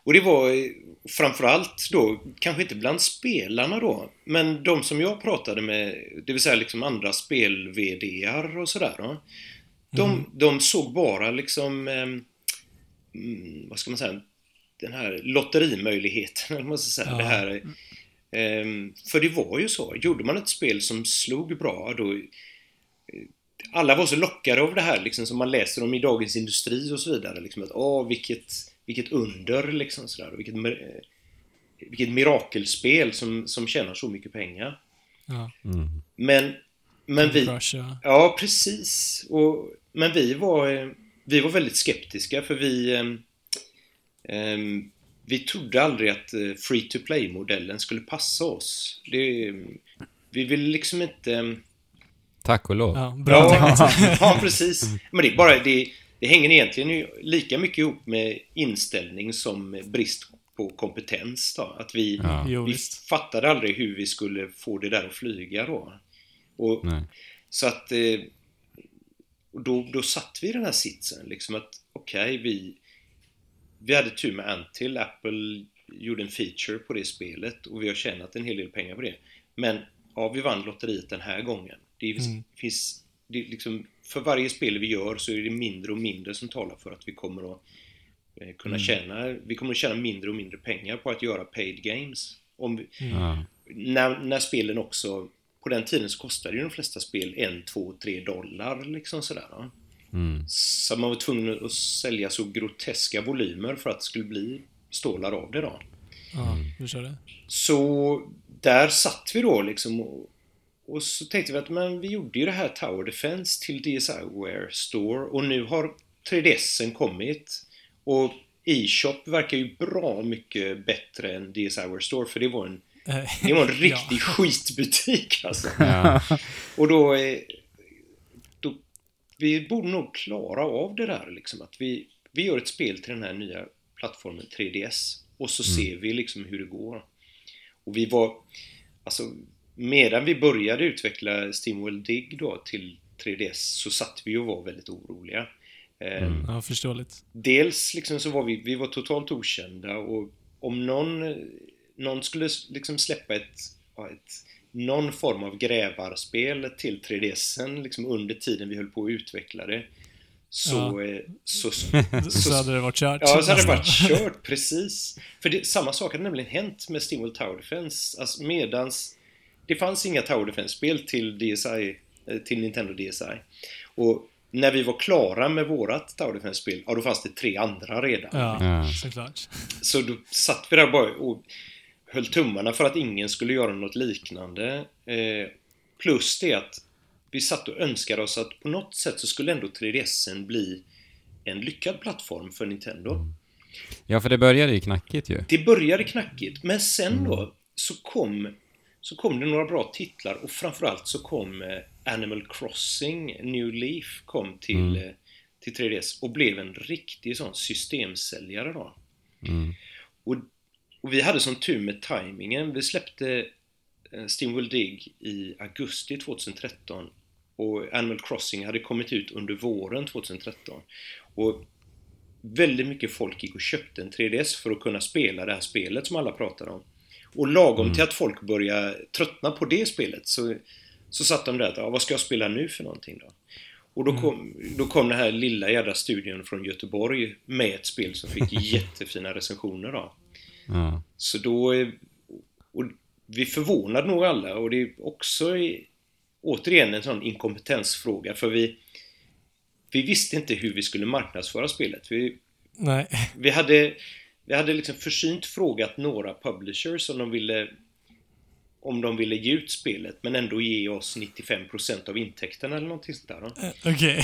och det var eh, framförallt då, kanske inte bland spelarna då, men de som jag pratade med, det vill säga liksom andra spel-VDar och sådär. Då, de, de såg bara liksom, eh, mm, vad ska man säga, den här lotterimöjligheten, [laughs] eller vad man ska säga.
Ja.
Det här, ehm, för det var ju så, gjorde man ett spel som slog bra, då alla var så lockade av det här liksom, som man läser om i Dagens Industri och så vidare. Liksom, att, åh, vilket, vilket under liksom, sådär, och vilket, mir- eh, vilket mirakelspel som, som tjänar så mycket pengar.
Ja,
Mm.
Men, men vi...
Crush, ja.
Ja, precis. Och, men vi var, eh, vi var väldigt skeptiska för vi... ehm, ehm, vi trodde aldrig att free to play-modellen skulle passa oss. Det, ehm, vi ville liksom inte... ehm,
Tack och lov.
ja, bra
Ja,
tänkt.
[laughs] ja, precis. Men det är bara det, det hänger egentligen ju lika mycket ihop med inställning som brist på kompetens då. Att vi,
Ja.
Jo,
vi
visst.
fattade aldrig hur vi skulle få det där att flyga då. Och,
Nej.
så att eh, och då, då satt vi i den här sitsen liksom att okej, vi, vi hade tur med Antil. Apple gjorde en feature på det spelet och vi har tjänat en hel del pengar på det. Men ja, vi vann lotteriet den här gången. Det finns,
Mm.
finns det är liksom, för varje spel vi gör så är det mindre och mindre som talar för att vi kommer att eh, kunna tjäna, vi kommer att tjäna mindre och mindre pengar på att göra paid games. Om vi,
Ja.
när, när spelen också, på den tiden så kostade ju de flesta spel en, två, tre dollar liksom sådär. va.
Mm.
Så man var tvungen att sälja så groteska volymer för att det skulle bli stålar av det då.
[laughs] Ja, du kör det.
Så där satt vi då liksom och, och så tänkte vi att men vi gjorde ju det här Tower Defense till DSiWare Store och nu har 3DSen kommit och E-shop verkar ju bra mycket bättre än DSiWare Store för det var en
Eh, [laughs]
det var en riktig skitbutik alltså.
Ja.
Och då, eh, då... Vi borde nog klara av det där liksom. Att vi, vi gör ett spel till den här nya plattformen 3DS. Och så ser vi liksom hur det går. Och vi var... Alltså, medan vi började utveckla Steamworld Dig då till 3DS så satt vi och var väldigt oroliga. Eh,
Ja, förståeligt.
dels liksom så var vi, vi var totalt okända och om någon, eh, någon skulle s- liksom släppa ett, ja, ett, någon form av grävarspel till 3DSen liksom under tiden vi höll på att utveckla det så, eh,
[laughs]
så, så,
Så hade det varit kört.
Ja, så hade det
nästan.
varit kört, precis. För det, samma sak hade nämligen hänt med Steamworld Tower Defense. Alltså medans det fanns inga Tower Defense-spel till, DSi, eh, till Nintendo DSi. Och när vi var klara med vårat Tower Defense-spel, ja då fanns det tre andra redan.
Ja, såklart.
Så då satt vi där bara och höll tummarna för att ingen skulle göra något liknande. Eh, plus det att vi satt och önskade oss att på något sätt så skulle ändå 3DSen bli en lyckad plattform för Nintendo.
ja, för det började ju knackigt ju. Mm.
Det började knackigt, men sen då så kom, så kom det några bra titlar
Mm.
och framförallt så kom eh, Animal Crossing New Leaf kom till, eh, till 3DS och blev en riktig sån systemsäljare då.
Mm.
Och, och vi hade som tur med tajmingen. Vi släppte eh, Steamworld Dig i augusti 2013 och Animal Crossing hade kommit ut under våren 2013. Och väldigt mycket folk gick och köpte en 3DS för att kunna spela det här spelet som alla pratar om. Och lagom till att folk började tröttna på det spelet så, så satt de där att, ja, vad ska jag spela nu för någonting då? Och då kom, då kom den här lilla jädra studion från Göteborg med ett spel som fick jättefina recensioner då.
Ja.
Så då... eh, Och vi förvånade nog alla och det är också i- återigen en sån inkompetensfråga för vi... Vi visste inte hur vi skulle marknadsföra spelet. Vi,
Nej. [laughs]
vi hade, vi hade liksom försynt frågat några publishers om de ville om de ville ge ut spelet men ändå ge oss 95% av intäkterna eller någonting sånt där. Då.
Okej.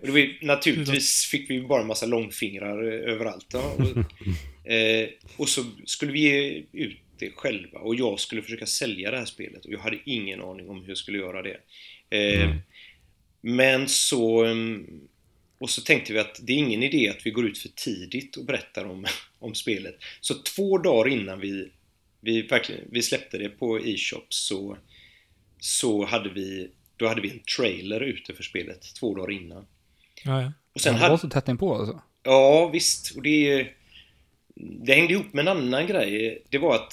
[laughs]
[laughs] Och det var, ju- naturligtvis fick vi bara en massa långfingrar eh, överallt. Ja. Och, eh, och så skulle vi ge ut det själva och jag skulle försöka sälja det här spelet och jag hade ingen aning om hur jag skulle göra det. Eh, Men så... mm, Och så tänkte vi att det är ingen idé att vi går ut för tidigt och berättar om, [laughs] om spelet. Så två dagar innan vi, vi, verkligen, vi släppte det på e-shop så, så hade vi då hade vi en trailer ute för spelet två dagar innan.
Ja, ja.
Och sen
Sen det var
hade,
så tätt inpå alltså.
ja, visst. Och det, det hängde ihop med en annan grej. Det var att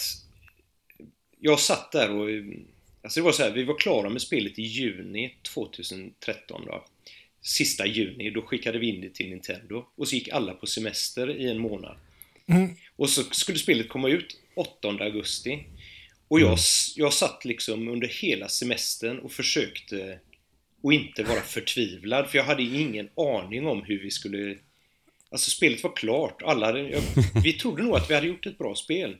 jag satt där och... Alltså det var så här, vi var klara med spelet i juni 2013 då. Sista juni, då skickade vi in det till Nintendo. Och så gick alla på semester i en månad.
Mm.
Och så skulle spelet komma ut 8 augusti. Och jag, s- jag satt liksom under hela semestern och försökte och inte vara förtvivlad, för jag hade ingen aning om hur vi skulle... Alltså spelet var klart, alla hade, jag, vi trodde nog att vi hade gjort ett bra spel.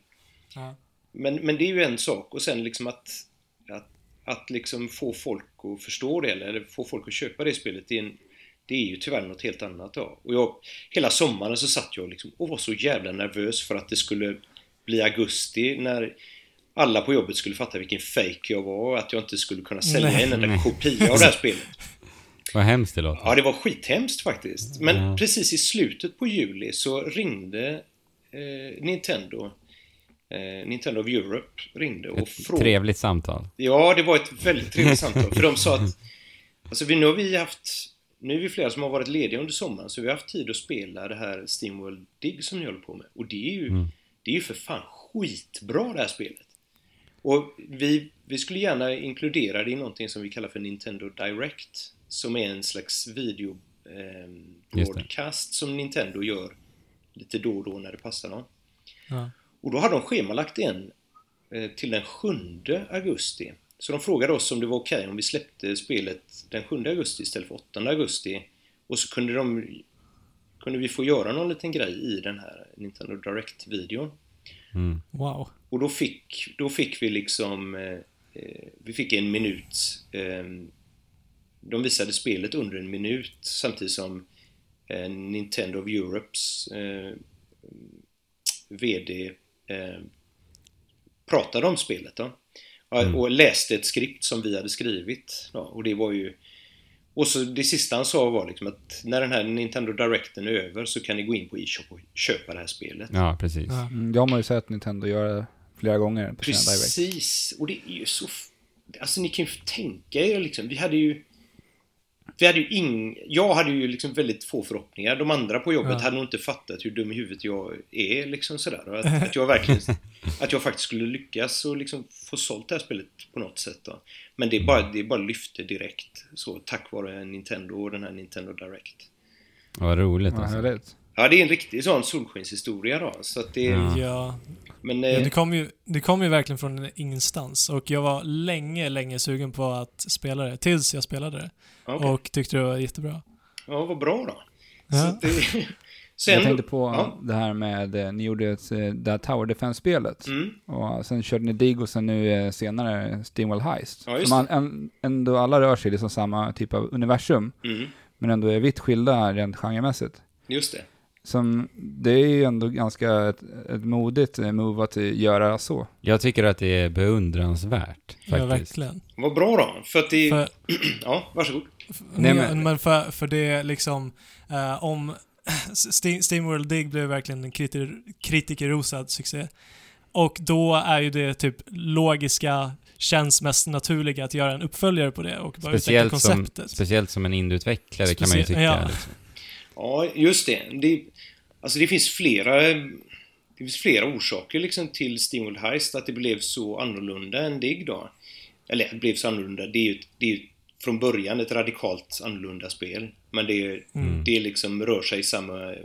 Ja.
Men, men det är ju en sak, och sen liksom att... Att, att liksom få folk att förstå det, eller, eller få folk att köpa det spelet, det är, en, det är ju tyvärr något helt annat då. Och jag, hela sommaren så satt jag liksom och var så jävla nervös för att det skulle bli augusti när alla på jobbet skulle fatta vilken fake jag var och att jag inte skulle kunna sälja
Nej.
en enda kopia av det här spelet.
Vad hemskt det låter.
Ja, det var skithemskt faktiskt. Men
Ja.
precis i slutet på juli så ringde eh, Nintendo, eh, Nintendo of Europe ringde och
Ett
frågade.
trevligt samtal.
Ja, det var ett väldigt trevligt samtal. För de sa att, alltså vi, nu har vi haft, nu är vi flera som har varit lediga under sommaren så vi har haft tid att spela det här Steamworld Dig som ni håller på med. Och det är ju,
Mm.
det är ju för fan skitbra det här spelet. Och vi, vi skulle gärna inkludera det i någonting som vi kallar för Nintendo Direct. Som är en slags video ehm,
Just det.
broadcast som Nintendo gör lite då och då när det passar dem.
Ja.
Och då hade de schemalagt en eh, till den 7 augusti. Så de frågade oss om det var okej om vi släppte spelet den 7 augusti istället för 8 augusti. Och så kunde de kunde vi få göra någon liten grej i den här Nintendo Direct-videon.
Wow.
Och då fick, då fick vi liksom... Eh, eh, vi fick en minut. Eh, de visade spelet under en minut samtidigt som eh, Nintendo of Europes eh, VD eh, pratade om spelet. Då. Ja, Och läste ett skript som vi hade skrivit. Då. Och det var ju... Och så det sista han sa var liksom att när den här Nintendo Directen är över så kan ni gå in på e-shop och köpa det här spelet.
Ja, precis.
Ja.
Mm, jag har ju sett Nintendo göra det flera gånger på sina Direct.
Precis, och det är ju så... f- Alltså ni kan ju tänka er liksom, vi hade ju... Vi hade ju ing... Jag hade ju liksom väldigt få förhoppningar. De andra på jobbet
Ja.
hade nog inte fattat hur dum i huvudet jag är liksom sådär. Och Att, att jag verkligen... Att jag faktiskt skulle lyckas och liksom få sålt det här spelet på något sätt då. Men det är bara, det är bara lyfte direkt. Så tack vare Nintendo och den här Nintendo Direct.
Vad roligt
Vad
alltså.
härligt.
Ja, det är en riktig sån solskenshistoria då. Så att det...
Ja.
Ja.
Men...
Ja,
Eh,
det, kom ju, det kom ju verkligen från ingenstans och jag var länge, länge sugen på att spela det tills jag spelade det
okej.
och tyckte det var jättebra.
Ja, vad bra då. Så
Ja.
att det... Sen,
Jag tänkte på
Ja.
det här med, eh, ni gjorde ett, eh, det här Tower Defense-spelet.
Mm.
Och sen körde ni Dig och sen nu eh, senare Steamwell Heist.
Ja, just
så man, en, ändå alla rör sig i liksom samma typ av universum,
Mm.
men ändå är vitt skilda rent genremässigt.
Just det.
som, det är ju ändå ganska ett, ett modigt eh, move att eh, göra så.
Jag tycker att det är beundransvärt faktiskt.
Ja, verkligen.
Vad bra då. För att det...
För,
[clears throat] Ja, varsågod.
Nej, men-
men, men för, för det är liksom, eh, om [clears throat] Ste- Steamworld Dig blev verkligen en kriti- kritikerrosad succé. Och då är ju det typ logiska, känns mest naturliga att göra en uppföljare på det och bara utveckla
Speciellt som,
konceptet.
speciellt som en indieutvecklare kan man ju
Specie-
tycka.
ja.
liksom.
Ja, just det. det. Alltså det finns flera... Det finns flera orsaker liksom till Steamworld Heist, att det blev så annorlunda än Dig då. Eller, det blev så annorlunda. Det är ju, det är ju från början ett radikalt annorlunda spel. Men det, är- det liksom rör sig i samma, eh,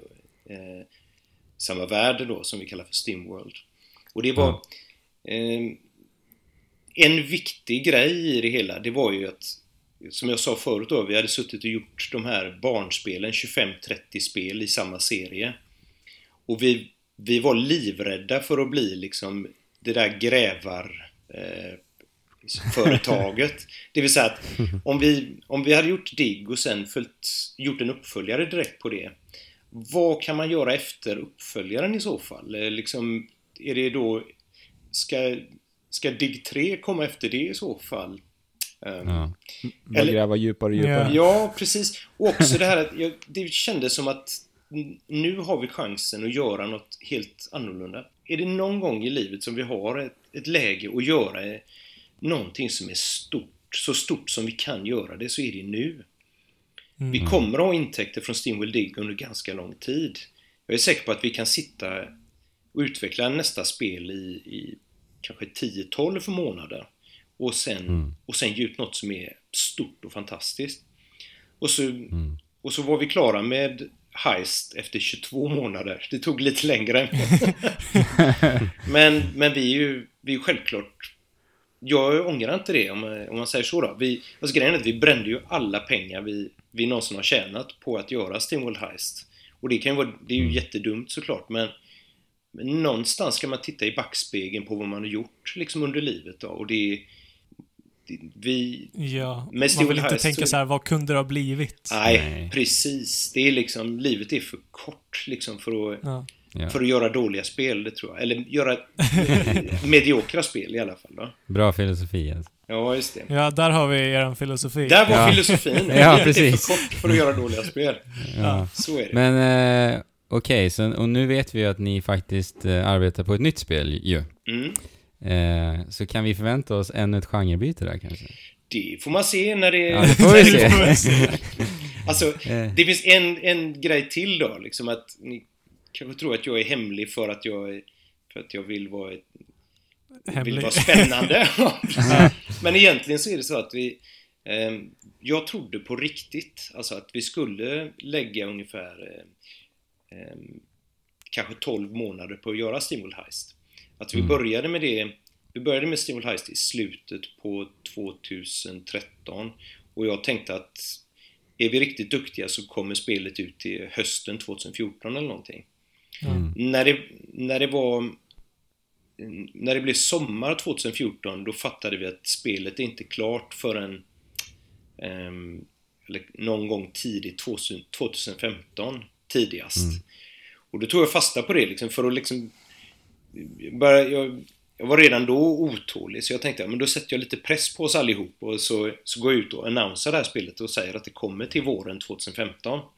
samma värld då, som vi kallar för Steamworld. Och det var... Eh, en viktig grej i det hela, det var ju att som jag sa förut då, vi hade suttit och gjort de här barnspelen, 25-30 spel i samma serie. Och vi, vi var livrädda för att bli liksom det där grävar eh, företaget. Det vill säga att om vi, om vi hade gjort Digg och sen följt, gjort en uppföljare direkt på det. Vad kan man göra efter uppföljaren i så fall? Eh, Liksom, är det då... Ska, ska Digg 3 komma efter det i så fall? Ehm,
Ja.
Bara
Eller-
gräva djupare och djupare.
Ja, precis. Och också det här att jag, det kändes som att n- nu har vi chansen att göra något helt annorlunda. Är det någon gång i livet som vi har ett, ett läge att göra eh, någonting som är stort, så stort som vi kan göra det, så är det nu. Vi kommer att ha intäkter från Steamwell Dig under ganska lång tid. Jag är säker på att vi kan sitta och utveckla nästa spel i, i kanske 10-12 månader och sen, och sen ge ut något som är stort och fantastiskt. Och så, och så var vi klara med Heist efter 22 månader. Det tog lite längre. men, men vi är ju vi är ju självklart... Jag ångrar inte det om, om man säger så då. Vi, alltså grejen är att vi brände ju alla pengar vi, vi någonsin har tjänat på att göra Steamworld Heist. Och det kan ju vara... Det är ju jättedumt såklart men men någonstans ska man titta i backspegeln på vad man har gjort liksom under livet då. Och det, det vi...
Ja,
Men
man
Stewart
vill inte
Harris-
tänka så här, vad kunde det ha blivit?
Nej,
Nej.
precis. Det är liksom, livet är för kort liksom för att,
Ja.
Ja.
för att göra dåliga spel, det tror jag. Eller
[laughs]
göra mediokra spel i alla fall då.
Bra filosofi alltså.
Ja, just det.
ja, där har vi er filosofi.
Där var
Ja.
filosofin.
[laughs] Ja,
Det är
precis.
för kort för att göra dåliga spel.
Ja.
Så är det.
Men eh, okej, så- och nu vet vi ju att ni faktiskt eh, arbetar på ett nytt spel ju.
Mm.
Eh, så kan vi förvänta oss ännu ett genrebyte där kanske?
[laughs] Det får man se när det...
Ja, det får vi
[laughs]
se.
Alltså,
Eh.
det finns en, en grej till då, liksom att ni kanske tror att jag är hemlig för att jag, är- för att jag vill vara ett vill
Hemlig. [laughs]
vara spännande. Ja, precis. Men egentligen så är det så att vi... ehm, jag trodde på riktigt, alltså att vi skulle lägga ungefär eh, ehm, kanske 12 månader på att göra Steamworld Heist. Att vi började med det... Vi började med Steamworld Heist i slutet på 2013 och jag tänkte att är vi riktigt duktiga så kommer spelet ut till hösten 2014 eller någonting. När, det, när det var när det blev sommar 2014 då fattade vi att spelet är inte klart förrän ehm, eller någon gång tidigt 2000 2015 tidigast. Och då tog jag fasta på det liksom för att liksom börja, jag, jag var redan då otålig så jag tänkte ja, men då sätter jag lite press på oss allihop och så, så går jag ut och annonserar det här spelet och säger att det kommer till våren 2015. [laughs]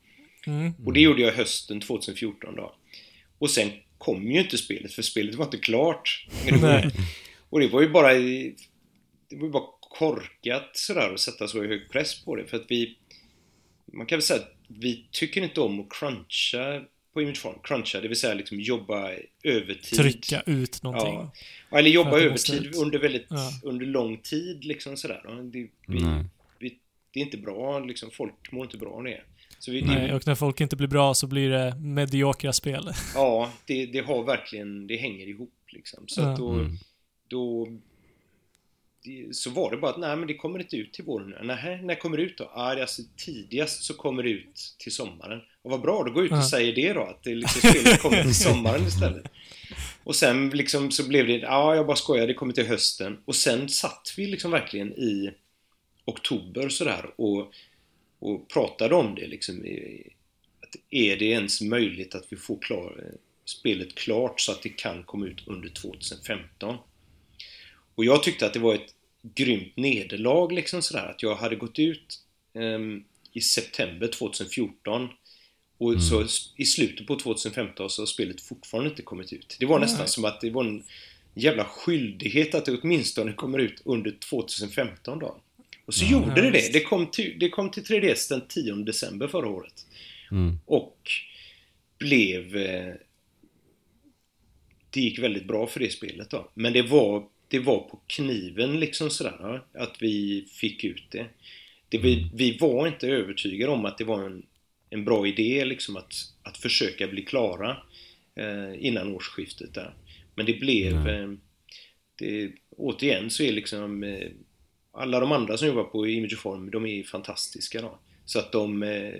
Mm.
Och det gjorde jag hösten 2014 då. Och sen kom ju inte spelet, för spelet var inte klart.
Nej.
Och det var ju bara... i- Det var ju bara korkat sådär att sätta så hög press på det, för att vi... Man kan väl säga att vi tycker inte om att cruncha på Image Farm. Cruncha, det vill säga liksom jobba övertid.
Trycka ut någonting.
Ja, eller
För
jobba
att det måste
övertid
ut.
under väldigt,
Ja.
under lång tid liksom sådär. Och Det, vi,
[laughs] Nej.
vi, det är inte bra liksom, folk mår inte bra av det. Så vi,
Nej, och när folk inte blir bra så blir det mediokra spel.
Ja, det, det har verkligen, det hänger ihop liksom. Så
Ja.
att då, då det, så var det bara att nej men det kommer inte ut till våren. Nähä, när kommer det ut då? Ah, det är alltså tidigast så kommer det ut till sommaren. Och vad bra, då går jag ut och
Ja.
säger det då, att det liksom spelet kommer till sommaren istället. Och sen liksom så blev det, ja ah, jag bara skojar, det kommer till hösten. Och sen satt vi liksom verkligen i oktober sådär och, och pratade om det liksom. I, är det ens möjligt att vi får klar, spelet klart så att det kan komma ut under 2015? Och jag tyckte att det var ett grymt nederlag liksom sådär att jag hade gått ut ehm, i september 2014 och så s- i slutet på 2015 så har spelet fortfarande inte kommit ut. Det var nästan som att det var en jävla skyldighet att det åtminstone kommer ut under 2015 då. Och så gjorde det det. Det kom, till, det kom till 3DS den 10 december förra året.
Mm.
Och blev... eh, Det gick väldigt bra för det spelet då. Men det var, det var på kniven liksom sådär. va? Att vi fick ut det. det vi, vi var inte övertygade om att det var en, en bra idé liksom att, att försöka bli klara eh, innan årsskiftet där. Men det blev... Eh, det, återigen så är liksom... Eh, alla de andra som jobbar på Imageform, de är fantastiska då. Så att de... Eh,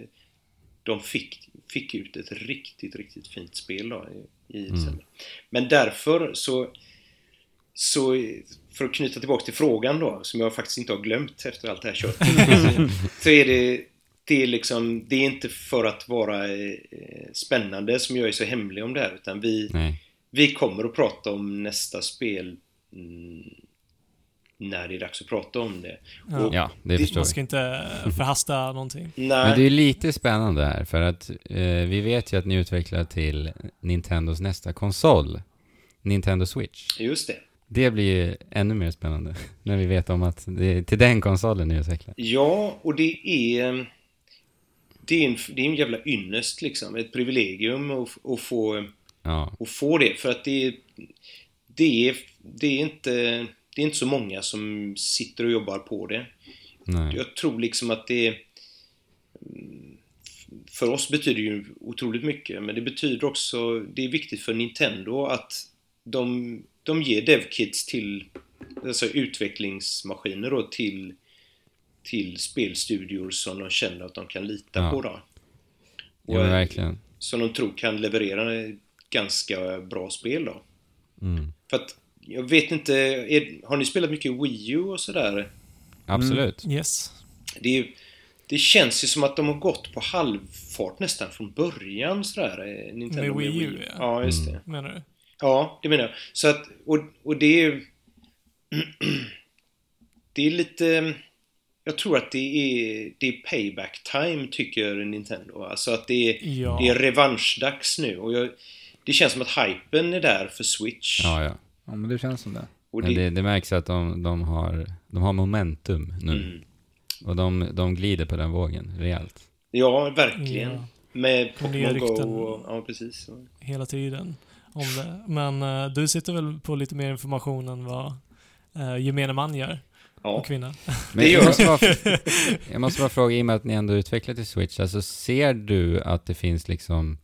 de fick, fick ut ett riktigt, riktigt fint spel då i, i december. Men därför så, så, för att knyta tillbaka till frågan då, som jag faktiskt inte har glömt efter allt det
[laughs]
här köttet, så- så är det, det är liksom, det är inte för att vara eh, spännande som jag är så hemlig om det här, utan vi,
Nej.
vi kommer att prata om nästa spel mm, när det är dags att prata om det.
Ja.
Och,
Ja, det
Det-
förstår
Man
jag.
ska inte förhasta någonting.
nej,
Men det är lite spännande här, för att eh, vi vet ju att ni utvecklar till Nintendos nästa konsol, Nintendo Switch.
just det.
Det blir ju ännu mer spännande [laughs] när vi vet om att det är till den konsolen ni utvecklar.
Ja, och det är... Det är en, det är en jävla ynnest liksom. Ett privilegium att, f- att, få,
Ja,
att få det. För att det är, det är... Det är inte... Det är inte så många som sitter och jobbar på det.
nej.
Jag tror liksom att det... mm, För oss betyder det ju otroligt mycket, men det betyder också... Det är viktigt för Nintendo att de, de ger DevKits till... Alltså utvecklingsmaskiner då till, till spelstudior som de känner att de kan lita
Ja.
på då.
Jo, men verkligen.
Som de tror kan leverera ganska bra spel då.
Mm.
För att jag vet inte, är, har ni spelat mycket Wii U och sådär?
Absolut.
Yes.
Det, är, ju- det känns ju som att de har gått på halvfart nästan från början sådär. eh, Nintendo
Med Wii U,
ja.
ja.
Ja, just det.
Menar du?
Ja, det menar jag. Så att, och, och det är ju... [clears throat] det är lite... Jag tror att det är, det är payback time, tycker Nintendo. Alltså att det är,
Ja.
det är revanschdags nu. Och jag, det känns som att hypen är där för Switch.
Ja, ja.
Ja, men det känns som det.
och
Men
det,
det, det märks att de, de, har, de har momentum nu.
Mm.
Och de, de glider på den vågen rejält.
ja verkligen.
Ja.
Med
Och nya
Pokémon Go
rykten.
och... Ja, precis.
Hela tiden. Om det. Men eh, du sitter väl på lite mer information än vad eh, gemene man gör?
Ja.
Och kvinna?
Men
Det gör
jag, måste bara, jag måste bara fråga, i och med att ni ändå utvecklar till Switch, alltså ser du att det finns liksom...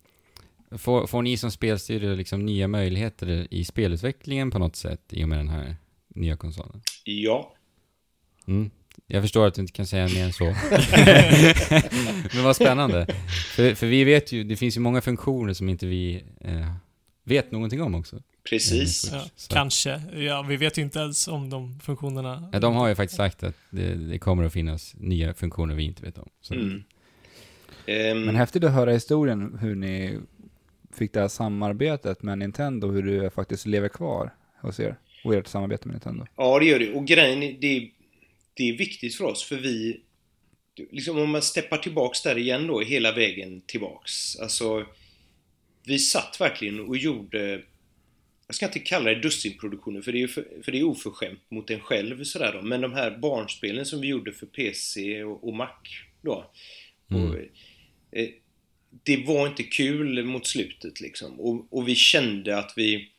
Får, får ni som spelstudio liksom nya möjligheter i spelutvecklingen på något sätt i och med den här nya konsolen?
Ja.
Mm. Jag förstår att du inte kan säga mer än så.
[laughs]
Men vad spännande. För, för vi vet ju, det finns ju många funktioner som inte vi eh, vet någonting om också.
Precis.
Ja,
Så-
kanske. Ja, vi vet ju inte ens om de funktionerna.
Ja, de har ju faktiskt sagt att det, det kommer att finnas nya funktioner vi inte vet om. Så.
Mm. Ehm,
Men häftigt att höra historien hur ni fick det här samarbetet med Nintendo, hur du faktiskt lever kvar hos er och ert samarbete med Nintendo.
Ja, det gör det. Och grejen är, det, är- det är viktigt för oss, för vi... Liksom om man steppar tillbaks där igen då, hela vägen tillbaks. Alltså, vi satt verkligen och gjorde... Jag ska inte kalla det dussinproduktioner, för det är, ju för, för det är oförskämt mot en själv sådär då. Men de här barnspelen som vi gjorde för PC och, och Mac då. Och, eh, det var inte kul mot slutet liksom. Och, och vi kände att vi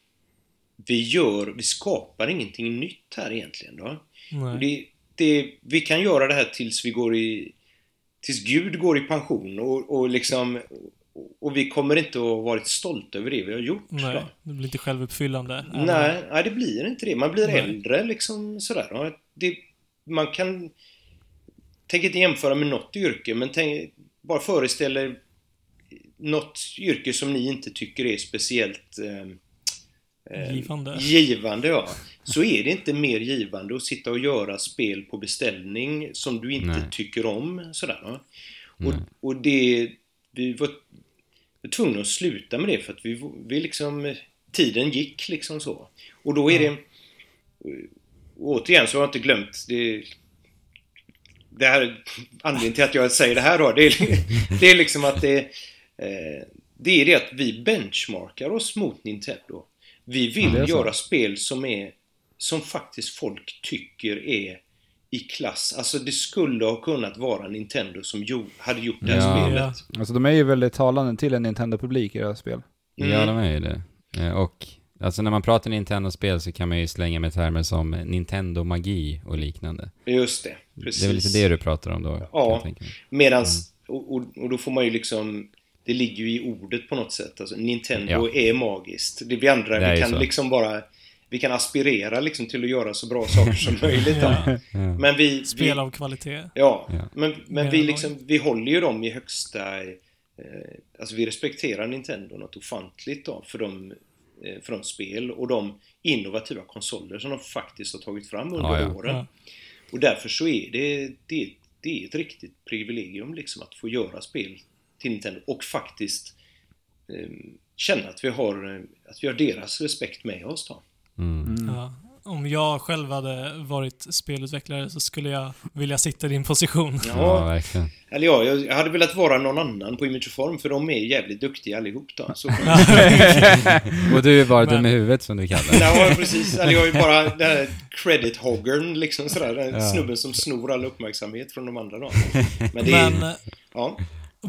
vi gör, vi skapar ingenting nytt här egentligen då.
Nej.
Och det, det, vi kan göra det här tills vi går i, tills Gud går i pension och, och liksom, och vi kommer inte att ha varit stolta över det vi har gjort.
Nej,
då.
det blir inte självuppfyllande.
Nej, nej, det blir inte det. Man blir
Nej.
äldre liksom sådär. Och Det, man kan... Tänk inte jämföra med något yrke, men tänk, bara föreställ er något yrke som ni inte tycker är speciellt eh, eh,
Givande.
givande ja. Så är det inte mer givande att sitta och göra spel på beställning som du inte
Nej.
tycker om. Sådär, va? och, och det, vi var tvungna att sluta med det för att vi, vi liksom, tiden gick liksom så. Och då är det, och återigen så har jag inte glömt, det, det här, anledningen till att jag säger det här då, det är, det är [laughs] liksom att det, eh, det är det att vi benchmarkar oss mot Nintendo. Vi vill
det är så.
göra spel som är, som faktiskt folk tycker är i klass. Alltså det skulle ha kunnat vara Nintendo som jo, hade gjort det här
Ja.
spelet.
Alltså de är ju väldigt talande till en Nintendo-publik i deras spel.
Mm.
Ja, de är ju det. Eh, Och alltså när man pratar Nintendo-spel så kan man ju slänga med termer som Nintendo-magi och liknande.
Just det, precis.
Det är väl lite det du pratar om då? kan
Ja.
jag tänka mig.
Medans,
Mm.
och, och, och då får man ju liksom, det ligger ju i ordet på något sätt. Alltså, Nintendo
Ja.
är magiskt. Det vi andra,
Det är
vi
ju
kan
så.
liksom bara, vi kan aspirera liksom till att göra så bra
[laughs]
saker som möjligt. då.
Ja.
Men vi... vi
Spel av kvalitet.
ja,
Ja.
men, men
Mer
vi
än
liksom, vi håller ju dem i högsta... Eh, alltså vi respekterar Nintendo något ofantligt då, för de, eh, för de spel och de innovativa konsoler som de faktiskt har tagit fram under
Ja, ja.
åren.
Ja.
Och därför så är det, det, det är ett riktigt privilegium liksom att få göra spel till Nintendo och faktiskt eh, känna att vi, har, eh, att vi har deras respekt med oss då.
Mm.
Ja. Om jag själv hade varit spelutvecklare så skulle jag vilja sitta i din position.
ja, verkligen.
Eller ja, jag jag hade velat vara någon annan på Image of Form för de är jävligt duktiga allihop då. Så,
Och du är bara
Men-
dum i huvudet som du kallar det.
ja, precis. Eller jag är ju bara den här credit hoggern liksom sådär. Den
Ja.
snubben som snor all uppmärksamhet från de andra då. Men det är...
Men eh,
Ja.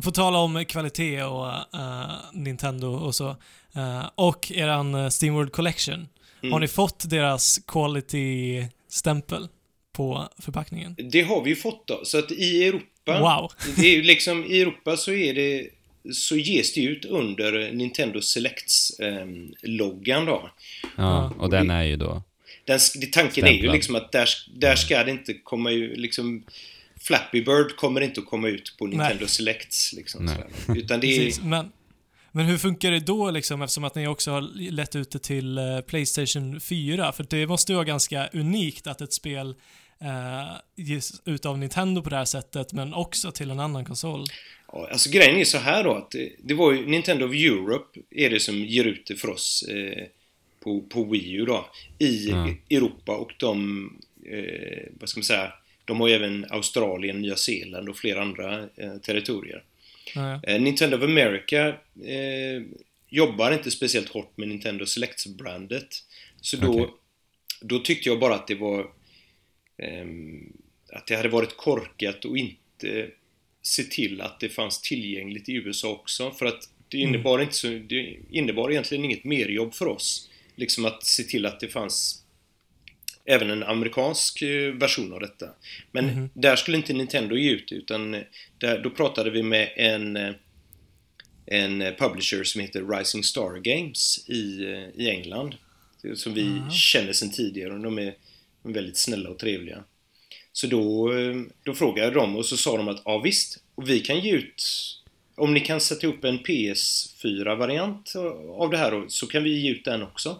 på tal om kvalitet och eh, Nintendo och så. eh, och eran eh, Steamworld Collection.
Mm.
Har ni fått deras quality-stämpel på förpackningen?
Det har vi ju fått då. Så att i Europa...
Wow!
Det är ju liksom, i Europa så är det så ges det ut under Nintendo Selects-loggan då.
Ja, och den är ju då...
Den, sk- det- tanken är ju
Stämplad.
liksom att där, där ska det inte komma ju liksom Flappy Bird kommer inte att komma ut på Nintendo Selects liksom.
Nej.
sådär. Utan det är,
Precis, men, men hur funkar det då liksom eftersom att ni också har lett ut det till eh, Playstation 4? För det måste ju vara ganska unikt att ett spel eh, ges ut av Nintendo på det här sättet men också till en annan konsol.
ja, alltså grejen är så här då att det, det var ju Nintendo of Europe är det som ger ut det för oss eh, på, på Wii U då i
Ja.
Europa och de, eh, vad ska man säga, de har ju även Australien, Nya Zeeland och flera andra eh, territorier.
Ja, ja.
Eh, Nintendo of America eh, jobbar inte speciellt hårt med Nintendo Selects-brandet. Så då,
Okej.
då tyckte jag bara att det var... ehm, att det hade varit korkat och inte se till att det fanns tillgängligt i USA också. För att det innebar, inte så, det innebar egentligen inget merjobb för oss. Liksom att se till att det fanns även en amerikansk eh, version av detta. Men där skulle inte Nintendo ge ut det, utan eh, där, då pratade vi med en, eh, en eh, publisher som heter Rising Star Games i, eh, i England. Som vi känner sedan tidigare och de är de är väldigt snälla och trevliga. Så då, eh, då frågade jag dem och så sa de att ja visst, och vi kan ge ut om ni kan sätta upp en PS4-variant av det här då, så kan vi ge ut den också.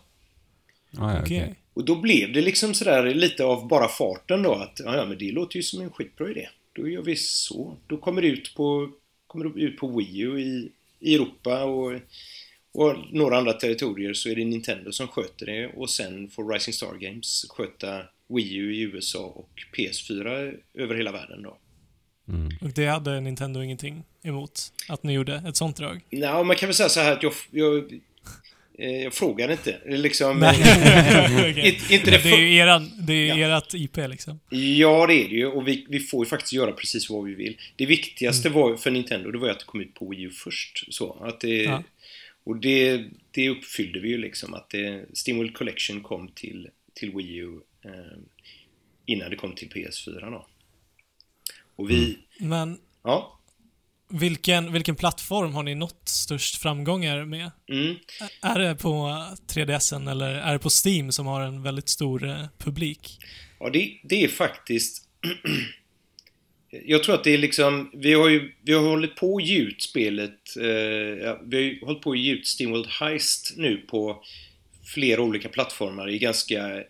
Ja, ja,
Okej.
okej.
Och då blev det liksom sådär lite av bara farten då att ja, ja men det låter ju som en skitbra idé. Då gör vi så. Då kommer det ut på, kommer det ut på Wii U i, i Europa och, och några andra territorier så är det Nintendo som sköter det och sen får Rising Star Games sköta Wii U i USA och PS4 över hela världen då.
Och det hade Nintendo ingenting emot att ni gjorde ett sånt drag.
Nej, man kan väl säga så här att jag, jag, eh, jag frågar inte.
[laughs]
Liksom,
Okej.
Inte- inte det
Men det är ju eran, det är ju ert IP liksom.
Ja, det är det ju. Och vi, vi får ju faktiskt göra precis vad vi vill. Det viktigaste var, för Nintendo, det var ju att det kom ut på Wii U först. Så, att det,
Ja.
Och det, det uppfyllde vi ju liksom. Att det, Steamworld Collection kom till, till Wii U eh, innan det kom till PS4 då. Och vi...
Men
Ja.
vilken, vilken plattform har ni nått störst framgångar med?
Mm.
Är det på 3DSen eller är det på Steam som har en väldigt stor eh, publik?
Ja, det, det är faktiskt... [clears throat] Jag tror att det är liksom... Vi har ju vi har hållit på och ge ut spelet... Eh, ja, vi har ju hållit på och ge ut Steamworld Heist nu på flera olika plattformar i ganska,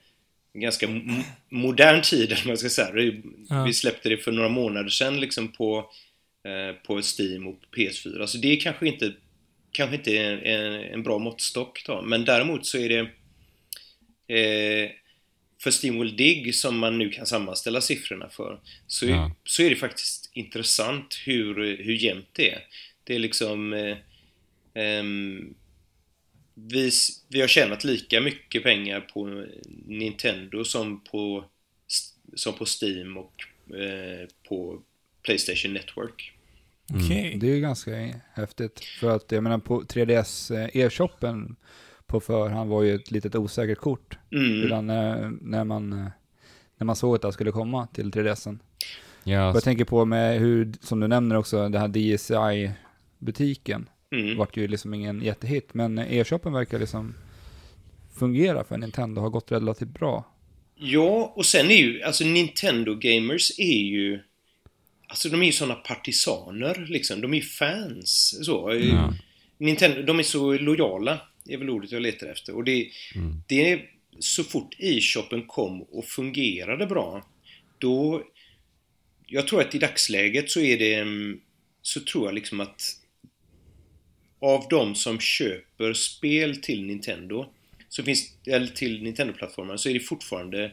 ganska m- modern tid, [laughs] om man ska säga. Vi,
Ja.
vi släppte det för några månader sedan liksom på eh, på Steam och PS4. Så det är kanske inte, kanske inte en, en, en bra måttstock då. Men däremot så är det eh, för Steamwell Dig som man nu kan sammanställa siffrorna för så, är-
Ja.
så är det faktiskt intressant hur, hur jämnt det är. Det är liksom eh, ehm, vi, s- vi har tjänat lika mycket pengar på Nintendo som på, som på Steam och eh, på Playstation Network.
Mm.
Okej.
Det är ju ganska häftigt. För att jag menar på 3DS eh, e-shoppen på förhand var ju ett litet osäkert kort.
Mm.
Redan eh, när man, eh, när man såg att det här skulle komma till 3DSen.
Ja,
Och jag tänker på med hur, som du nämner också, den här DSI-butiken.
Mm.
Vart ju liksom ingen jättehit, men e-shoppen verkar liksom fungera för Nintendo, har gått relativt bra.
Ja, och sen är ju, alltså Nintendo Gamers är ju, alltså de är ju såna partisaner liksom, de är ju fans så.
Ja.
Nintendo, de är så lojala, är väl ordet jag letar efter. Och det, det är, så fort e-shoppen kom och fungerade bra, då, jag tror att i dagsläget så är det, mm, så tror jag liksom att av de som köper spel till Nintendo, så finns, eller till Nintendo-plattformarna, så är det fortfarande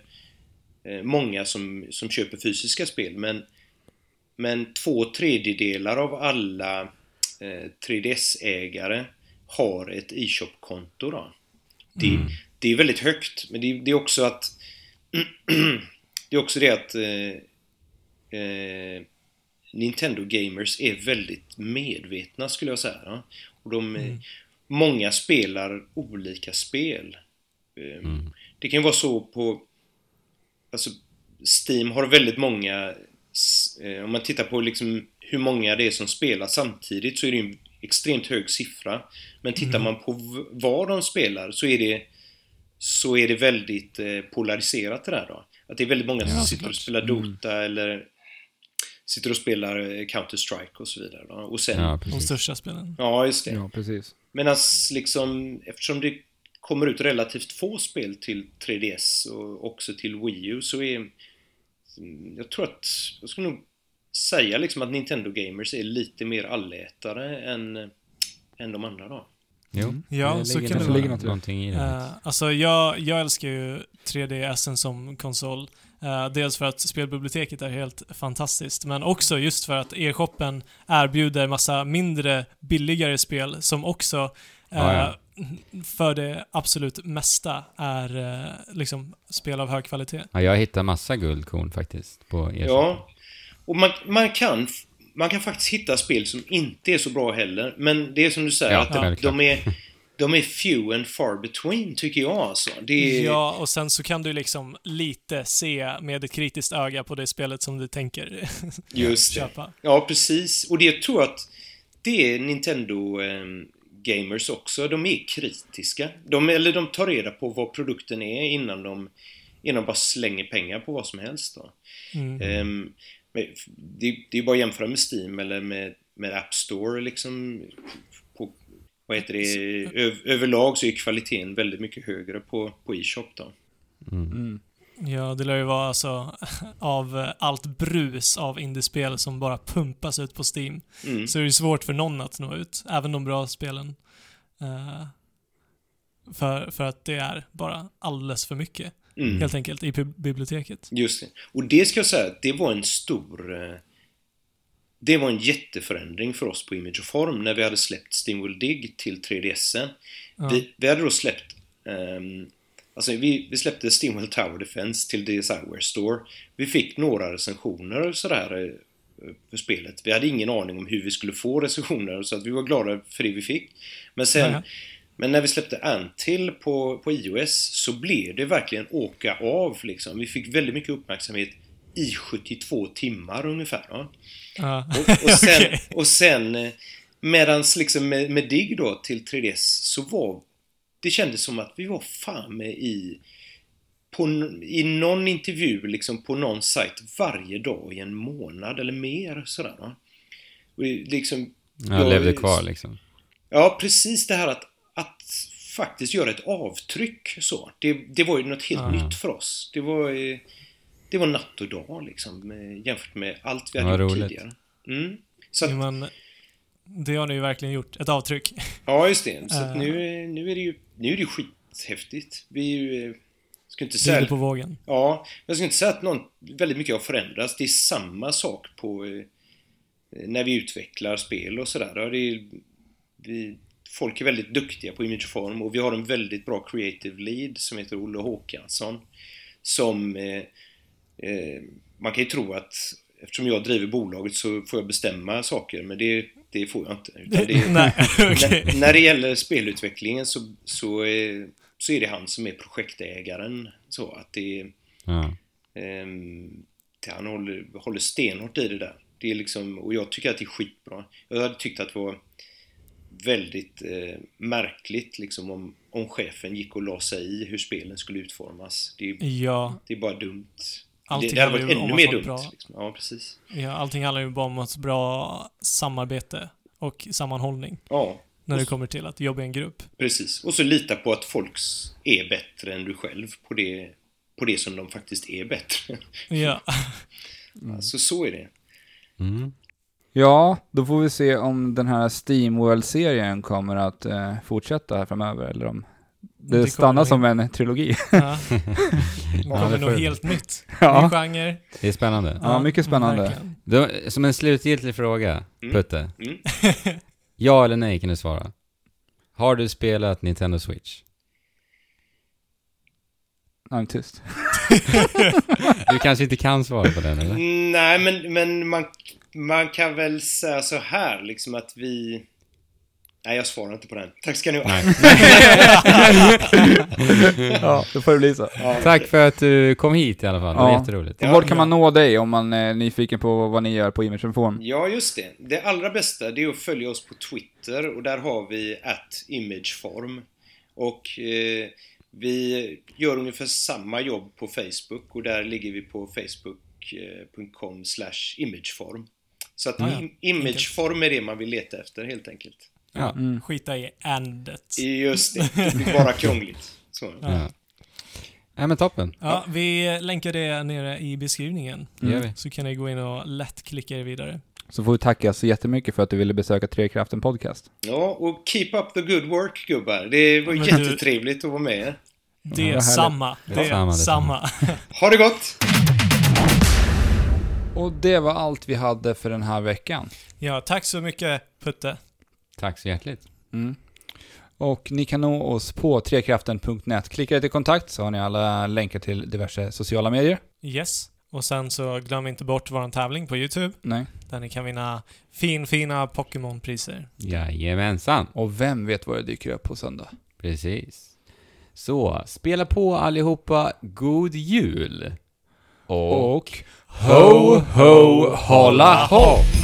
eh, många som, som köper fysiska spel. Men, men två tredjedelar av alla eh, 3DS-ägare har ett e-shop-konto. Då. Det, det är väldigt högt, men det, det är också att... [clears throat] det är också det att... Eh, eh, Nintendo Gamers är väldigt medvetna skulle jag säga. Ja? Och de, eh, Många spelar olika spel. Ehm, Det kan ju vara så på... Alltså, Steam har väldigt många... s- eh, Om man tittar på liksom hur många det är som spelar samtidigt så är det ju en extremt hög siffra. Men tittar man på v- vad de spelar så är det så är det väldigt eh, polariserat det där då. Att det är väldigt många som sitter och spelar Dota eller sitter och spelar eh, Counter-Strike och så vidare. Då. Och sen,
ja
ja.
De
precis.
största spelen.
just det.
Ja, precis.
Medan liksom, eftersom det kommer ut relativt få spel till 3DS och också till Wii U så är... Jag tror att, jag skulle nog säga liksom att Nintendo Gamers är lite mer allätare än, eh, än de andra då.
Jo,
Ja,
Mm. det
så
ligger
kan det
nog
vara.
Någonting i det.
Eh, alltså jag, jag älskar ju 3DSen som konsol. Eh, dels för att spelbiblioteket är helt fantastiskt, men också just för att e-shoppen erbjuder massa mindre, billigare spel som också eh,
Ja, Ah, ja.
för det absolut mesta är eh, liksom spel av hög kvalitet.
Ja, jag hittar massa guldkorn faktiskt på e
Ja. Och man, man, kan, man kan faktiskt hitta spel som inte är så bra heller. Men det är som du säger,
Ja,
att de,
självklart.
de, är, de är few and far between, tycker jag alltså. Det är,
Ja, och sen så kan du liksom lite se med ett kritiskt öga på det spelet som du tänker
[laughs] just det.
köpa.
Ja, precis. Och det tror jag att det är Nintendo eh, gamers också. De är kritiska. De, eller de tar reda på vad produkten är innan de, innan de bara slänger pengar på vad som helst. Då.
Mm.
Ehm, men f- det, det är bara att jämföra med Steam eller med, med App Store liksom. På, vad heter det? Ö, överlag så är kvaliteten väldigt mycket högre på, på e-shop då.
Ja, det lär ju vara alltså av eh, allt brus av indiespel som bara pumpas ut på Steam.
Mm.
Så är det ju svårt för någon att nå ut, även de bra spelen. Eh, för, för att det är bara alldeles för mycket,
Mm.
helt enkelt, i bi- biblioteket.
Just det. Och det ska jag säga att det var en stor... eh, Det var en jätteförändring för oss på Image och Form när vi hade släppt Steamworld Dig till 3DSen. Vi, vi hade då släppt... ehm, alltså vi, vi släppte Steamworld Tower Defense till DSiWare Store. Vi fick några recensioner och sådär eh, för spelet. Vi hade ingen aning om hur vi skulle få recensioner så att vi var glada för det vi fick. Men sen...
Jaja.
Men när vi släppte Antil på, på iOS så blev det verkligen åka av liksom. Vi fick väldigt mycket uppmärksamhet i 72 timmar ungefär. Va?
Ja.
[laughs]
[laughs]
Och, och sen,
Okej.
och sen eh, medans liksom med, med Dig då till 3DS så var det kändes som att vi var fan med i på, n- i någon intervju liksom på någon sajt varje dag i en månad eller mer sådär va. Och det- liksom,
Jag levde kvar liksom.
Ja, precis det här att, att faktiskt göra ett avtryck så. Det, det var ju något helt
Ah.
nytt för oss. Det var, eh, det var natt och dag liksom eh, jämfört med allt vi hade
Vad
gjort
roligt.
tidigare. Mm. Så att,
Jo, Men det har ni ju verkligen gjort ett avtryck.
ja, just det. Så att
Eh.
nu, är- nu är det ju nu är det ju skithäftigt. Vi är ju... eh, Ska inte säga...
Rider på vågen.
Ja, men jag skulle inte säga att någon, väldigt mycket har förändrats. Det är samma sak på eh, när vi utvecklar spel och sådär. Ja, det är- vi- Folk är väldigt duktiga på imageform och vi har en väldigt bra creative lead som heter Olle Håkansson. Som eh, eh, man kan ju tro att eftersom jag driver bolaget så får jag bestämma saker, men det, det får jag inte. Utan det,
[laughs] Nej,
[laughs]
okej.
när, när det gäller spelutvecklingen så, så, eh, så är det han som är projektägaren. Så att det,
Ja.
ehm, det han håller, håller stenhårt i det där. Det är liksom, och jag tycker att det är skitbra. Jag hade tyckt att det var väldigt eh, märkligt liksom om, om chefen gick och la sig i hur spelen skulle utformas. Det, är-
Ja,
det är bara dumt.
Allting
det, det hade
handlar
varit
ju om
ännu
att
mer
ha ett
dumt.
bra-
Liksom. Ja, precis.
ja, allting handlar ju bara om ett bra samarbete och sammanhållning
Ja,
när det kommer till att jobba i en grupp.
precis. Och så lita på att folk s- är bättre än du själv på det, på det som de faktiskt är bättre. [laughs]
Ja,
Alltså så är det.
Mm.
Ja, då får vi se om den här Steam World-serien kommer att eh, fortsätta här framöver, eller om det,
kommer
stannar
nog
som en trilogi.
[laughs] ja. Nu kommer
det får
något
vi.
helt nytt. Ny
ja.
genre.
Det är spännande.
[laughs] Ja, mycket spännande.
verkligen.
Då, som en slutgiltig fråga,
Mm.
Putte.
Mm.
[laughs] Ja eller nej kan du svara. Har du spelat Nintendo Switch?
Nej, tyst.
Du kanske inte kan svara på den eller?
Nej, men, men man, man kan väl säga så här liksom att vi... Nej, jag svarar inte på den. Tack ska ni ha. [laughs]
ja, då får det bli så.
Ja,
Tack för att du kom hit i alla fall, det var
Ja.
jätteroligt.
Och
Ja,
var kan
ja.
man nå dig om man eh, är nyfiken på vad ni gör på Image and Form?
Ja, just det. Det allra bästa det är att följa oss på Twitter och där har vi att imageform. Och eh, vi gör ungefär samma jobb på Facebook och där ligger vi på facebook.com slash imageform. Så att
Ah, Ja, ja.
im- imageform är det man vill leta efter helt enkelt.
Ja.
Skita i ändet.
Just det, det
[laughs]
blir bara krångligt. Så.
Ja. Nej men toppen,
Ja, vi länkar det nere i beskrivningen.
det gör vi.
Så kan ni gå in och lätt klicka er vidare.
Så får vi tacka så jättemycket för att du ville besöka Trekraften Podcast.
Ja, och keep up the good work gubbar. Det var
Men du-
jättetrevligt att vara med er.
Det är
härligt.
samma. Det är
Samma, det är
samma. [laughs]
Ha det gott!
Och det var allt vi hade för den här veckan.
Ja, tack så mycket Putte.
Tack så hjärtligt.
Mm. Och ni kan nå oss på trekraften.net. Klicka till kontakt så har ni alla länkar till diverse sociala medier.
Yes. Och sen så glöm inte bort vår tävling på YouTube
Nej.
där ni kan vinna fin, fina Pokémon-priser.
Jajamensan,
Och vem vet vad det dyker upp på söndag?
precis. Så, spela på allihopa, god jul! Och...
ho, ho, hålla hopp!